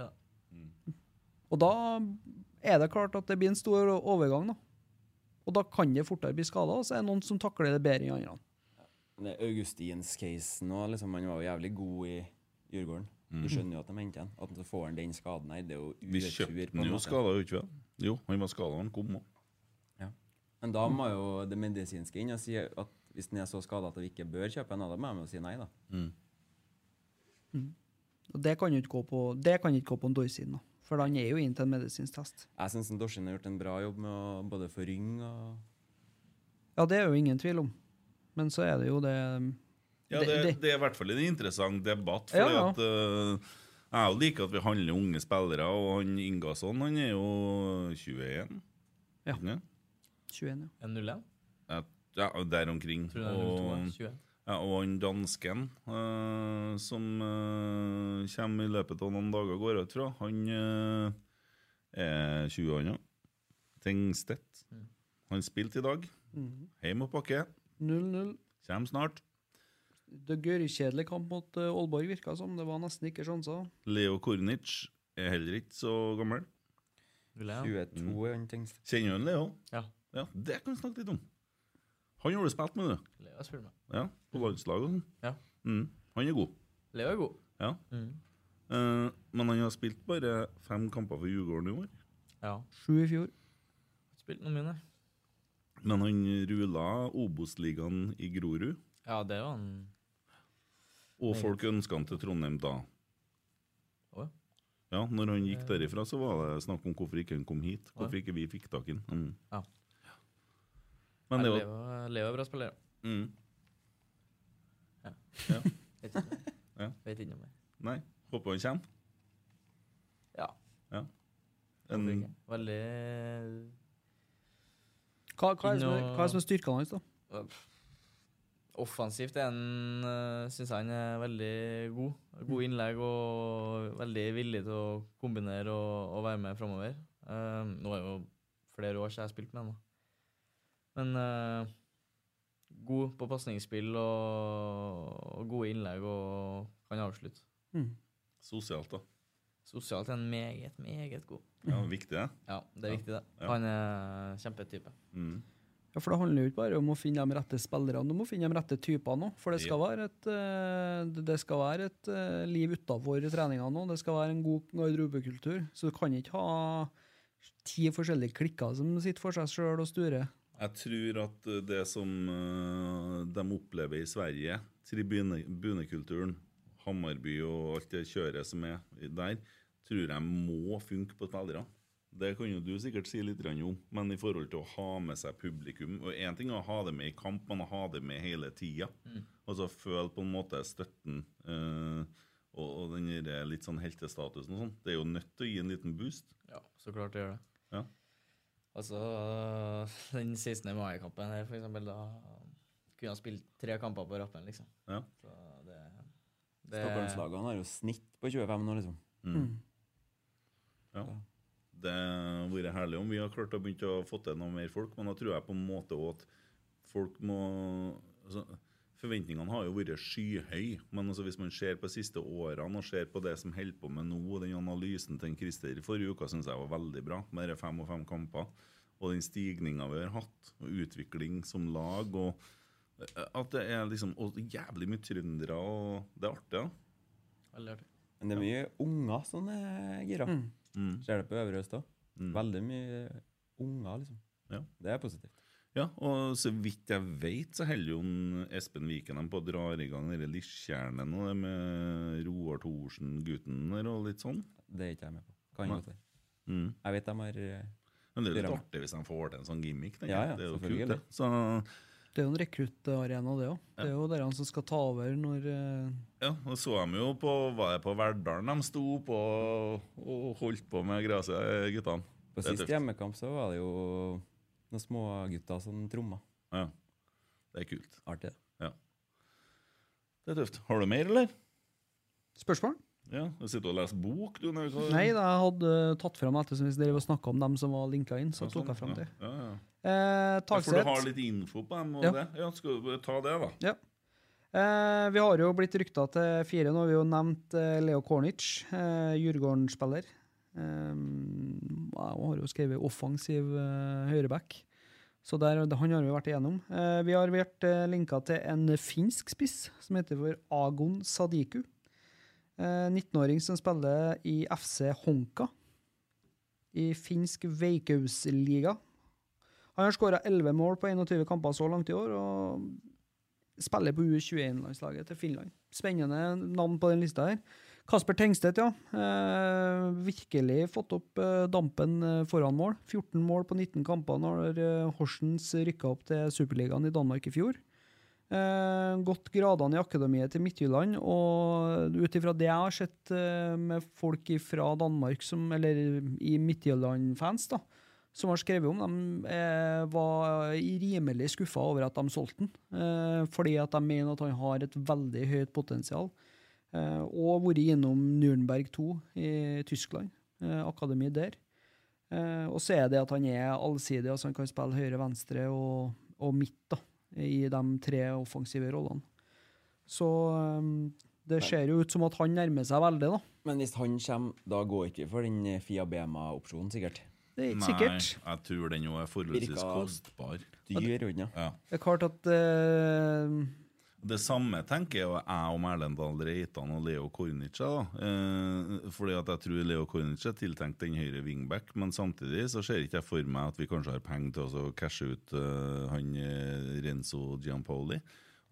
A: Ja.
D: Og da er det klart at det blir en stor overgang, da. Og da kan det fortere bli skada, og så er det noen som takler det bedre enn andre.
G: Men det er Augustins-casen òg. Liksom, han var jo jævlig god i Djurgården.
B: Mm.
G: Du skjønner jo at de henter han. At så får han den skaden her, det er jo
B: Vi
G: uretur
B: kjøpte
G: på en
B: den jo
G: måte.
B: skada, gjorde vi ikke det? Jo, han var skada da han kom òg.
G: Men da må jo det medisinske inn og si at hvis den er så skada at vi ikke bør kjøpe en, da må de jo si nei, da.
D: Og det kan jo ikke gå på det kan jo ikke gå på en Dorsin, da. For han er jo inn til en medisinsk test.
G: Jeg syns Dorsin har gjort en bra jobb med å både få ryng og
D: Ja, det er jo ingen tvil om. Men så er det jo det um,
B: Ja, det, det er i hvert fall en interessant debatt. For
D: Ja, ja.
B: at, eh, jeg jo liker at vi handler unge spillere, og han Ingasson han er jo 21.
D: Ja.
B: Ja.
D: 21, ja.
A: En 0-1?
B: Jeg- Ja, der omkring.
A: Tror det er 02,
B: Og,
A: 21.
B: ja, og han dansken eh, som eh, kommer i løpet av noen dager, går jeg ut fra, han eh, er 20 år nå. Tengstedt.
D: Mm.
B: Han spilte i dag.
D: Mhm.
B: Heim og pakke.
D: 0-0.
B: Kjem snart.
D: Det gørrkjedelig kamp mot eh, Aalborg, virka som. Det var nesten ikke sjanser.
B: Leo Kornic er heller ikke så gammel.
G: er han
B: Kjenner du han, Leo?
A: Ja.
B: Det kan vi snakke litt om. Han gjorde spilt med, du.
A: Leo spiller med.
B: Ja, På landslaget og sånn.
A: Ja.
B: Mm. Han er god.
A: Leo er god.
B: Ja.
A: Mhm.
B: Eh, men han har spilt bare fem kamper for Djurgården i år.
A: Ja.
D: Sju i fjor.
A: Spilte noen mine.
B: Men han rula Obos-ligaen i Grorud,
A: Ja, det var han.
B: og folk ønska han til Trondheim da.
A: Å ja. Eh.
B: Ja, når han gikk derifra, så var det snakk om hvorfor ikke han kom hit.
A: Å ja.
B: Hvorfor ikke vi fikk tak i han. Mm.
A: Ja.
B: Men det
A: Nei,
B: var
A: Leo, Leo er bra spiller.
B: mm.
A: Ja.
B: Ja.
A: Vet ikke mer.
B: Ja.
A: Vet ikke noe mer.
B: Nei. Håper han kommer.
A: Ja.
B: Ja. En,
A: Veldig
D: Hva, hva, er det som er,
A: Inno-
D: hva er det som er styrkene hans, da?
A: Offensivt er han Syns jeg han er veldig god. God innlegg og veldig villig til å kombinere og, og være med framover. Eh, nå er det jo flere år siden jeg har spilt med han, da. Men eh, god på pasningsspill og, og gode innlegg og kan avslutte.
D: Mm.
B: Sosialt, da.
A: Sosialt er han meget, meget god.
B: Ja, viktig, det.
A: Ja, det er
B: Ja,
A: viktig, det.
B: ja.
A: Han er kjempetype.
B: Mm.
D: Ja, for Det handler jo ikke bare om å finne de rette spillerne, du må finne de rette typene òg. For det skal være et, eh, det- det skal være et eh, liv utafor treninga nå. Det skal være en god garderobekultur. Så du kan ikke ha ti forskjellige klikker som sitter for seg sjøl og sturer.
B: Jeg tror at eh, det som eh, de opplever i Sverige, tribunekulturen, Hammarby og alt det kjøret som er i- der, tror jeg må funke på spillere. Det kan jo du sikkert si litt grann om, men i forhold til å ha med seg publikum og Én ting er å ha det med i kamp, men å ha det med hele tida.
A: Mm.
B: Altså føle på en måte støtten eh, og, og den der litt sånn heltestatusen og sånn. Det er jo nødt til å gi en liten boost.
A: Ja, så klart det gjør det.
B: Ja.
A: Altså, den 16. mai-kampen her, for eksempel, da kunne han spilt tre kamper på rappen, liksom.
B: Ja.
A: Så det, det
G: Stockholmslagene har jo snitt på 25 nå, liksom.
B: Mm. Ja. Det har vært herlig om vi har klart å begynne å få til noen mer folk, men da tror jeg på en måte også at folk må altså, Forventningene har jo vært skyhøye, men altså hvis man ser på de siste årene og ser på det som holder på med nå, og den analysen til en Christer i forrige uke syns jeg var veldig bra, med de fem og fem kamper, og den stigninga vi har hatt, og utvikling som lag og eh, at det er liksom og jævlig mye trøndere, og det er artig. da.
A: Veldig artig.
G: Men det er mye unger som er gira.
D: Mm.
G: Ser det på Øvre Øst òg.
A: Mm.
G: Veldig mye unger, liksom.
B: Ja.
G: Det er positivt.
B: Ja, og så vidt jeg vet, så holder jo en Espen Viken dem på å dra i gang denne Liskjernen og det med Roar Thorsen-gutten der og litt sånn.
G: Det er ikke jeg med på. Kan godt være.
B: Mm.
G: Jeg vet de har eh,
B: Men det er jo litt
G: dram-
B: artig hvis de får til en sånn gimmick. tenker
G: Ja,
B: jeg.
G: ja,
B: det er jo
G: selvfølgelig.
B: kult, det. Så,
D: Det er jo en rekruttarena, det òg. Det er jo der han som skal ta over når eh,
B: Ja, og så dem jo på Var det på Verdalen de sto opp og, og holdt på med gresset, guttene?
G: På
B: Det er
G: sist
B: tøft.
G: hjemmekamp så var det jo noen smågutter som tromma.
B: Ja. Det er kult.
G: Artig.
B: Ja. Det er tøft. Har du mer, eller?
D: Spørsmål?
B: Ja, Du sitter og leser bok, du? når du-
D: Nei, da, jeg hadde tatt fram ettersom hvis dere snakka om dem som var linka inn. Så
B: Ja,
D: tok
B: sånn.
D: jeg fram det.
B: Ja, ja, ja.
D: Eh,
B: Ja, For
D: Tagseth.
B: du har litt info på dem? Og
D: Ja.
B: det. ja, Skal du ta det, da?
D: Ja. Eh, vi har jo blitt rykta til fire nå. Vi har jo nevnt eh, Leo Kornic, eh, Djurgården-spiller. Eh, han har jo skrevet offensiv eh, høyreback, så der, han har vi vært igjennom. Eh, vi har vært eh, linka til en finsk spiss som heter for Agon Sadiku. Eh, 19-åring som spiller i FC Honka i finsk Veikkausliga. Han har skåra 11 mål på 21 kamper så langt i år. og spiller på U21-landslaget til Finland. Spennende navn på den lista her. Kasper Tengstedt, ja. Eh, virkelig fått opp eh, dampen eh, foran mål. 14 mål på 19 kamper når eh, Horsens rykka opp til Superligaen i Danmark i fjor. Eh, gått gradene i akademiet til Midtjylland, og ut ifra det jeg har sett eh, med folk fra Danmark, som, eller i Midtjylland-fans, da, som har skrevet om, de eh, var rimelig skuffa over at de solgte den. Eh, fordi at de mener at han har et veldig høyt potensial. Eh, og vært gjennom Nürnberg 2 i Tyskland, eh, akademi der. Eh, og så er det at han er allsidig, altså han kan spille høyre, venstre og, og midt da, i de tre offensive rollene. Så eh, det ser jo ut som at han nærmer seg veldig, da.
G: Men hvis han kommer, da går ikke vi for den eh, Fia Bema-opsjonen, sikkert.
D: Det er ikke sikkert.
B: Nei, jeg tror den jo er forholdsvis
G: Virka
B: kostbar.
G: dyr unna.
B: Ja.
D: Det er klart at eh,
B: Det samme tenker jeg og jeg om Erlend Dahl Reitan og Leo Kornica. da. Eh, fordi at jeg tror Leo Kornica er tiltenkt den høyre wingback, men samtidig så ser ikke jeg for meg at vi kanskje har penger til å så cashe ut eh, han eh, Renzo Giampoli.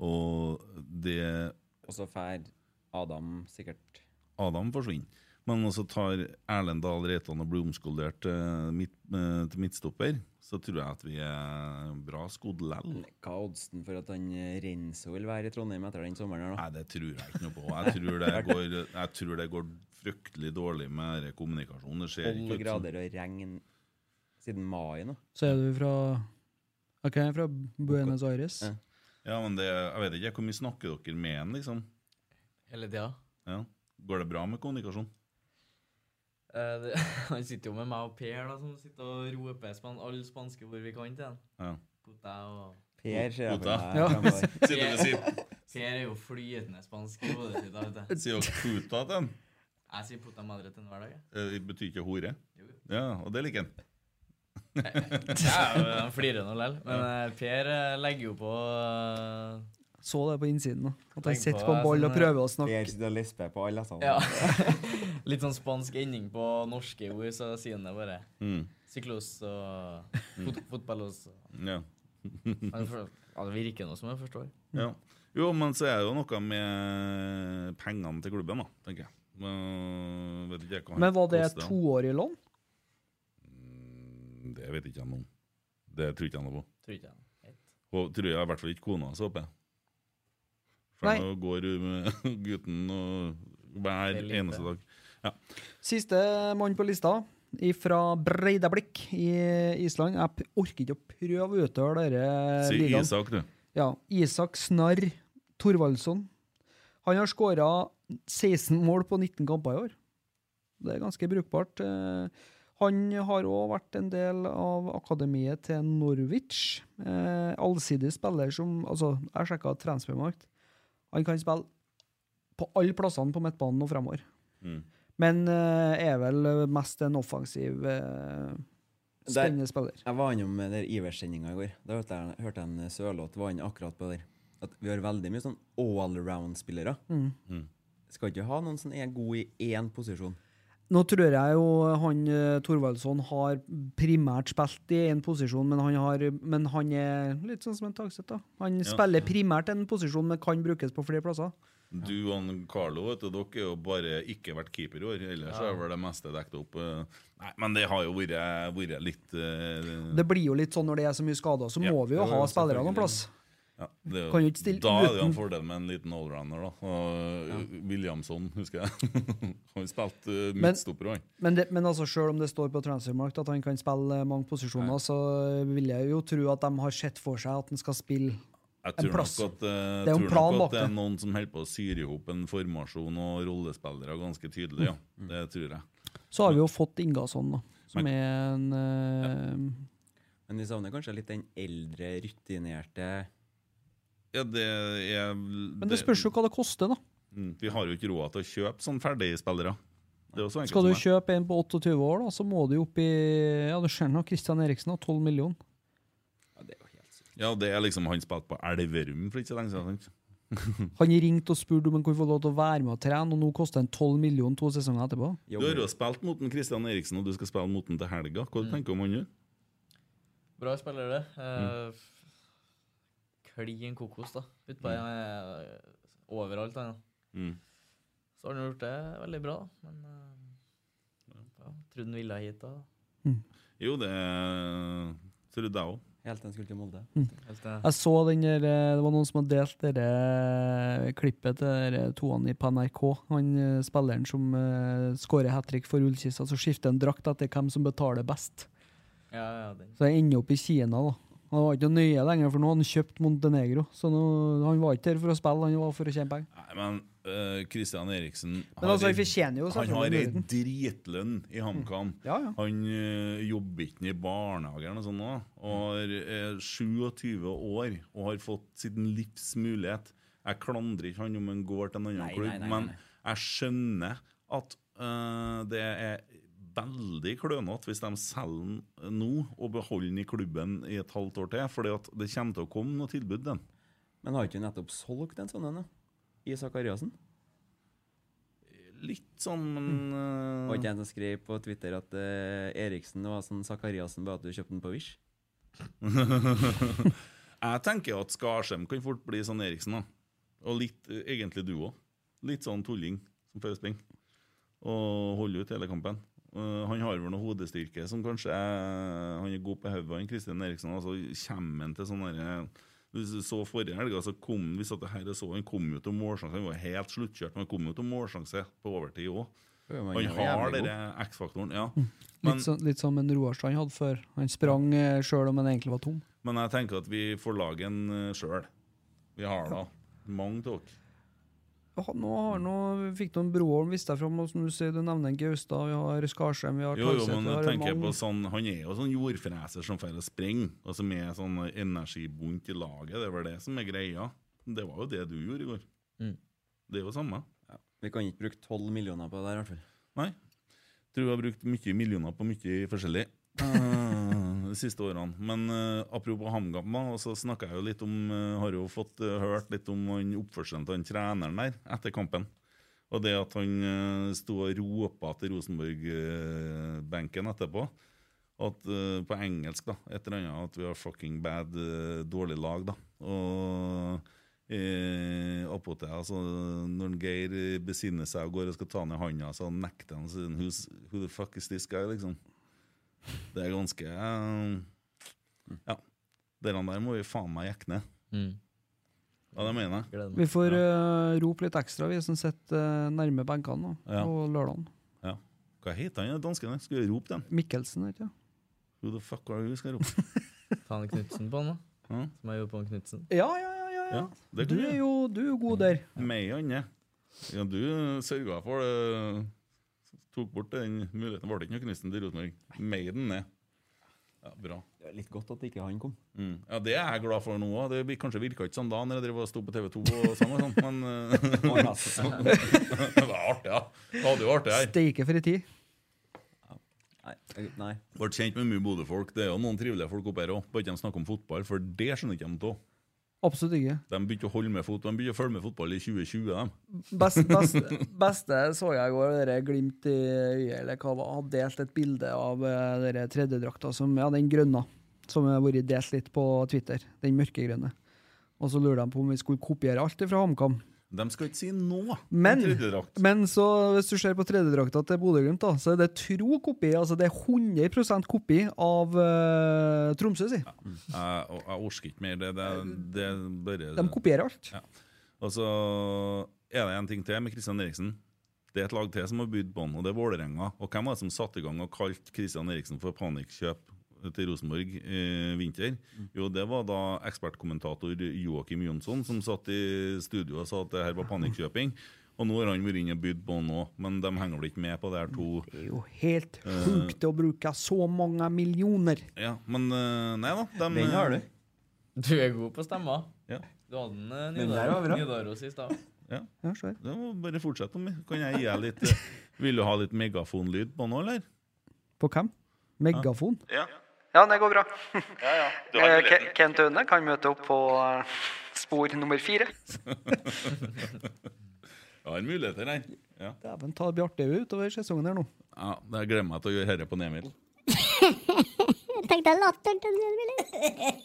B: Og det
G: Og så fær Adam sikkert
B: Adam forsvinner. Men også tar Erlend Dahl Reitan og blir omskolert til, midt, eh, til midtstopper, så tror jeg at vi er bra skodd lell.
G: Hva er oddsen for at han eh, Renzo vil være i Trondheim etter den sommeren? her nå?
B: Nei, det tror jeg ikke noe på. Jeg tror det går, jeg tror det går fryktelig dårlig med denne kommunikasjonen. Det ser
G: Tolv
A: sånn.
B: ikke ut som
G: grader og regn siden mai nå.
D: Så er du fra Ok, jeg er fra Buenos Aires.
B: Ja, men det, jeg vet ikke hvor mye snakker dere med en, liksom.
A: Hele tida.
B: Ja. Går det bra med kommunikasjon?
A: Eh, det, han sitter jo med meg og Per, da, som sitter og roper span alle spanske ord vi kan til han.
B: Ja.
A: Puta og
G: Per, ser jeg for
B: Puta.
G: meg,
B: Ja.
G: fremover.
B: Sitter ved siden.
A: Per er jo flytende spansk i hodet sitt. da, vet du.
B: Sier dere puta til den?
A: Jeg sier puta madre til den hver dag. jeg.
B: Eh, Det betyr ikke hore. Ja, og det liker han.
A: Ja, men Han flirer nå likevel. Men
B: Ja.
A: eh, Per eh, legger jo på eh,
D: Så det på innsiden. da. At han
A: Tenk
D: sitter
A: på
D: på en
A: det,
D: ball og
A: sånn,
D: prøver å snakke.
G: Per sitter og lesper på alle altså. sammen.
A: Ja. Litt sånn spansk ending på norske ord, så sier han det bare.
B: Mm.
A: Syklos og
G: Mm.
A: fot fotballos.
B: Ja.
A: Han, for- han virker nå som jeg forstår.
B: ja. Jo, men så er det jo noe med pengene til klubben, da, tenker jeg. Men, vet ikke jeg hva han
D: Men var det
B: koster.
D: toårig lån?
B: Det vet ikke jeg noe om. Det tror ikke jeg noe på.
A: Tror ikke jeg.
B: Og tror jeg i hvert fall ikke kona hans, håper jeg.
D: Nei.
B: For nå går hun med gutten og hver
D: Det er eh, lite.
B: eneste dag. Ja.
D: Siste mann på lista, fra Breidablikk i Island. Jeg p- orker ikke å prøve å uttale denne
B: Si
D: ligaen.
B: Isak, du.
D: Ja, Isak Snarr Thorvaldsson. Han har skåra 16 mål på 19 kamper i år. Det er ganske brukbart. Eh, Han har òg vært en del av akademiet til Norwich. Eh, allsidig spiller som Altså, jeg sjekka transfermarkt. Han kan spille på alle plassene på midtbanen og fremover.
B: Mm.
D: Men eh, er vel mest en offensiv eh, Spennende spiller.
G: Jeg var innom eh, der Ivers-sendinga i går. Da hørte jeg, hørte jeg en Sørloth var inne akkurat på der. At vi har veldig mye sånn allround-spillere.
D: Mm.
G: Skal ikke ha noen som er god i én posisjon.
D: Nå tror jeg jo han eh, Thorvaldsson har primært spilt i én posisjon, men han, har, men han er litt sånn som en Tagseth, da. Han
B: Ja.
D: spiller primært en posisjon, men kan brukes på flere plasser.
B: Du og han Carlo vet du, dere er jo bare ikke vært keeper i år. Ellers
D: Ja.
B: er vel det meste dekket opp. eh. Nei, Men det har jo vært, vært litt eh,
D: Det blir jo litt sånn når det er så mye skader, så
B: Ja,
D: må vi jo
B: jo,
D: ha
B: jo,
D: spillere noen
B: selvfølgelig.
D: plass.
B: ja. Ja, det er jo-
D: Kan jo ikke stille
B: da er det jo en
D: uten-
B: fordel med en liten allrounder. da og, eh, Williamson, husker jeg. han spilte uh,
D: Men,
B: midtstopper òg.
D: men, det, men altså selv om det står på transfermarkt at han kan spille eh, mange posisjoner, så vil jeg jo tro at de har sett for seg at han skal spille
B: Jeg
D: en
B: tror
D: plass.
B: nok at, eh,
D: det er jo
B: tror
D: en plan
B: nok
D: bak
B: at det
D: det.
B: er noen som holder på å syre i hop en formasjon og rollespillere ganske tydelig. ja,
D: Mm.
B: Det tror jeg.
D: Så har vi jo fått Ingasson, da, som
G: Men-
D: er en eh,
G: Men vi savner kanskje litt den eldre, rutinerte
B: Ja, det er
D: Men det spørs jo hva det koster, da.
B: Mm, Vi har jo ikke råd til å kjøpe sånn ferdige spillere. Det er jo så enkelt
D: Skal du
B: som det.
D: kjøpe en på 28 år, da, så må du jo opp i Ja, du ser nå Christian Eriksen har 12 millioner.
B: Ja, det er liksom han spilte på Elverum for ikke så lenge siden. sant?
D: Han ringte og spurte om han kunne få lov til å være med og trene, og nå koster han 12 millioner to sesonger etterpå.
B: Du har jo spilt mot en Christian Eriksen, og du skal spille mot han til helga. Hva tenker du om han nå?
A: Bra spiller, det.
G: Mm.
A: Eh, f- Klin kokos, da. Utpå
B: Mm.
A: mm. overalt, han. da.
B: Mm.
A: Så har han gjort det veldig bra, da. Men eh, ja, trodde han ville hit, da.
B: Jo, det trodde jeg òg.
G: Helt til han skulle til Molde.
D: Mm. Jeg så den der, eh, Det var noen som hadde delt det der, eh, klippet til de der toene i på NRK. Han eh, spilleren som uh, skårer hat trick for Ullkista, så skifter han drakt etter hvem som betaler best.
A: Ja, ja, den.
D: Så han ender opp i Kina, da. Og Det var ikke noe nøye lenger, for nå har han kjøpt Montenegro. Så nå, han var ikke der for å spille, han var for å tjene penger.
B: Nei, men eh, Christian Eriksen
D: Men altså, vi fortjener jo
B: Han har
D: selvfølgelig
B: ei
D: muligheten. Mm.
B: dritlønn i HamKam. Han eh, jobber ikke i barnehagen og sånn nå. Og er eh, 27 år og har fått sitt livs mulighet. Jeg klandrer ikke han om han går til en annen
G: Nei,
B: klubb,
G: nei, nei,
B: men
G: nei.
B: jeg skjønner at eh, det er veldig klønete hvis de selger den nå og beholder den i klubben i et halvt år til, fordi at det kommer til å komme noe tilbud den.
G: Men har ikke vi nettopp solgt en sånn en, da? I Sakariassen?
B: Litt sånn, men
G: Mm.
B: eh,
G: Var ikke en som skrev på Twitter at eh, Eriksen var sånn Sakariassen bare at du kjøpte den på Wish?
B: Jeg tenker at Skarsheim kan fort bli sånn Eriksen, da. Og litt, eh, egentlig du òg. Litt sånn tulling som pøsling. Og holde ut hele kampen. Eh, han har vel noe hodestyrke som kanskje er, Han er god på hodet, han Kristian Eriksen. Altså kommer han til sånn derre Du så forrige helg, så kom han vi satt her og så han kom jo til målsjanse. Han var helt sluttkjørt, men han kom jo til målsjanse på overtid òg.
G: Ja, men han
B: Han
G: er
B: har
G: jævlig Mm.
B: denne X-faktoren, ja. Men-
D: Litt, sånn- litt som en Roar Strand hadde før. Han sprang uh, sjøl om han egentlig var tom.
B: Men jeg tenker at vi får lage en eh, sjøl. Vi har da mange av dere.
D: Ja, Nå har nå fikk noen Broholm vist deg fram, og som du sier, du nevner Gaustad, vi har Skarsheim, vi har
B: Jo, jo,
D: Kalseth,
B: men
D: vi
B: jeg
D: har
B: tenker
D: Malm.
B: på sånn Han er jo sånn jordfreser som får å sprenge, og som er sånn energibunt i laget. Det er vel det som er greia. Det var jo det du gjorde i går.
A: Mm.
B: Det er jo samme.
G: Vi kan ikke bruke 12 millioner på det der, i hvert fall.
B: Nei. Tror jeg har brukt mye millioner på mye forskjellig eh, de siste årene. Men eh, apropos HamKam, da, og så snakket jeg jo litt om eh, Har jo fått eh, hørt litt om han oppførselen til han treneren der etter kampen. Og det at han eh, sto og ropa til Rosenborg-benken etterpå. At eh, På engelsk, da. Et eller annet at vi har fucking bad, eh, dårlig lag, da. Og Eh, Oppåtil, altså, når Geir eh, besinner seg og går og skal ta ned handa, så nekter han siden Who's, Who the fuck is this guy? liksom Det er ganske eh, Ja. Dere der må vi faen meg jekke ned.
A: Mm.
B: Ja, det mener jeg.
D: Vi får eh, rope litt ekstra, vi som sitter eh, nærme benkene nå,
B: Ja.
D: på lørdagen.
B: Ja. Hva heter han danskene? Skal vi rope dem?
D: Mikkelsen, vet du.
B: Who the fuck are you? Skal jeg rope.
D: eh,
A: Ta han Knutsen på han, da.
B: Ja.
G: Hm?
A: Som jeg gjorde på han Knutsen.
D: Ja, ja, ja. ja, ja.
B: Ja, det
D: du,
B: kan
D: er
B: vi.
D: jo, du er jo god der.
B: Meg og Anne. Ja, du sørga for det. Tok bort den muligheten. Ble det ikke noe Knutsen til Rosenborg? Meiden ned. Ja, bra.
G: Det er litt godt at ikke han kom.
B: Mm. Ja, Det er jeg glad for nå òg. Det vi- kanskje virka ikke sånn da når jeg drev og sto på TV 2 og sånn, og sånt, men eh,
G: Å, ja, sånn.
B: Det var artig, ja. Det hadde jo artig her.
D: Steike for ei tid.
G: Nei. jeg- nei.
B: Ble kjent med mye Bodø-folk. Det er jo noen trivelige folk oppe her òg. Bare ikke de snakker om fotball, for det skjønner ikke de av.
D: Absolutt ikke.
B: De begynte å holde med fot, de begynte å følge med fotball i 2020, de.
D: Best, best, beste så jeg i går, det der glimt i øyet, eller hva det var, hadde delt et bilde av eh, det der tredjedrakta, som, ja, den grønna, som har vært delt litt på Twitter. Den mørkegrønne. Og så lurte de på om vi skulle kopiere alt fra HamKam.
B: De skal ikke si noe.
D: Men,
B: om tredjedrakt.
D: men så hvis du ser på tredjedrakta til Bodø-Glimt, da, så er det tro kopi. Altså det er 100 kopi av eh, Tromsø, si.
B: Jeg, og jeg orker ikke mer. Det, det, det er bare
D: De kopierer alt.
B: Ja. Og så er det en ting til med Kristian Eriksen. Det er et lag til som har bydd på han, og det er Vålerenga. Og hvem var det som satte i gang og kalte Kristian Eriksen for panikkjøp til Rosenborg eh, vinter? Jo, det var da ekspertkommentator Joakim Jonsson som satt i studio og sa at det her var panikkjøping. Og nå har han vært inne og bydd på han òg, men de henger vel ikke med på det her to
D: Helt
B: Eh.
D: sjukt å bruke så mange millioner.
B: Ja, men eh, nei da. De,
D: Den har du.
A: Du er god på stemmer.
B: Ja.
A: Du hadde en eh,
B: Den der var
A: Nidaros-
B: bra.
A: Nidaros i stad.
B: Ja.
D: Ja, sure.
B: Det må bare fortsette om det. Kan jeg gi deg litt eh, Vil du ha litt megafonlyd på nå, eller?
D: På hvem? Megafon?
B: Ja.
D: Ja, det går bra.
B: Du har Eh, muligheten.
D: Kent Aune kan møte opp på eh, spor nummer fire.
B: Jeg har muligheter, jeg. Ja.
D: Dæven ta Bjarte utover sesongen her nå.
B: ja, jeg gleder meg til å gjøre dette på Emil.
I: Jeg tenkte latteren til Emil.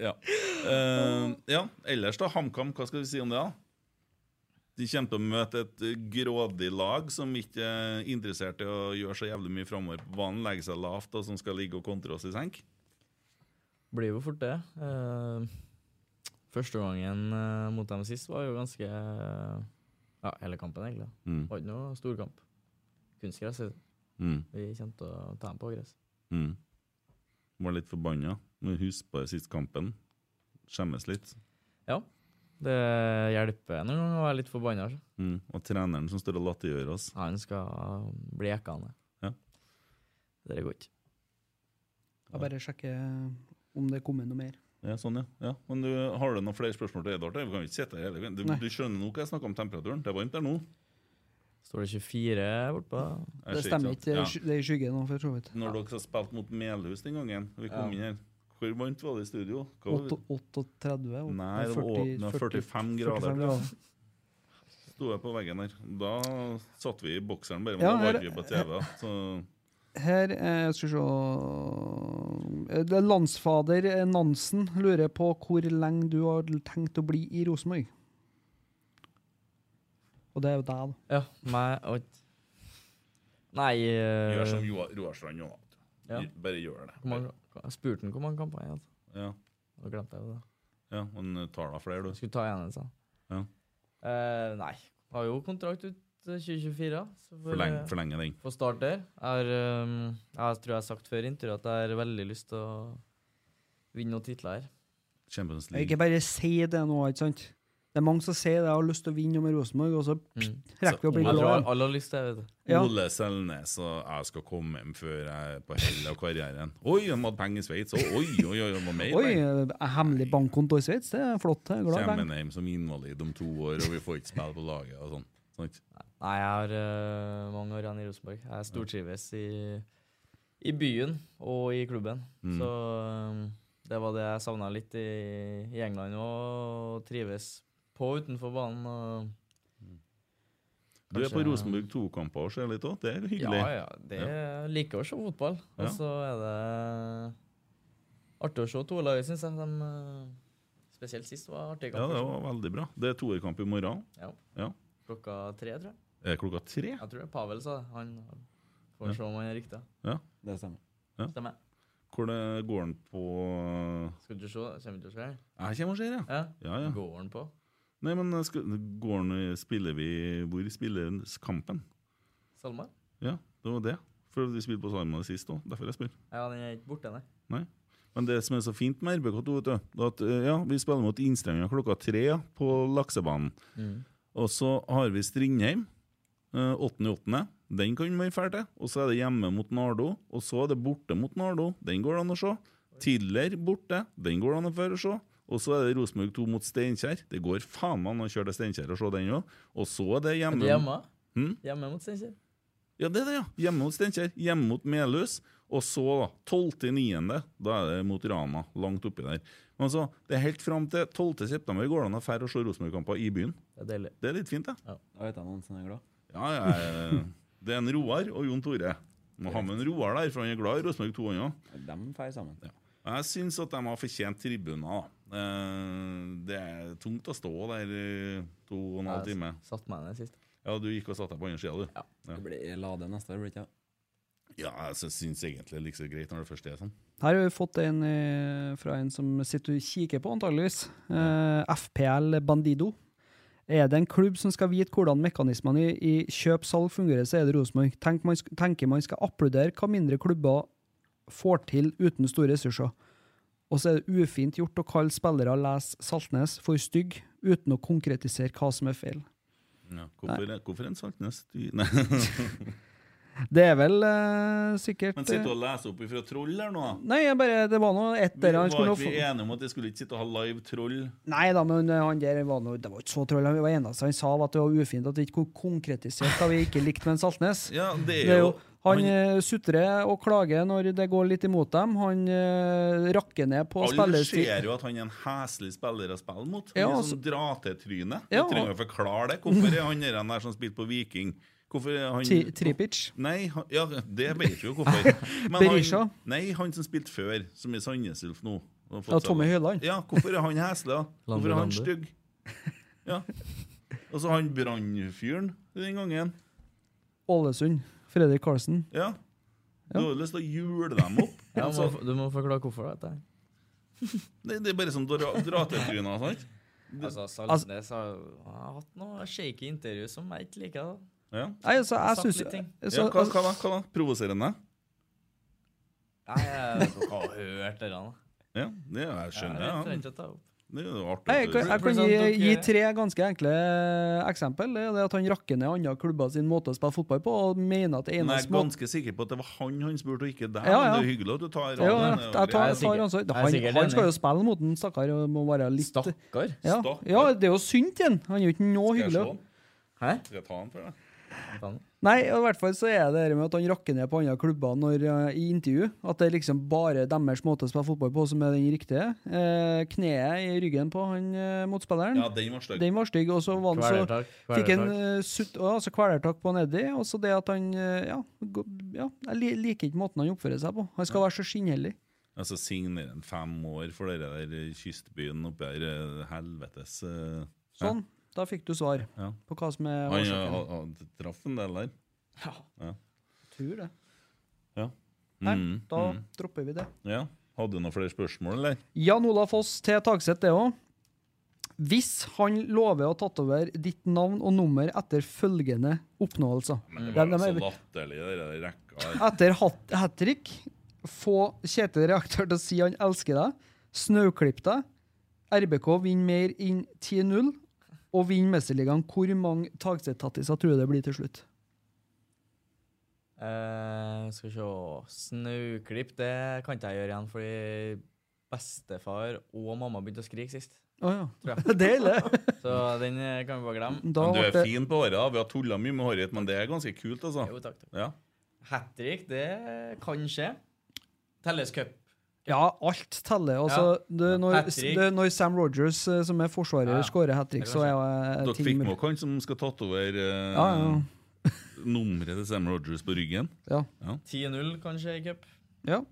B: Ja. Eh, ja. Ellers, da. HamKam, hva skal vi si om det? da? De kommer til å møte et eh, grådig lag som ikke er interessert i å gjøre så jævlig mye framover på banen, legge seg lavt, og som skal ligge og kontre oss i senk.
A: Blir jo fort det. Eh, første gangen eh, mot dem sist var jo ganske eh, Ja, hele kampen, egentlig. da.
B: Mm.
A: Var ikke noe storkamp. Kunstgress. heter det.
B: Mm.
A: eh, Vi kjente å ta dem på gress.
B: Mm. Var litt forbanna. Men husk på sist kampen. Skjemmes litt.
A: Ja. Det hjelper noen ganger å være litt forbanna. altså.
B: Mm. Og treneren som står og latterliggjør oss.
A: Han skal bli jekkende.
B: Ja.
A: Det går ikke.
D: Jeg bare sjekker eh, om det kommer noe mer.
B: Ja, sånn, ja. ja. Men du, har du noen flere spørsmål til Edvard? Vi kan jo ikke sitte her hele veien. Du,
D: Nei.
B: du skjønner nå hva jeg snakker om temperaturen? Det er varmt der nå.
A: Står det 24 bortpå?
B: Jeg
D: Det
B: ser
D: stemmer
B: at-
D: ikke.
B: ja.
D: det er sky- Det er i skyggen nå, for så vidt.
B: Når dere har spilt mot Melhus den gangen, vi kom
A: Ja.
B: inn her, hvor varmt var det i studio? Hva var-
D: Åtte- 38 og
B: Nei, det var
D: 40
B: åpnet 45 grader.
D: 45 grader.
B: Sto jeg på veggen her. Da satt vi i bokseren bare, men
D: Ja,
B: da var
D: her-
B: vi på TV. da. Så
D: Her eh, skal vi se Eh, det er Landsfader eh, Nansen lurer på hvor lenge du har tenkt å bli i Rosenborg. Og det er jo deg, da.
A: Ja, meg og Nei eh,
B: gjør som Joa- Roar Strand nå.
A: Ja.
B: Bare gjør det.
A: hvor mange, Jeg spurte han hvor mange kamper jeg hadde.
B: Ja.
A: Da glemte jeg det.
B: Ja, men tar da flere, du.
A: Skulle ta igjen en sånn.
B: Ja.
A: Eh, nei. Har jo kontrakt ut eh, 2024. så får
B: Forleng-
A: jeg-
B: forlenge den.
A: Får start der. Jeg, har, um, jeg tror jeg har sagt før i intervjuet at jeg har veldig lyst til å vinne noen titler her.
B: Champions
D: Ikke bare si det nå, ikke sant? Det er mange som sier det, jeg har lyst til å vinne med Rosenborg, og så pst, rekker vi å bli
A: Jeg tror
D: glad.
A: Mm. alle har lyst til det. vet du.
D: Ja.
B: Ole Selnes og jeg skal komme hjem før jeg er på hell av karrieren. Oi, han hadde penger i Sveits! og Oi, oi, oi, han var mer
D: Oi,
B: penger.
D: eh, hemmelig bankkonto i Sveits, det er flott. Jeg er glad i
B: Kommer
D: penger.
B: han hjem som invalid om to år, og vi får ikke spille på laget og sånn. Sant?
A: Nei, jeg har eh, mange år igjen i Rosenborg. Jeg stortrives i, i byen og i klubben.
B: Mm.
A: Så um, det var det jeg savna litt i, i England òg. Trives på og utenfor banen. Og
B: Du er på
A: Kanskje-
B: Rosenborg to kamper og ser litt òg. Det er jo hyggelig.
A: Ja, ja. Det jeg liker å se fotball.
B: Ja.
A: Og så er det artig å se toerlaget, syns jeg. De, eh, spesielt sist var artig.
B: Ja, det var veldig bra. Det er toerkamp i morgen.
A: Ja.
B: Ja.
A: Klokka tre, tror jeg.
B: Er det klokka tre?
A: Jeg tror det er Pavel sa det. Han får
B: Ja.
A: se om han er riktig.
B: Ja.
G: Det stemmer.
B: Ja.
A: Stemmer.
B: Hvor det går den på
A: Skal du se? Kommer du til å se?
B: Jeg kommer og ser, ja.
A: Ja.
B: Ja, ja.
A: Går han på?
B: Nei, men skal, går den, spiller vi Hvor spiller kampen?
A: Salmar?
B: Ja, det var det. For vi spilte på Sarma sist òg, derfor jeg spør.
A: Ja, den er ikke borte, nei.
B: Nei. Men det som er så fint med RBK2, vet du, det er at eh, ja, vi spiller mot Innstrenga klokka tre ja, på laksebanen.
A: Mm.
B: Og så har vi Strindheim, eh, 8.8. Den kan vi dra til. Og så er det hjemme mot Nardo, og så er det borte mot Nardo. Den går det an å se. Tidligere borte, den går det an å føre se. Og så er det Rosenborg 2 mot Steinkjer. Det går faen meg an å kjøre til Steinkjer og se den òg. Og så er det
A: Er
B: hjemme
A: du hjemme?
B: Hm?
A: Hjemme mot Steinkjer?
B: Ja, det er det, ja. Hjemme mot Steinkjer. Hjemme mot Melhus. Og så, da, 12.9., da er det mot Rana. Langt oppi der. Men altså, det er helt fram til 12.9. går det an å fære og se Rosenborg-kamper i byen.
A: Det er deilig.
B: Det er litt fint, det.
A: Ja.
G: Da vet jeg noen som er glad.
B: Ja, ja, det er en Roar og Jon Tore. Må ha med en Roar der, for han er glad i Rosenborg 2 òg.
G: De drar sammen.
B: Jeg syns at de har fortjent tribuner. da. Eh, Det er tungt å stå der i to og en
G: altså.
B: halv
A: Jeg
B: time.
A: satt meg ned sist.
B: Ja, du gikk og satte deg på andre sida, du. Ja.
G: Det blir Lade neste år, blir det ikke?
B: Ja, altså, jeg syns egentlig det er like så greit når det først er sånn.
D: Her har vi fått en eh, fra en som sitter og kikker på, antageligvis. Eh, FPL Bandido. Er det en klubb som skal vite hvordan mekanismene i, i kjøp-salg fungerer, så er det Rosenborg. Tenk man, sk- tenker man skal applaudere hva mindre klubber får til uten store ressurser. Og så er det ufint gjort å kalle spillere les Saltnes for stygg, uten å konkretisere hva som er feil.
B: Ja, hvorfor, hvorfor en Saltnes? Du- Nei.
D: Det er vel eh, sikkert
B: Men sitter du og leser opp ifra troll her nå?
D: Nei, jeg bare, det var nå ett der
B: var
D: han skulle
B: ikke
D: nå
B: vi
D: få-
B: enige om at jeg skulle ikke sitte og ha live troll?
D: Nei da, men eh, han der var noe, det var ikke så troll. Han var eneste han sa var at det var ufint at vi ikke konkretiserte hva vi ikke likte med en Saltnes.
B: Ja, det er jo-
D: han eh, sutrer og klager når det går litt imot dem. Han eh, rakker ned på
B: Alle ser
D: spillestil.
B: jo at han er en heslig spiller å spille mot. Han
D: Ja,
B: er
D: altså-
B: sånn dra-til-tryne. Du
D: Ja,
B: trenger
D: og-
B: å forklare det. Hvorfor er han der, der som spilte på Viking Hvorfor er han
D: Tri- Tripic?
B: Nei, han, ja, det vet vi jo hvorfor. han,
D: Berisha?
B: nei, han som spilte før, som er Sandnes Ulf nå. og har fått
D: Ja,
B: seg-
D: Tommy Høiland.
B: Ja, hvorfor er han heslig? da? Hvorfor er han
D: Lande,
B: stygg? Ja. Og så han brannfyren den gangen.
D: Ålesund. Fredrik Karlsen.
B: Ja. Du har jo lyst til å jule dem opp.
A: Ja,
B: Altså,
A: må, du må forklare hvorfor det. er dette her.
B: det, det er bare sånn dra- dra-til-tryne. sant? Det-
A: Altså, Saltnes har jo har hatt noe shaky intervju som jeg ikke liker. da.
B: Ja.
D: Nei, altså, jeg
A: Sagt
D: synes-
A: litt ting.
D: jeg-
B: ja,
D: så-
B: hva, hva, da? hva da? Provoserende?
A: Nei, jeg vet ikke hva jeg har hørt det der. da.
B: Ja, det jeg skjønner
A: Ja, jeg
B: jeg.
A: trenger ikke å ta opp.
B: Det er jo artig.
D: Nei, Jeg kan, jeg kan gi, gi tre ganske enkle eh, eksempel. Det er at han rakker ned andre klubber sin måte å spille fotball på, og mener at det
B: Men
D: ene
B: jeg er
D: små...
B: ganske sikker på at det var han han spurte, og ikke deg.
D: Ja, ja.
B: Men det er jo hyggelig at du tar
D: Ja,
B: rollen,
D: jeg,
B: det er jo
D: jeg tar,
B: greit.
D: jeg tar ansvar. Han, han skal jo spille mot den, stakkar. og Må være litt Stakkar? Ja. ja, det er jo synd igjen. Han er jo ikke noe
B: Skal jeg
D: hyggelig.
B: slå han? Skal jeg ta han for
A: deg?
D: Nei, og i hvert fall så er det det med at han rakker ned på andre klubber når, eh, i intervju. At det er liksom bare deres måte å spille fotball på som er den riktige. Eh, kneet i ryggen på han eh, motspilleren.
B: Ja, den var stygg.
D: Den var stygg, og så var han så
A: Kvelertak,
D: fikk han
A: kvelertak.
D: eh, sutt, og altså kvelertak på Neddy, og så det at han eh, ja, gå- ja, jeg li- liker ikke måten han oppfører seg på. Han skal være så skinnhellig.
B: Altså signere en fem år for dere der kystbyen oppi her eh, helvetes eh,
D: Sånn.
B: hæ?
D: Da fikk du svar
B: Ja.
D: på hva som er
B: Han eh,
D: årsaken.
B: han- han traff en del der.
D: Ja.
B: Ja.
D: Tror det.
B: ja.
D: Nei,
B: Mm,
D: da
B: mm.
D: dropper vi det.
B: ja. Hadde du noen flere spørsmål, eller?
D: Jan Olav Foss til Tagseth, det òg. Hvis han lover å tatt over ditt navn og nummer etter følgende oppnåelser
B: Men det
D: Dem-
B: var jo
D: dem
B: sånn så
D: er-
B: latterlig, det der rekka her.
D: Etter hat trick få Kjetil Reaktør til å si han elsker deg, snauklipp deg, RBK vinner mer enn 10-0, og vinner Mesterligaen. Hvor mange Tagseth-tattiser tror du det blir til slutt?
A: Eh, skal vi se Snauklipp, det kan ikke jeg gjøre igjen, fordi bestefar og mamma begynte å skrike sist.
D: Å ja.
A: tror jeg.
D: Det er ille.
A: Så den eh, kan vi bare glemme.
B: Men du er fin på håret. da. Vi har tulla mye med håret, men det er ganske kult, altså.
A: Jo, takk, takk.
B: Ja.
A: Hat trick, det kan skje. Telles cup.
D: Ja, alt teller. Altså, det, når,
A: Hat-trick.
D: det, når Sam Rogers, eh, som er forsvarer,
B: Ja, ja.
D: skårer hat trick, så er jo
B: Dere
D: eh, ting
B: fikk
D: mulig.
B: med dere han som skal tatovere eh,
D: Ja, ja.
B: nummeret til Sam Rogers på ryggen?
D: Ja.
A: 10-0 kan skje i cup.
D: Ja.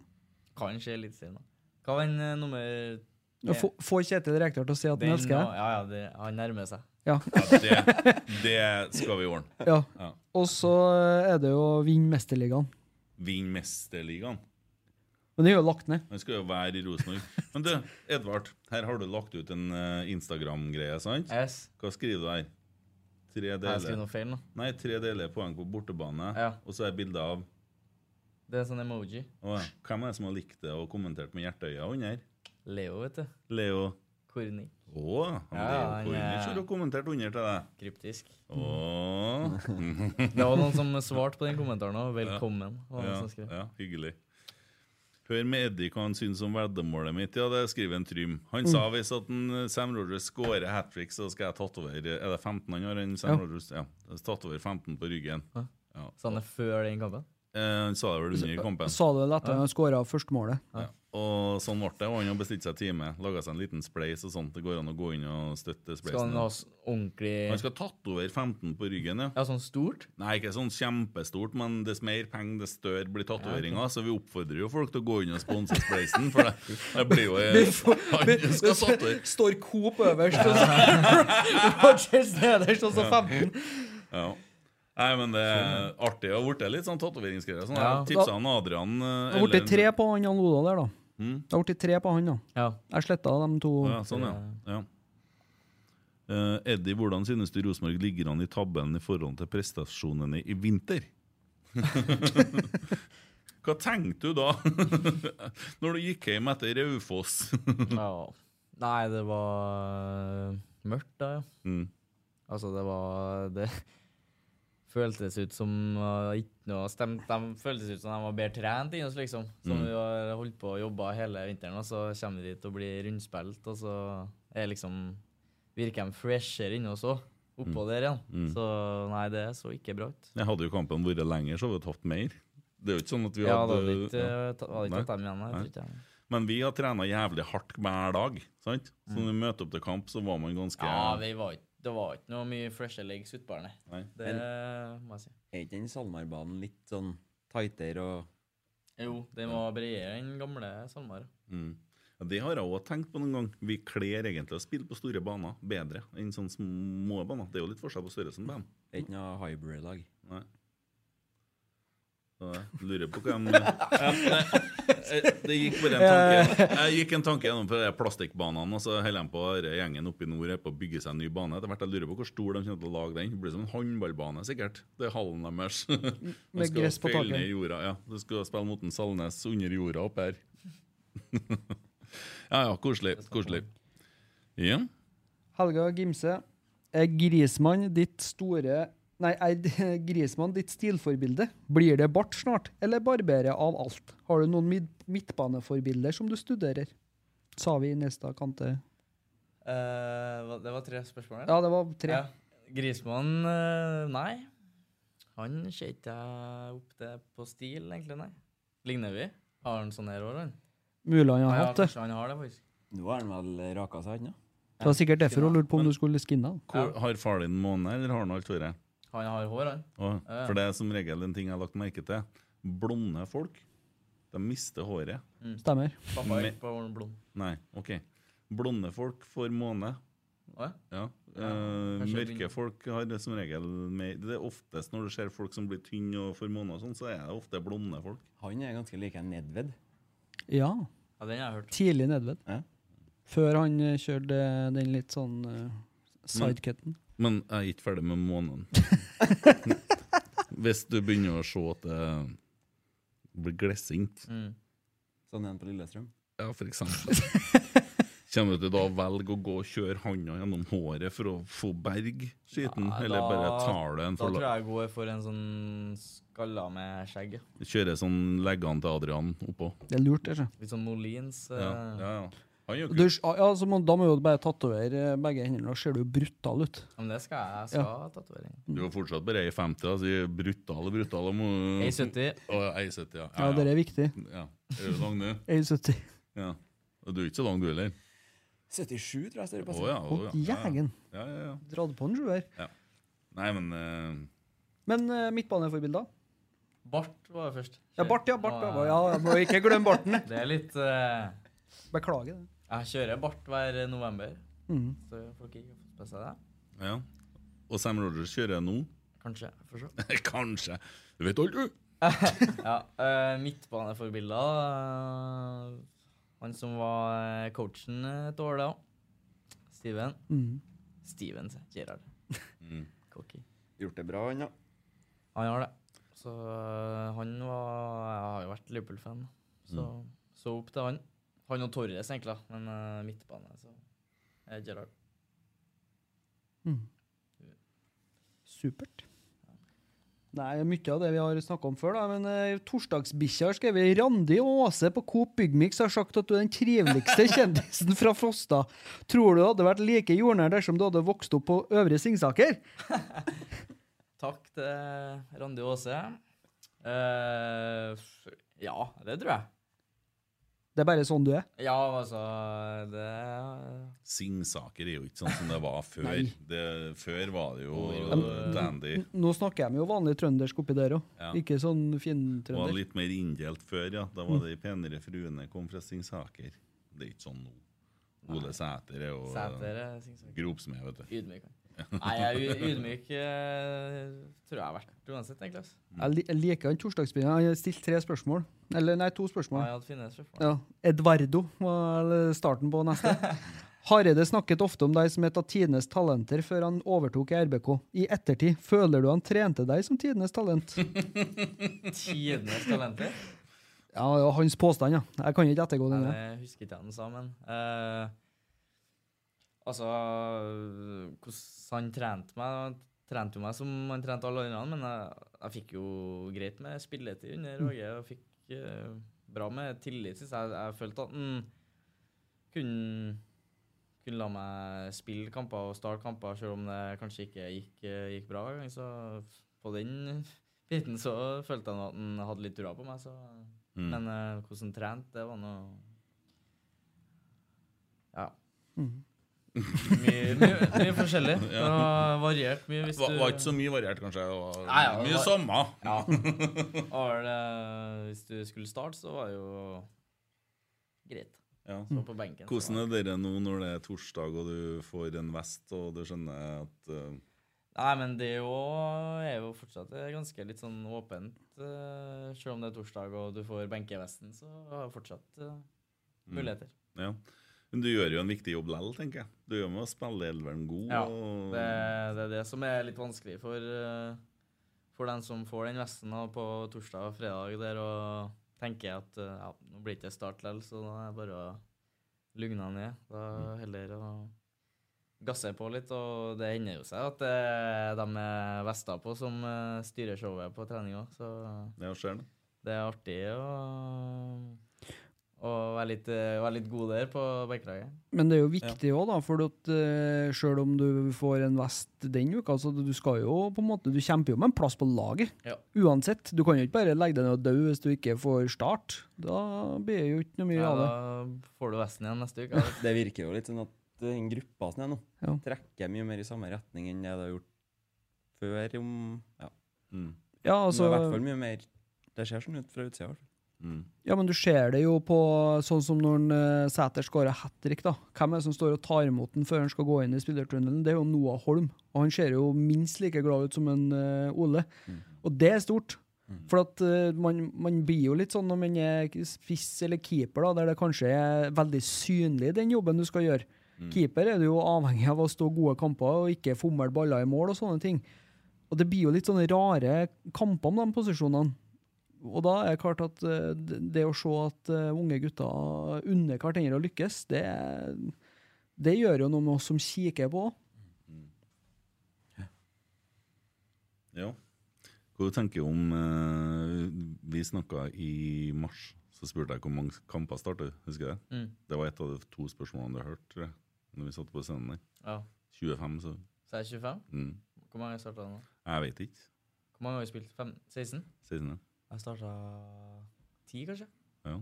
A: Kan skje litt senere. Hva var den eh, nummer
D: Nå få- Får Kjetil Rekdal til å si at han
A: Den
D: elsker
A: nå-
D: deg?
A: Ja, ja, det, han nærmer seg.
D: Ja.
B: det, det skal vi ordne.
D: Ja. Og så eh, er det jo å vinne Mesterligaen.
B: Vinn Mesterligaen.
D: Men det er jo lagt ned.
B: Han skal jo være i Rosenborg. Men du, Edvard, her har du lagt ut en eh, Instagram-greie, sant?
A: Yes.
B: Hva skriver du her? Tre deler.
A: skrevet noe feil nå.
B: Nei, tre deler poeng på bortebane,
A: Ja.
B: og så er bilde av
A: Det er en sånn emoji.
B: Å, ja. Hvem er det som har likt det og kommentert med hjerteøyne under?
A: Leo, vet du.
B: Leo
A: Korni.
B: Å, han Leo Kornic har jo kommentert under til deg.
A: Kryptisk.
B: Åh.
A: Det var noen som svarte på den kommentaren òg. Velkommen.
B: Ja,
A: var det noen
B: ja,
A: som skrev.
B: ja, hyggelig. Hør med Eddie hva han syns om veddemålet mitt. Ja, det skriver en Trym.
A: Mm.
B: Han sa hvis at en, eh, Sam Rogers scorer hat trick, så skal jeg tatovere Er det 15 han har? En Sam
A: Ja.
B: Rogers? Ja. Tatovere 15 på ryggen.
A: Ja.
B: Ja.
A: Sa han det før den kampen?
B: Eh, Han sa det vel under kampen.
D: Sa du det etter at han skåra førstemålet?
B: Ja. Og sånn ble det. Og han har bestilt seg time. Laga seg en liten spleis og sånt. Det går an å gå inn og støtte spleisen.
A: Skal han ha s- ordentlig
B: Han skal tatovere 15 på ryggen, ja.
A: Ja, Sånn stort?
B: Nei, ikke sånn kjempestort, men dess mer penger, dess større blir tatoveringa.
A: Ja,
B: Så vi oppfordrer jo folk til å gå inn og sponse Spleisen, for det, det blir jo
D: Vi får-
B: Han skal
D: vi-
B: tatovere
D: Står Coop øverst, og så Rogers nederst,
A: sånn
D: og så 15.
B: Ja. Nei, men det er artig. Det har blitt litt sånn tatoveringsgreier. Sånn,
D: Sånn, Ja.
B: Jeg tipsa han Adrian eh,
D: Det har blitt tre på han Jan Oda der, da.
B: Mm.
D: Det har blitt tre på han, da.
A: Ja.
D: Jeg sletta de to.
B: Ja, sånn, ja. ja. Eh, Eddie, hvordan synes du Rosenborg ligger an i tabellen i forhold til prestasjonene i vinter? Hva tenkte du da, når du gikk hjem etter Raufoss?
A: ja. Nei, det var mørkt da, ja.
B: Mm.
A: Altså, det var Det føltes ut som uh, ikke noe stemt. De føltes ut som de var bedre trent enn oss, liksom. Som
B: Mm.
A: vi har holdt på og jobba hele vinteren, og så kommer vi dit og blir rundspilt, og så er liksom Virker de freshere enn oss òg, oppå
B: Mm.
A: der igjen.
B: Mm.
A: Så nei, det så ikke bra ut.
B: Jeg hadde jo kampen vært lenger, så hadde vi tapt mer. Det er jo ikke sånn at vi
A: Ja,
B: hadde
A: da hadde vi ikke, eh, ta- hadde ikke
B: Nei.
A: tatt dem igjen, nei, jeg tror ikke jeg.
B: Men vi har trena jævlig hardt hver dag. sant? Så når vi møter opp til kamp, så var man ganske
A: Mm. Ja, vi var, ikke- det var ikke noe mye freshe legs utpå der, nei. Det må jeg si.
G: Er ikke den SalMar-banen litt sånn tightere og
A: Jo, den var bredere enn gamle SalMar.
B: Mm. Ja, det har jeg òg tenkt på noen gang. Vi kler egentlig å spille på store baner bedre enn sånne små baner. Det er jo litt forskjell på størrelsen på dem.
G: Det er ikke noe hybrid-lag.
B: Nei. Så jeg lurer på hvem det, det gikk bare en tanke Jeg gikk en tanke gjennom på de plastikkbanene, og så holder de på denne gjengen oppe i nord er på å bygge seg en ny bane. Etter hvert jeg lurer på hvor stor de kommer til å lage den. Det blir som en håndballbane, sikkert. Det er hallen deres. De
D: Med
B: skal
D: gress på
B: felle
D: taket.
B: ned i jorda. Ja, du skal spille mot en Salnes under jorda oppe her. Ja ja, koselig. Koselig. Ja.
D: Helga Gimse. Er Grismann ditt store Nei, er d- Grismann ditt stilforbilde? Blir det bart snart, eller barbere av alt? Har du noen mid midtbaneforbilder som du studerer? Sa vi i neste kante.
A: Eh, hva- det var tre spørsmål?
D: Ja, det var tre.
A: Grismann eh, Nei. Han ser ikke jeg opp til på stil, egentlig, nei. Ligner vi? Har han sånn her år, han?
D: Mulig han har
A: Ja,
D: hatt det.
A: kanskje han har det, faktisk.
G: Nå har han vel eh, raka seg, han, ja?
D: Det var sikkert derfor hun lurte på om du skulle skinne han.
B: Hvor, har far din måne, eller har han alt håret?
A: Han har hår, han.
B: Å,
A: Ja, ja.
B: For det er som regel en ting jeg har lagt merke til. Blonde folk de mister håret.
A: Mm.
D: Stemmer.
A: Pappa er
B: Me-
A: ikke på å ordne blond.
B: Nei, ok. Blonde folk får måne.
A: Å
B: Ja.
A: Ja,
B: Eh,
A: kanskje
B: mørke
A: begynner-
B: folk har det som regel mer Det er oftest når du ser folk som blir tynne og får måne, og sånn, så er det ofte blonde folk.
G: Han er ganske lik en Nedved.
D: Ja.
A: Ja, den har jeg hørt.
D: Tidlig Nedved.
G: Ja.
D: Før han eh, kjørte den litt sånn uh, sidecutten.
B: Men jeg er ikke ferdig med månen. Hvis du begynner å se at det blir glissent,
A: Mm.
G: Sånn er han på Lillestrøm.
B: ja, for eksempel Kommer du til da å velge å gå og kjøre handa gjennom håret for å få berg skiten,
A: Nei,
B: eller bare
A: da-
B: tar du en
A: Da
B: for
A: tror jeg jeg går for en sånn skalla med skjegg. ja.
B: Kjøre sånn leggene til Adrian oppå.
D: Det er lurt, det. sjø.
A: Litt sånn Molins. eh,
B: Ja, ja, ja. Han gjør
D: Og Du, ja, så må, da må du bare tatovere eh, begge hendene, da ser du jo brutal ut.
A: Men det skal jeg. Jeg skal
D: Ja.
A: ha tatovering.
B: Du er fortsatt bare 1,50. Altså, brutale, brutale
D: Mm.
B: må-
A: 1,70.
B: Å, 1,70, ja.
D: Ja, det er viktig.
B: Ja. Er du lang, du?
D: 1,70.
B: Ja. Og du er ikke så lang, du heller?
G: 77, tror jeg står det på.
B: Å ja, å,
D: Å,
B: ja. ja.
D: jægen.
B: Ja, ja, ja.
D: Dratt på en sjuer.
B: ja. Nei, men eh,
D: Men uh, midtbaneforbilder?
A: Bart var jo først.
D: Ja, bart, ja. Bart, ja. ja jeg må ikke glemme barten.
A: Det er litt eh,
D: Beklager det.
A: Jeg kjører bart hver november.
D: Mhm.
A: Så folk ikke får på seg det.
B: eh, ja. Og Sam Rogers kjører jeg nå?
A: Kanskje. jeg Får se.
B: Kanskje. Du vet aldri!
A: ja, eh, midtbaneforbilder eh, Han som var eh, coachen et år da. Steven.
D: Mhm.
A: Steven, sier jeg. Gerard. Cocky.
G: Gjort det bra, han, ja.
A: Han har det. Så øh, han var Jeg har jo vært Liverpool-fan, så så opp til han. Han og Torres, egentlig, da, men øh, midtbane, så er det Gerrard.
D: Supert. Nei, mye av det vi har snakka om før, da. Men uh, torsdagsbikkja har skrevet Randi og Åse på Coop Byggmix har sagt at du er den triveligste kjendisen fra Frosta. Tror du hadde vært like jordnær dersom du hadde vokst opp på Øvre Singsaker?
A: Takk til Randi Aase. Eh, f- ja, det tror jeg.
D: Det er bare sånn du er.
A: Ja, altså Det
B: Singsaker er jo ikke sånn som det var før.
D: Nei.
B: det, før var det jo
D: Men-
B: dandy.
A: Mm.
D: N- Nå snakker de jo vanlig trøndersk oppi der òg,
B: Ja.
D: ikke sånn
B: Det var
D: fintrønder.
B: litt mer inndelt før, ja. Da
A: Mm.
B: var det de penere fruene kom fra Singsaker. Det er ikke sånn nå. Ole Sæter er jo eh,
A: Sæter er Singsaker.
B: gropsmed, vet du.
A: Ydmyk. Nei, jeg er u- ydmyk eh, tror jeg har vært uansett, egentlig. altså. ass.
D: Jeg, li jeg liker han torsdagsbegynnelsen. Han har stilt tre spørsmål. Eller nei, to spørsmål.
A: Ja, jeg hadde funnet et spørsmål.
D: Ja. Edvardo var starten på neste. Hareide snakket ofte om deg som et av tidenes talenter før han overtok i RBK. I ettertid, føler du han trente deg som tidenes talent?
A: Tidenes talenter.
D: Ja, det var hans påstand, ja. Jeg kan ikke ettergå den.
A: Nei,
D: jeg.
A: Jeg husker ikke hva han sa, men eh, Altså, hvordan han trente meg Han trente jo meg som han trente alle andre, men jeg, jeg fikk jo greit med spilletid under Åge. Og fikk eh, bra med tillit, syns jeg. Jeg følte at han kunne, kunne la meg spille kamper og starte kamper, selv om det kanskje ikke gikk, eh, gikk bra hver gang. Så på den biten så følte jeg nå at han hadde litt trua på meg, så
B: Mm.
A: Men eh, hvordan han trente, det var noe Ja. Mye, mye, mye forskjellig. Det var variert mye hvis
B: Va-
A: du
B: Var ikke så mye variert, kanskje. Det var
A: Nei, ja, det
B: mye
A: var-
B: samme.
A: Ja. Og det, hvis du skulle starte, så var det jo greit.
B: Ja.
A: Så på benken. så
B: Hvordan
A: var-
B: er dere nå når det er torsdag og du får en vest og du skjønner at eh,
A: Nei, men det er jo, er jo fortsatt eh, ganske litt sånn åpent. eh, selv om det er torsdag og du får benkevesten, så har jeg fortsatt eh,
B: mm,
A: muligheter.
B: Ja. Men du gjør jo en viktig jobb likevel, tenker jeg. Du gjør med å spille elveren god.
A: Ja,
B: og,
A: det, det er det som er litt vanskelig for, eh, for den som får den vesten da, på torsdag og fredag der og tenker at eh, ja, nå blir det ikke start likevel, så da er det bare å lugne ned. Da heller å gasse på litt, og det hender jo seg at det er de med vester på som eh, styrer showet på trening òg, så
B: det skjer, det.
A: det er artig å, å være, litt, eh, være litt god der på bekkelaget.
D: Men det er jo viktig òg, da, for at, eh, selv om du får en vest den uka, så du skal jo på en måte Du kjemper jo med en plass på laget.
A: Ja.
D: Uansett. Du kan jo ikke bare legge deg ned og dø hvis du ikke får start. Da blir det jo ikke noe mye
A: Ja,
D: av det.
A: da får du vesten igjen neste uke. da.
G: Det virker jo litt sånn at den gruppa som er nå,
D: Ja.
G: trekker mye mer i samme retning enn det det har gjort før. Om, ja.
D: Ja,
G: det er i
D: altså-
G: hvert fall mye mer Det ser sånn ut fra utsida. i hvert fall.
D: Ja, men du ser det jo på sånn som når en, eh, Sæter skårer hat trick. da. Hvem er det som står og tar imot den før han skal gå inn i spillertunnelen? Det er jo Noah Holm. Og han ser jo minst like glad ut som en eh, Ole. Og det er stort. For at eh, man, man blir jo litt sånn når man er spiss eller keeper, da, der det kanskje er veldig synlig den jobben du skal gjøre. Keeper er du jo avhengig av å stå gode kamper og ikke fomle baller i mål og sånne ting. Og det blir jo litt sånne rare kamper om de posisjonene. Og da er det klart at eh, det det å se at eh, unge gutter unner hverandre å lykkes, det, det gjør jo noe med oss som kikker på.
B: Ja. Hva du tenker om eh, Vi snakka i mars, så spurte jeg hvor mange kamper starter. Husker du det?
A: Mm.
B: Det var et av de to spørsmålene du hørte tror jeg, når vi satt på scenen der.
A: Ja.
B: 25, så
A: Så er jeg 25?
B: mm.
A: Hvor mange har jeg starta nå?
B: Jeg vet ikke.
A: Hvor mange har vi spilt? Fem, 16?
B: 16, ja.
A: Jeg starta 10, kanskje?
B: Ja.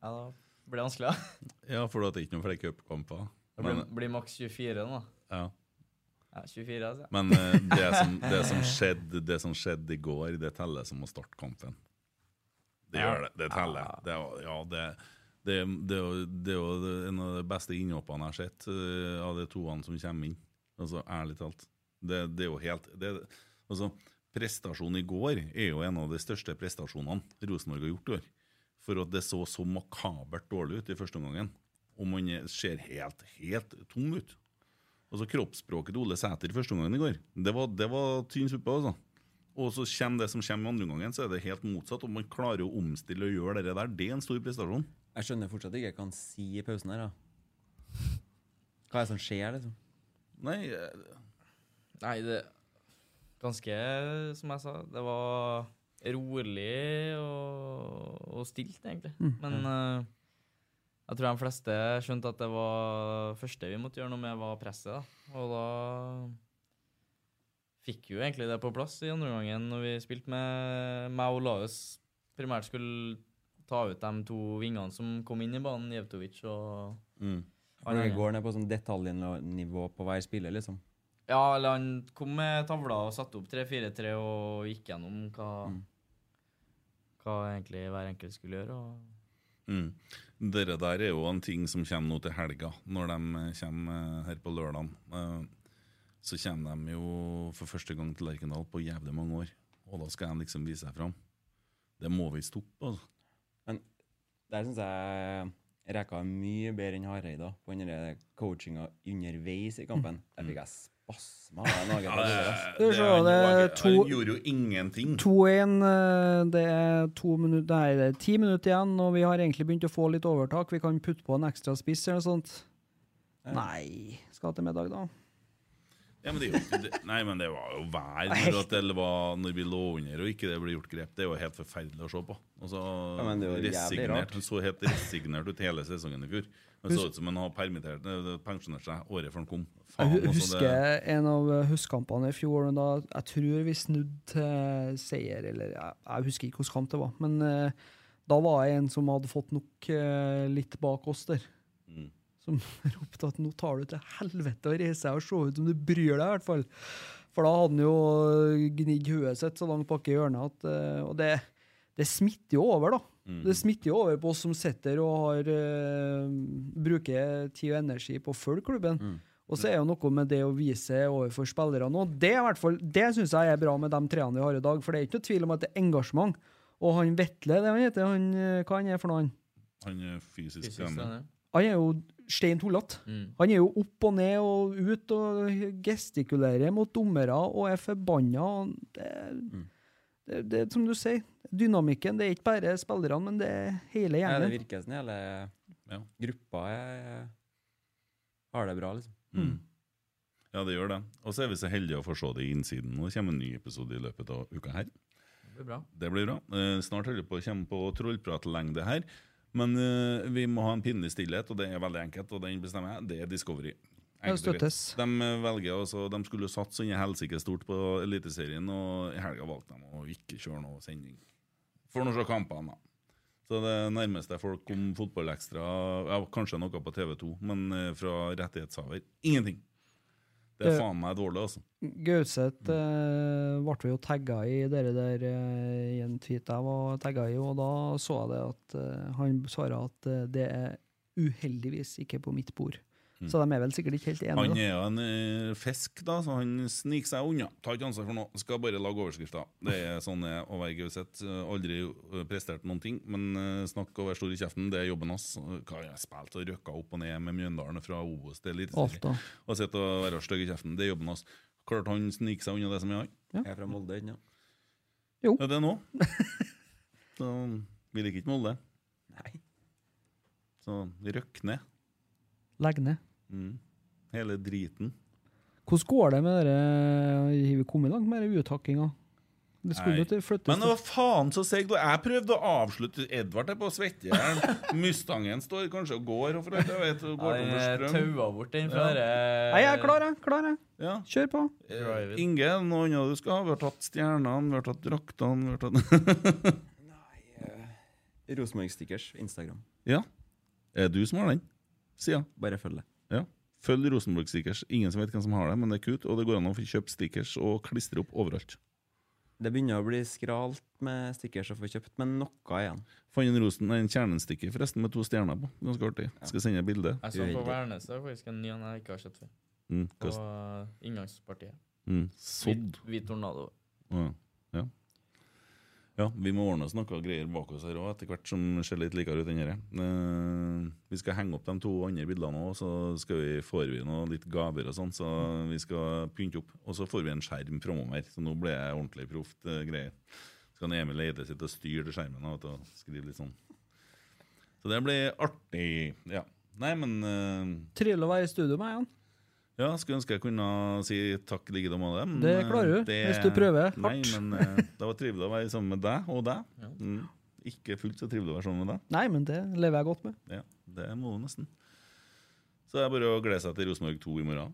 A: Ja, da blir det vanskelig, da.
B: ja, for det er ikke noen flere cupkamper.
A: Det blir,
B: Men,
A: blir maks 24 nå.
B: ja.
A: Ja, 24, altså.
B: men eh, det, som, det, som skjedde, det som skjedde i går, det teller som å starte kampen. Det
A: Ja. Ah.
B: gjør det. Det teller. Det, var- ja, det, det, det, er jo- det er jo en av de beste innhoppene jeg har sett, eh, av de toene som kommer inn. Altså, Ærlig talt. Det, det er jo helt det, altså, Prestasjonen i går er jo en av de største prestasjonene Rosenborg har gjort i år. For at det så så makabert dårlig ut i første omgangen. Og man er- ser helt, helt tom ut. Altså Kroppsspråket til Ole Sæter i første omgangen i går, det var, det var tynn suppe. altså. Og så kommer det som kommer i andre omgangen, så er det helt motsatt. Og man klarer å omstille og gjøre det der. Det er en stor prestasjon.
G: Jeg skjønner fortsatt ikke hva jeg kan si i pausen her. da. Hva er det som skjer, liksom?
B: Nei, eh,
A: Nei, det Ganske, som jeg sa, det var rolig og, og stilt, egentlig.
D: Mm.
A: Men eh, jeg tror de fleste skjønte at det var første vi måtte gjøre noe med, var presset. da. Og da fikk jo egentlig det på plass i andre omgangen når vi spilte med meg og Laus. Primært skulle ta ut de to vingene som kom inn i banen, Jevtovic og
G: Mm.
A: han
G: Når det
A: andre.
G: går ned på sånn detaljnivå på hver spiller, liksom.
A: Ja, eller han kom med tavla og satte opp 3-4-3 og gikk gjennom hva,
G: Mm.
A: hva egentlig hver enkelt skulle gjøre. Og
B: Mm. Dere der er jo en ting som kommer nå til helga, når de eh, kommer eh, her på lørdag. Så kommer de jo for første gang til Lerkendal på jævlig mange år, og da skal de liksom vise seg fram. Det må vi stoppe, altså.
G: Men der syns jeg Reka er mye bedre enn Hareide på den der coachinga underveis i kampen.
A: Mm.
G: Der fikk jeg spasma. av den hagen på døra, ass.
D: Skal vi se, det er to
B: Han gjorde jo ingenting.
D: 2-1. eh, Det er to minutter, nei, det er ti minutter igjen, og vi har egentlig begynt å få litt overtak. Vi kan putte på en ekstra spiss eller noe sånt. Nei Skal til middag, da.
B: Ja, men det, er jo ikke- det, nei, men det var jo vær når, at det var, når vi lå under og ikke det ble gjort grep. Det er jo helt forferdelig å se på. Og så
G: Ja, men det er jo jævlig
B: resignert,
G: rart.
B: Han så helt resignert ut hele sesongen i fjor. Han
D: Husk-
B: så ut som han har permittert eh, pensjonert seg året før han kom. Faen,
D: Jeg hu-
B: altså,
D: husker
B: det,
D: en av eh, huskampene i fjor. og Da, jeg tror vi snudde til seier, eller jeg, jeg husker ikke hvilken kamp det var. Men eh, da var jeg en som hadde fått nok eh, litt bak oss der.
B: Mm.
D: Som ropte at nå tar du til helvete og reiser deg og ser ut som du bryr deg, i hvert fall. For da hadde han jo gnidd hodet sitt så langt bak i hjørnet at eh, Og det, det smitter jo over, da.
B: Mm.
D: Det smitter jo over på oss som sitter og har, eh, bruker tid og energi på å følge klubben. Og så er jo noe med det å vise overfor spillerne òg. Det, er i hvert fall- det syns jeg er bra med de treene vi har i dag, for det er ikke noe tvil om at det er engasjement. Og han Vetle, det han heter, han, eh, hva han er for noe, han?
B: han er fysisk,
A: Fysisk
B: trener.
A: trener.
D: Han er jo stein tullete. Han er jo opp og ned og ut og gestikulerer mot dommere og er forbanna. og Det, det, det, er som du sier, dynamikken. Det er ikke bare spillerne, men det er hele
G: Ja, det
D: gjengen.
G: virker som hele gruppa er, har det bra, liksom.
B: Ja, det gjør det. Og så er vi så heldige å få se det i innsiden. Nå kommer en ny episode i løpet av uka her.
A: det blir bra.
B: Det blir bra. Eh, snart holder på å komme på trollpratlengde her. Men eh, vi må ha en pinlig stillhet, og det er veldig enkelt. Og den bestemmer jeg. Det er Discovery.
D: Ja,
B: Enkelt og greit.
D: støttes.
B: De eh, velger også, de skulle jo satse sånn i helsike stort på Eliteserien, og i helga valgte de å ikke kjøre noe sending. For nå se kampene, da. Så det nærmeste folk kom fotballekstra ja, Kanskje noe på TV2, men eh, fra rettighetshaver ingenting. Det
D: Det-
B: er faen meg dårlig, altså.
D: Gauseth eh, ble vi jo tagga i dere der eh, i en tweet jeg var tagga i, og da så jeg det at eh, han svara at eh, det er uheldigvis ikke på mitt bord. Så de er vel sikkert ikke helt enige.
B: Han
D: da.
B: er jo en eh, fisk, da, så han sniker seg unna. Tar ikke ansvar for noe, skal bare lage overskrifter. Det er sånn det er å være Gauseth. Eh, Aldri eh, prestert noen ting, men eh, snakk og vær stor i kjeften, det er jobben hans. Eh, Hva har jeg spilt og røkka opp og ned med Mjøndalen fra OS til
D: Ofte.
B: Eliteserien? Og sitte og være stygg i kjeften, det er jobben hans. Klart han sniker seg unna det som er han.
D: Ja.
G: Jeg er fra Molde ennå.
D: Jo.
B: Ja, det er nå. Så vi liker ikke Molde.
G: Nei.
B: Så røkk ned.
D: Legg ned.
B: Mm. Hele driten.
D: Hvordan går det med dere? Har vi kommet langt med dere uttakkinga? Det skulle jo til flyttes
B: Men hva faen så seig du er. Jeg prøvde å avslutte Edvard er på svettejern. Mustangen står kanskje og går og for alt jeg vet. Og går
A: Ja,
B: tom
A: den
B: for strøm.
A: taua bort den fra dere-
D: Nei, jeg er klar, jeg. Klar, jeg.
B: Ja.
D: Kjør på.
B: Eh, Inge, noe annet du skal ha? Vi har tatt stjernene, vi har tatt draktene vi har tatt...
G: Rosenborg-stickers eh, Instagram.
B: Ja. Er du som har den? Sida.
G: Bare følg det.
B: Ja. Følg Rosenborg-stickers. Ingen som vet hvem som har det, men det er kult. Og det går an å få kjøpt stickers og klistre opp overalt.
G: Det begynner å bli skralt med stickers å få kjøpt, men noe igjen.
B: Fant en rosen, nei, en kjernenstikker forresten med to stjerner på. Ganske artig. Skal sende et bilde.
A: Jeg så på Værnes, det er faktisk en ny en jeg ikke har sett før.
B: Mm,
A: På
B: kost-
A: inngangspartiet.
B: Mm, sådd.
A: Hvit- Hvit tornado.
B: Ja. ja. Ja, vi må ordne oss noe greier bak oss her òg, etter hvert som ser litt likere ut enn dette. Eh, vi skal henge opp de to andre bildene òg, så skal vi, får vi noe litt gaver og sånn. Så vi skal pynte opp. Og så får vi en skjerm framover, så nå blir jeg ordentlig proft eh, greier. Så kan Emil Eide sitte og styre til skjermen og, og skrive litt sånn. Så det blir artig. Ja. Nei, men eh,
D: Trivelig å være i studio med igjen.
B: ja, skulle ønske jeg kunne si takk like med dem.
D: Det klarer du, hvis du prøver hardt.
B: eh, Nei, men eh, det var trivelig å være sammen med deg og deg. Mm. Ikke fullt så trivelig å være sammen med deg.
D: Nei, men det lever jeg godt med.
B: Ja, det må du nesten. Så det er bare å glede seg til Rosenborg 2 i morgen.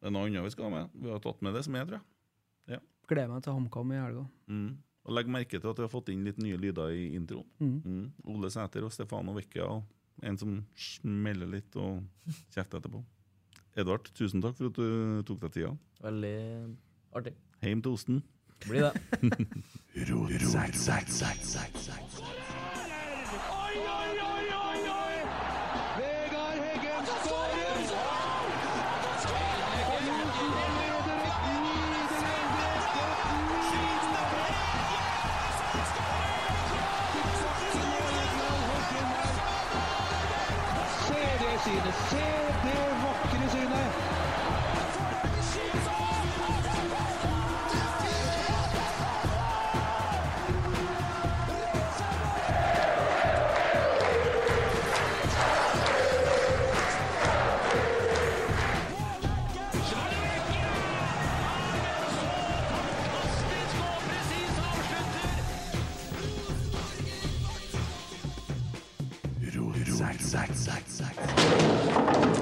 B: Det er noe annet vi skal ha med. Vi har tatt med det som er, tror jeg. Ja.
D: Gleder meg til HamKam i helga.
B: Mm. Og Legg merke til at vi har fått inn litt nye lyder i introen.
D: Mm.
B: Ole Sæter og Stefano Vecchia. og En som smeller litt og kjefter etterpå. Edvard, tusen takk for at du tok deg tida.
A: Veldig artig.
B: Heim til osten.
A: Blir det.
B: Rotsekk, sekk,
K: sekk, sekk, sekk. Oi, oi, oi, oi, oi! Vegard Heggen skårer! Se det synet! Se det vakre synet!
B: Rotsekk, sekk, sekk, sekk.